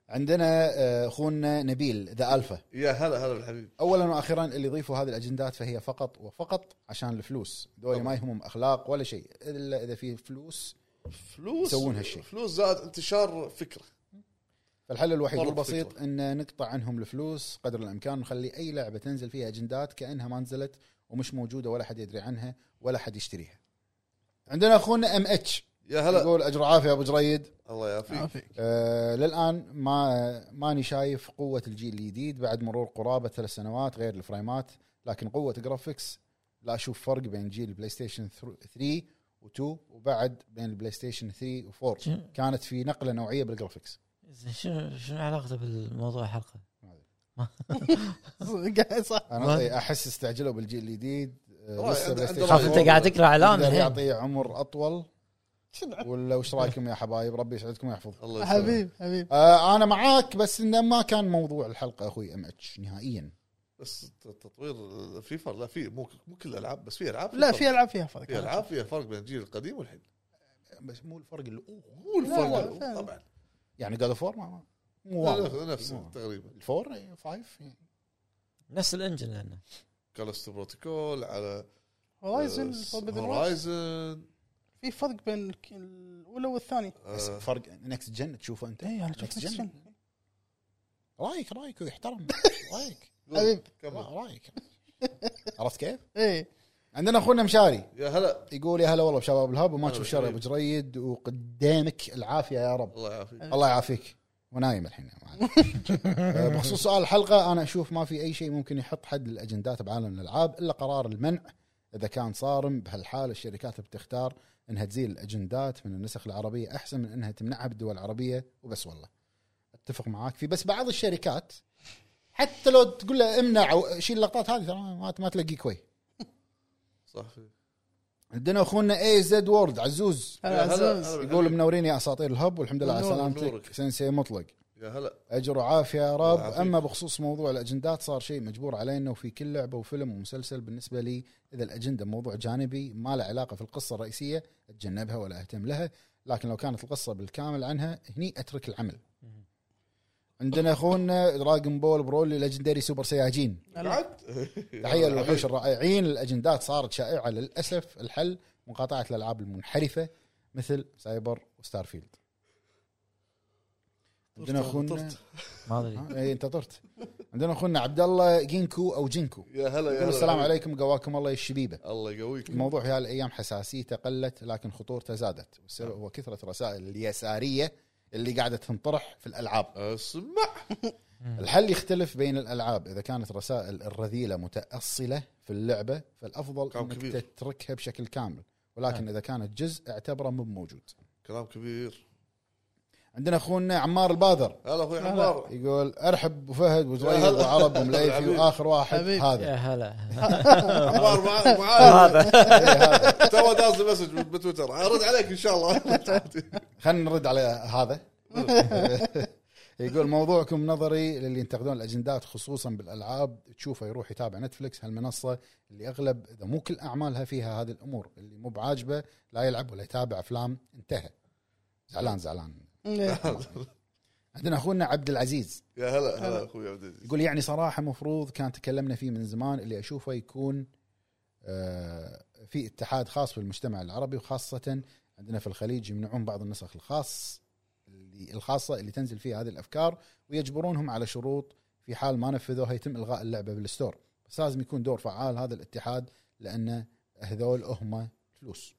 Speaker 3: عندنا آه، اخونا نبيل ذا الفا
Speaker 2: يا هلا هلا بالحبيب
Speaker 3: اولا واخيرا اللي يضيفوا هذه الاجندات فهي فقط وفقط عشان الفلوس دول ما يهمهم اخلاق ولا شيء الا اذا في فلوس
Speaker 2: فلوس
Speaker 3: يسوون هالشيء.
Speaker 2: فلوس زاد انتشار فكره
Speaker 3: فالحل الوحيد
Speaker 2: مرة
Speaker 3: والبسيط
Speaker 2: فكرة.
Speaker 3: ان نقطع عنهم الفلوس قدر الامكان ونخلي اي لعبه تنزل فيها اجندات كانها ما نزلت ومش موجوده ولا حد يدري عنها ولا حد يشتريها. عندنا اخونا ام اتش
Speaker 2: يا هلا
Speaker 3: يقول اجر عافيه ابو جريد
Speaker 2: الله يعافيك
Speaker 4: عافيك
Speaker 3: آه للان ما ماني شايف قوه الجيل الجديد بعد مرور قرابه ثلاث سنوات غير الفريمات لكن قوه جرافيكس لا اشوف فرق بين جيل بلاي ستيشن 3 و2 وبعد بين البلاي ستيشن 3 و4 كانت في نقله نوعيه بالجرافيكس
Speaker 6: شنو شنو علاقته بالموضوع الحلقه؟
Speaker 4: قاعد صح
Speaker 3: انا إي، احس استعجلوا إيه، بالجيل الجديد آه،
Speaker 2: رأي،
Speaker 3: لسه
Speaker 2: عند-
Speaker 3: بلاي
Speaker 2: عند
Speaker 3: ستيشن
Speaker 2: رأي.
Speaker 6: خاف انت قاعد تقرا اعلان
Speaker 3: يقدر
Speaker 6: الحين
Speaker 3: يعطيه عمر اطول ولا وش رايكم يا حبايب ربي يسعدكم ويحفظكم
Speaker 2: الله يسلمك.
Speaker 4: حبيب حبيب
Speaker 3: آه انا معاك بس انه ما كان موضوع الحلقه اخوي ام اتش نهائيا
Speaker 2: بس تطوير فيفا لا في مو مو كل الالعاب بس في العاب
Speaker 4: لا
Speaker 2: فرق.
Speaker 4: في العاب فيها
Speaker 2: في
Speaker 4: فرق
Speaker 2: العاب فيها فرق بين الجيل القديم والحين
Speaker 3: بس مو الفرق اللي اوه
Speaker 2: مو
Speaker 4: لا،
Speaker 2: الفرق
Speaker 4: فعلا.
Speaker 2: طبعا
Speaker 3: يعني جاد اوف ما مو
Speaker 2: لا،
Speaker 3: واضح
Speaker 2: لا، نفس
Speaker 3: مو.
Speaker 2: تقريبا
Speaker 3: الفور إيه، فايف إيه.
Speaker 6: نفس الانجن لانه
Speaker 2: كالستو بروتوكول على آه،
Speaker 4: هورايزن
Speaker 2: هورايزن
Speaker 4: في فرق بين الك- الاولى والثانيه
Speaker 2: آه،
Speaker 3: بس فرق نكست جن تشوفه انت
Speaker 4: اي انا شفت
Speaker 3: إيه، Next Gen.
Speaker 4: السجن.
Speaker 3: رايك رايك ويحترم رايك
Speaker 4: حبيب.
Speaker 2: كمل
Speaker 3: رايك عرفت كيف؟
Speaker 4: اي
Speaker 3: عندنا اخونا مشاري
Speaker 2: يا هلا
Speaker 3: يقول يا هلا والله بشباب الهب وما تشوف
Speaker 2: هلا
Speaker 3: شر يا
Speaker 2: حبيبي.
Speaker 3: ابو جريد وقدامك العافيه يا رب
Speaker 2: الله يعافيك
Speaker 3: الله يعافيك ونايم الحين آه، بخصوص سؤال الحلقه انا اشوف ما في اي شيء ممكن يحط حد للاجندات بعالم الالعاب الا قرار المنع اذا كان صارم بهالحاله الشركات بتختار انها تزيل الاجندات من النسخ العربيه احسن من انها تمنعها بالدول العربيه وبس والله اتفق معاك في بس بعض الشركات حتى لو تقول له امنع او شيل اللقطات هذه ترى ما ما تلاقي كوي
Speaker 2: صح في-
Speaker 3: عندنا اخونا اي زد وورد عزوز
Speaker 2: يا
Speaker 4: هلا
Speaker 2: هلا
Speaker 4: عزوز
Speaker 2: هلا
Speaker 3: يقول
Speaker 2: بالحبيب.
Speaker 3: منورين يا اساطير الهب والحمد لله على
Speaker 4: منور،
Speaker 3: سلامتك
Speaker 2: منورك.
Speaker 3: سنسي مطلق
Speaker 2: يا هلا
Speaker 3: اجر وعافيه يا رب
Speaker 2: الله يعافيك.
Speaker 3: اما بخصوص موضوع الاجندات صار شيء مجبور علينا وفي كل لعبه وفيلم ومسلسل بالنسبه لي اذا الاجنده موضوع جانبي ما له علاقه في القصه الرئيسيه اتجنبها ولا اهتم لها لكن لو كانت القصه بالكامل عنها هني اترك العمل عندنا اخونا دراجون بول برولي ليجندري سوبر سياجين
Speaker 2: بعد
Speaker 3: تحيه للوحوش الرائعين الاجندات صارت شائعه للاسف الحل مقاطعه الالعاب المنحرفه مثل سايبر وستارفيلد عندنا اخونا
Speaker 2: طرت.
Speaker 6: ما ادري
Speaker 3: ها، اي انت طرت عندنا اخونا عبد الله جينكو او جينكو
Speaker 2: يا هلا يا
Speaker 3: يقول
Speaker 2: هلا
Speaker 3: السلام عليكم قواكم الله يا الشبيبه
Speaker 2: الله يقويك
Speaker 3: الموضوع في هالايام حساسيته قلت لكن خطورته زادت والسبب هو كثره الرسائل اليساريه اللي قاعده تنطرح في الالعاب
Speaker 2: اسمع
Speaker 3: الحل يختلف بين الالعاب اذا كانت رسائل الرذيله متاصله في اللعبه فالافضل
Speaker 2: كلام
Speaker 3: انك
Speaker 2: كبير. نعم.
Speaker 3: تتركها بشكل كامل ولكن اذا كانت جزء اعتبره مو موجود
Speaker 2: كلام كبير
Speaker 3: عندنا اخونا عمار البادر
Speaker 2: هلا اخوي عمار
Speaker 3: يقول ارحب بفهد وزريد
Speaker 2: هلا.
Speaker 3: وعرب ومليفي
Speaker 2: حبيبي.
Speaker 3: واخر واحد
Speaker 4: حبيبي.
Speaker 3: هذا
Speaker 6: يا هلا
Speaker 2: عمار معاي معاي
Speaker 6: هذا
Speaker 2: تو داز لي مسج بتويتر ارد عليك ان شاء الله
Speaker 3: خلينا نرد على هذا يقول موضوعكم نظري للي ينتقدون الاجندات خصوصا بالالعاب تشوفه يروح يتابع نتفلكس هالمنصه اللي اغلب اذا مو كل اعمالها فيها هذه الامور اللي مو بعاجبه لا يلعب ولا يتابع افلام انتهى زعلان زعلان
Speaker 4: إيه.
Speaker 3: عندنا اخونا عبد العزيز
Speaker 2: يا هلا هلا اخوي عبد العزيز
Speaker 3: يقول يعني صراحه مفروض كان تكلمنا فيه من زمان اللي اشوفه يكون آه، في اتحاد خاص في المجتمع العربي وخاصه عندنا في الخليج يمنعون بعض النسخ الخاص اللي الخاصه اللي تنزل فيها هذه الافكار ويجبرونهم على شروط في حال ما نفذوها يتم الغاء اللعبه بالستور بس لازم يكون دور فعال هذا الاتحاد لان هذول هم فلوس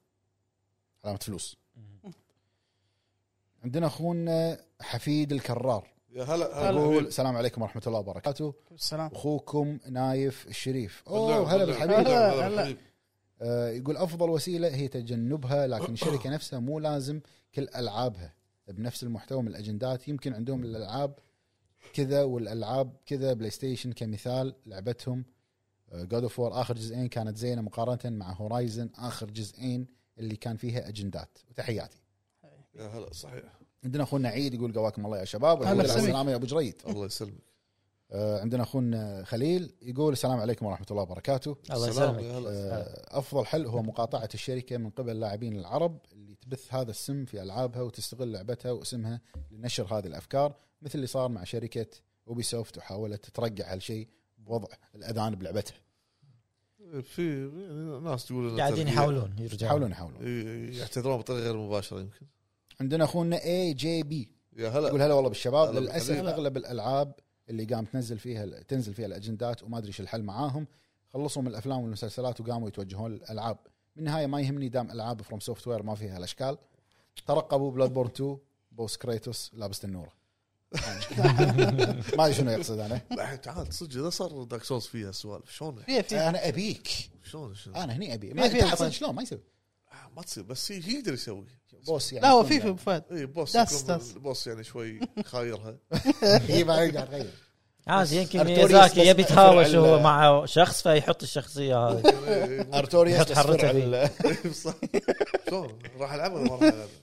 Speaker 3: علامه فلوس عندنا اخونا حفيد الكرار
Speaker 2: يا هلا هلا
Speaker 3: يقول
Speaker 2: بالحبيب.
Speaker 3: السلام عليكم ورحمه الله وبركاته
Speaker 4: السلام
Speaker 3: اخوكم نايف الشريف
Speaker 2: بالنعم،
Speaker 3: اوه هلا
Speaker 2: بالنعم.
Speaker 3: بالحبيب
Speaker 4: هلا،
Speaker 2: بالنعم،
Speaker 4: هلا.
Speaker 2: بالحبيب.
Speaker 3: آه، يقول افضل وسيله هي تجنبها لكن الشركه نفسها مو لازم كل العابها بنفس المحتوى من الاجندات يمكن عندهم الالعاب كذا والالعاب كذا بلاي ستيشن كمثال لعبتهم آه، جود اوف وور اخر جزئين كانت زينه مقارنه مع هورايزن اخر جزئين اللي كان فيها اجندات وتحياتي
Speaker 2: يا هلا صحيح
Speaker 3: عندنا اخونا عيد يقول قواكم الله يا شباب
Speaker 4: هلا
Speaker 3: والحمد لله على
Speaker 4: بسميك.
Speaker 3: السلامه يا ابو جريد
Speaker 2: الله يسلمك
Speaker 3: آه، عندنا اخونا خليل يقول السلام عليكم ورحمه الله وبركاته
Speaker 6: الله
Speaker 2: السلام،
Speaker 6: يسلمك
Speaker 2: يا هلا
Speaker 3: آه، افضل حل هو مقاطعه الشركه من قبل اللاعبين العرب اللي تبث هذا السم في العابها وتستغل لعبتها واسمها لنشر هذه الافكار مثل اللي صار مع شركه اوبيسوفت وحاولت تترجع هالشيء بوضع الاذان بلعبتها
Speaker 2: في يعني ناس تقول إن
Speaker 6: قاعدين
Speaker 2: التربية-
Speaker 6: يحاولون يرجعون
Speaker 3: يحاولون يحاولون
Speaker 2: ي- يعتذرون بطريقه غير مباشره يمكن
Speaker 3: عندنا اخونا اي جي بي
Speaker 2: يا هلا
Speaker 3: يقول هلا والله بالشباب
Speaker 2: هلا
Speaker 3: للاسف
Speaker 2: بالحبيب.
Speaker 3: اغلب الالعاب اللي قام تنزل فيها تنزل فيها الاجندات وما ادري ايش الحل معاهم خلصوا من الافلام والمسلسلات وقاموا يتوجهون للالعاب بالنهايه ما يهمني دام العاب فروم سوفت وير ما فيها الاشكال ترقبوا بلاد بورن 2 بوس كريتوس لابس النوره ما ادري شنو يقصد انا
Speaker 2: لا، تعال صدق اذا صار دارك سولز فيها سوالف شلون
Speaker 4: فيها فيها
Speaker 3: انا ابيك
Speaker 2: شلون شلون
Speaker 3: انا هني ابي
Speaker 4: فيها-
Speaker 3: ما
Speaker 4: فيها
Speaker 3: حصل
Speaker 4: طيب.
Speaker 3: شلون ما يسوي
Speaker 2: آه، ما تصير بس ي- يقدر يسوي
Speaker 3: بوس يعني
Speaker 4: لا هو
Speaker 3: يكون
Speaker 4: في في
Speaker 3: يعني-
Speaker 4: فهد
Speaker 2: اي بوس
Speaker 4: داس-
Speaker 2: يكون
Speaker 4: داس.
Speaker 2: البوس يعني شوي خايرها
Speaker 3: هي إيه، ما قاعد تغير
Speaker 6: عادي يمكن
Speaker 7: أرتوريوس
Speaker 6: ميازاكي
Speaker 7: بس
Speaker 6: يبي
Speaker 7: مأثور على-
Speaker 6: يتهاوش هو مع شخص فيحط الشخصيه هذه
Speaker 7: ارتوريوس
Speaker 6: يحط
Speaker 7: تصفر
Speaker 6: حرته
Speaker 7: على
Speaker 6: فيه.
Speaker 7: ال-
Speaker 2: صح شلون راح العبها ولا ما راح العبها؟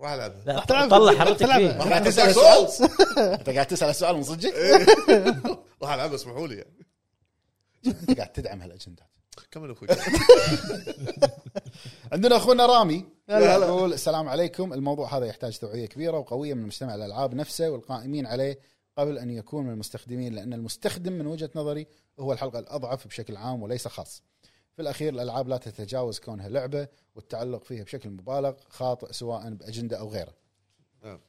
Speaker 2: راح العبها
Speaker 6: لا
Speaker 4: تلعب.
Speaker 6: طلع حرتك
Speaker 4: تلعب.
Speaker 6: فيه
Speaker 2: راح
Speaker 7: قاعد
Speaker 2: ألعبها.
Speaker 7: تسأل سؤال انت قاعد تسال السؤال من صدقك
Speaker 2: راح العبها اسمحوا لي يعني
Speaker 3: انت قاعد تدعم هالاجندات
Speaker 2: كمل اخوي
Speaker 3: عندنا اخونا رامي
Speaker 2: هلا.
Speaker 3: يقول السلام عليكم الموضوع هذا يحتاج توعيه كبيره وقويه من مجتمع الالعاب نفسه والقائمين عليه قبل ان يكون من المستخدمين لان المستخدم من وجهه نظري هو الحلقه الاضعف بشكل عام وليس خاص. في الاخير الالعاب لا تتجاوز كونها لعبه والتعلق فيها بشكل مبالغ خاطئ سواء باجنده او غيره.
Speaker 2: نعم.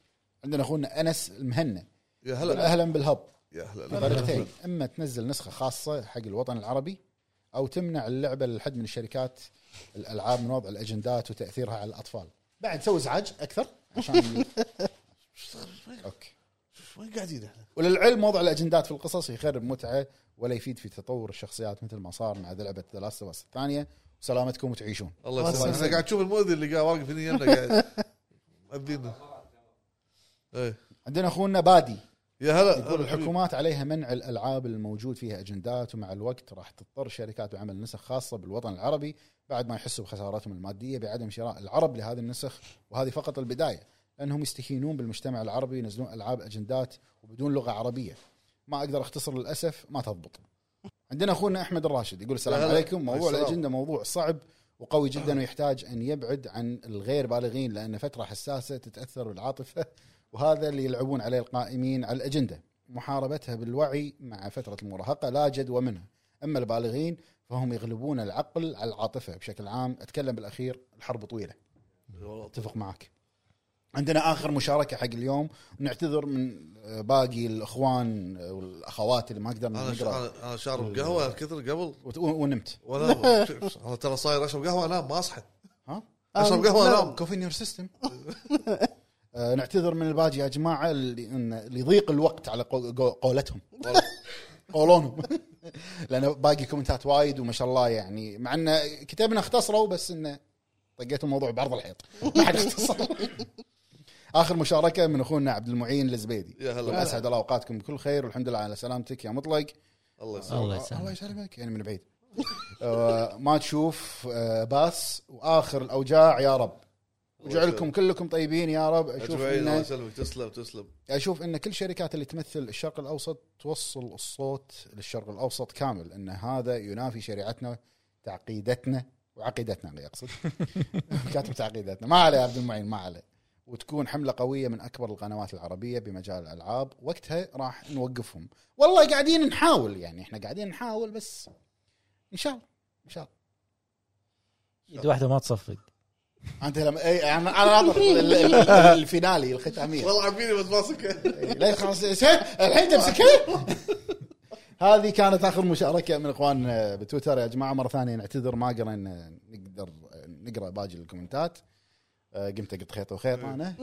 Speaker 3: عندنا اخونا انس المهنا
Speaker 2: يا
Speaker 3: يقول
Speaker 2: هلا
Speaker 3: اهلا بالهب
Speaker 2: يا هلا
Speaker 3: طريقتين اما تنزل نسخه خاصه حق الوطن العربي او تمنع اللعبه للحد من الشركات الالعاب من وضع الاجندات وتاثيرها على الاطفال بعد سوي ازعاج اكثر عشان اوكي
Speaker 2: وين قاعدين احنا؟
Speaker 3: وللعلم وضع الاجندات في القصص يخرب متعه ولا يفيد في تطور الشخصيات مثل ما صار مع لعبه ذا لاست الثانيه وسلامتكم وتعيشون
Speaker 2: الله يسلمك انا قاعد اشوف المؤذي اللي قاعد واقف هنا يمنا قاعد مأذينا ايه
Speaker 3: عندنا اخونا بادي
Speaker 2: يا هلا
Speaker 3: يقول
Speaker 2: هلا حبيبي.
Speaker 3: الحكومات عليها منع الالعاب الموجود فيها اجندات ومع الوقت راح تضطر الشركات بعمل نسخ خاصه بالوطن العربي بعد ما يحسوا بخسارتهم الماديه بعدم شراء العرب لهذه النسخ وهذه فقط البدايه لانهم يستهينون بالمجتمع العربي ينزلون العاب اجندات وبدون لغه عربيه ما اقدر اختصر للاسف ما تضبط عندنا اخونا احمد الراشد يقول السلام
Speaker 2: هلا.
Speaker 3: عليكم موضوع
Speaker 2: السلام.
Speaker 3: الاجنده موضوع صعب وقوي جدا ويحتاج ان يبعد عن الغير بالغين لان فتره حساسه تتاثر بالعاطفه وهذا اللي يلعبون عليه القائمين على الاجنده محاربتها بالوعي مع فتره المراهقه لا جدوى منها اما البالغين فهم يغلبون العقل على العاطفه بشكل عام اتكلم بالاخير الحرب طويله اتفق معك عندنا اخر مشاركه حق اليوم ونعتذر من آه، باقي الاخوان آه، والاخوات اللي ما قدرنا
Speaker 2: انا
Speaker 3: نقرا
Speaker 2: انا أنا شارب قهوه كثر قبل
Speaker 3: وت- ونمت
Speaker 2: ولا انا ترى صاير اشرب قهوه انام ما اصحى
Speaker 3: ها
Speaker 2: اشرب قهوه
Speaker 4: آه، لا.
Speaker 2: انام
Speaker 3: كوفي نير سيستم Uh, نعتذر من الباجي يا جماعه اللي إن- اللي يضيق الوقت على قو- قو- قولتهم قولونهم لان باقي كومنتات وايد وما شاء الله يعني مع ان كتابنا اختصروا بس انه طقيت الموضوع بعرض الحيط ما حد اختصر اخر مشاركه من اخونا عبد المعين الزبيدي
Speaker 2: يا هلا.
Speaker 3: يقول اسعد الله اوقاتكم بكل خير والحمد لله على سلامتك يا مطلق
Speaker 2: الله يسلمك
Speaker 6: الله يسلمك
Speaker 3: الله يسلمك يعني من بعيد آه، ما تشوف آه، باس واخر الاوجاع يا رب وجعلكم كلكم طيبين يا رب اشوف
Speaker 2: أجمعين، الله
Speaker 3: ان
Speaker 2: يسلمك تسلم تسلم
Speaker 3: اشوف ان كل شركات اللي تمثل الشرق الاوسط توصل الصوت للشرق الاوسط كامل ان هذا ينافي شريعتنا تعقيدتنا وعقيدتنا اللي اقصد كاتب تعقيداتنا ما عليه يا عبد المعين ما عليه وتكون حمله قويه من اكبر القنوات العربيه بمجال الالعاب وقتها راح نوقفهم والله قاعدين نحاول يعني احنا قاعدين نحاول بس ان شاء الله ان شاء الله
Speaker 6: يد واحدة ما تصفق
Speaker 3: انت لما إيه، اي انا انا ناطر ال- ال- ال- الفينالي الختاميه
Speaker 2: والله عبيني بس ماسكه
Speaker 3: لا خلاص الحين تمسكها هذه كانت اخر مشاركه من اخواننا بتويتر يا جماعه مره ثانيه نعتذر ما قرينا آه، نقدر نقرا باقي الكومنتات آه، قمت قلت خيط وخيط انا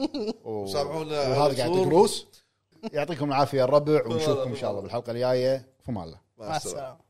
Speaker 3: و-
Speaker 2: وسامحونا على
Speaker 3: وهذا قاعد
Speaker 2: القصور.
Speaker 3: يعطيكم العافيه الربع ونشوفكم ان شاء الله بالحلقه الجايه فما الله
Speaker 4: مع السلامه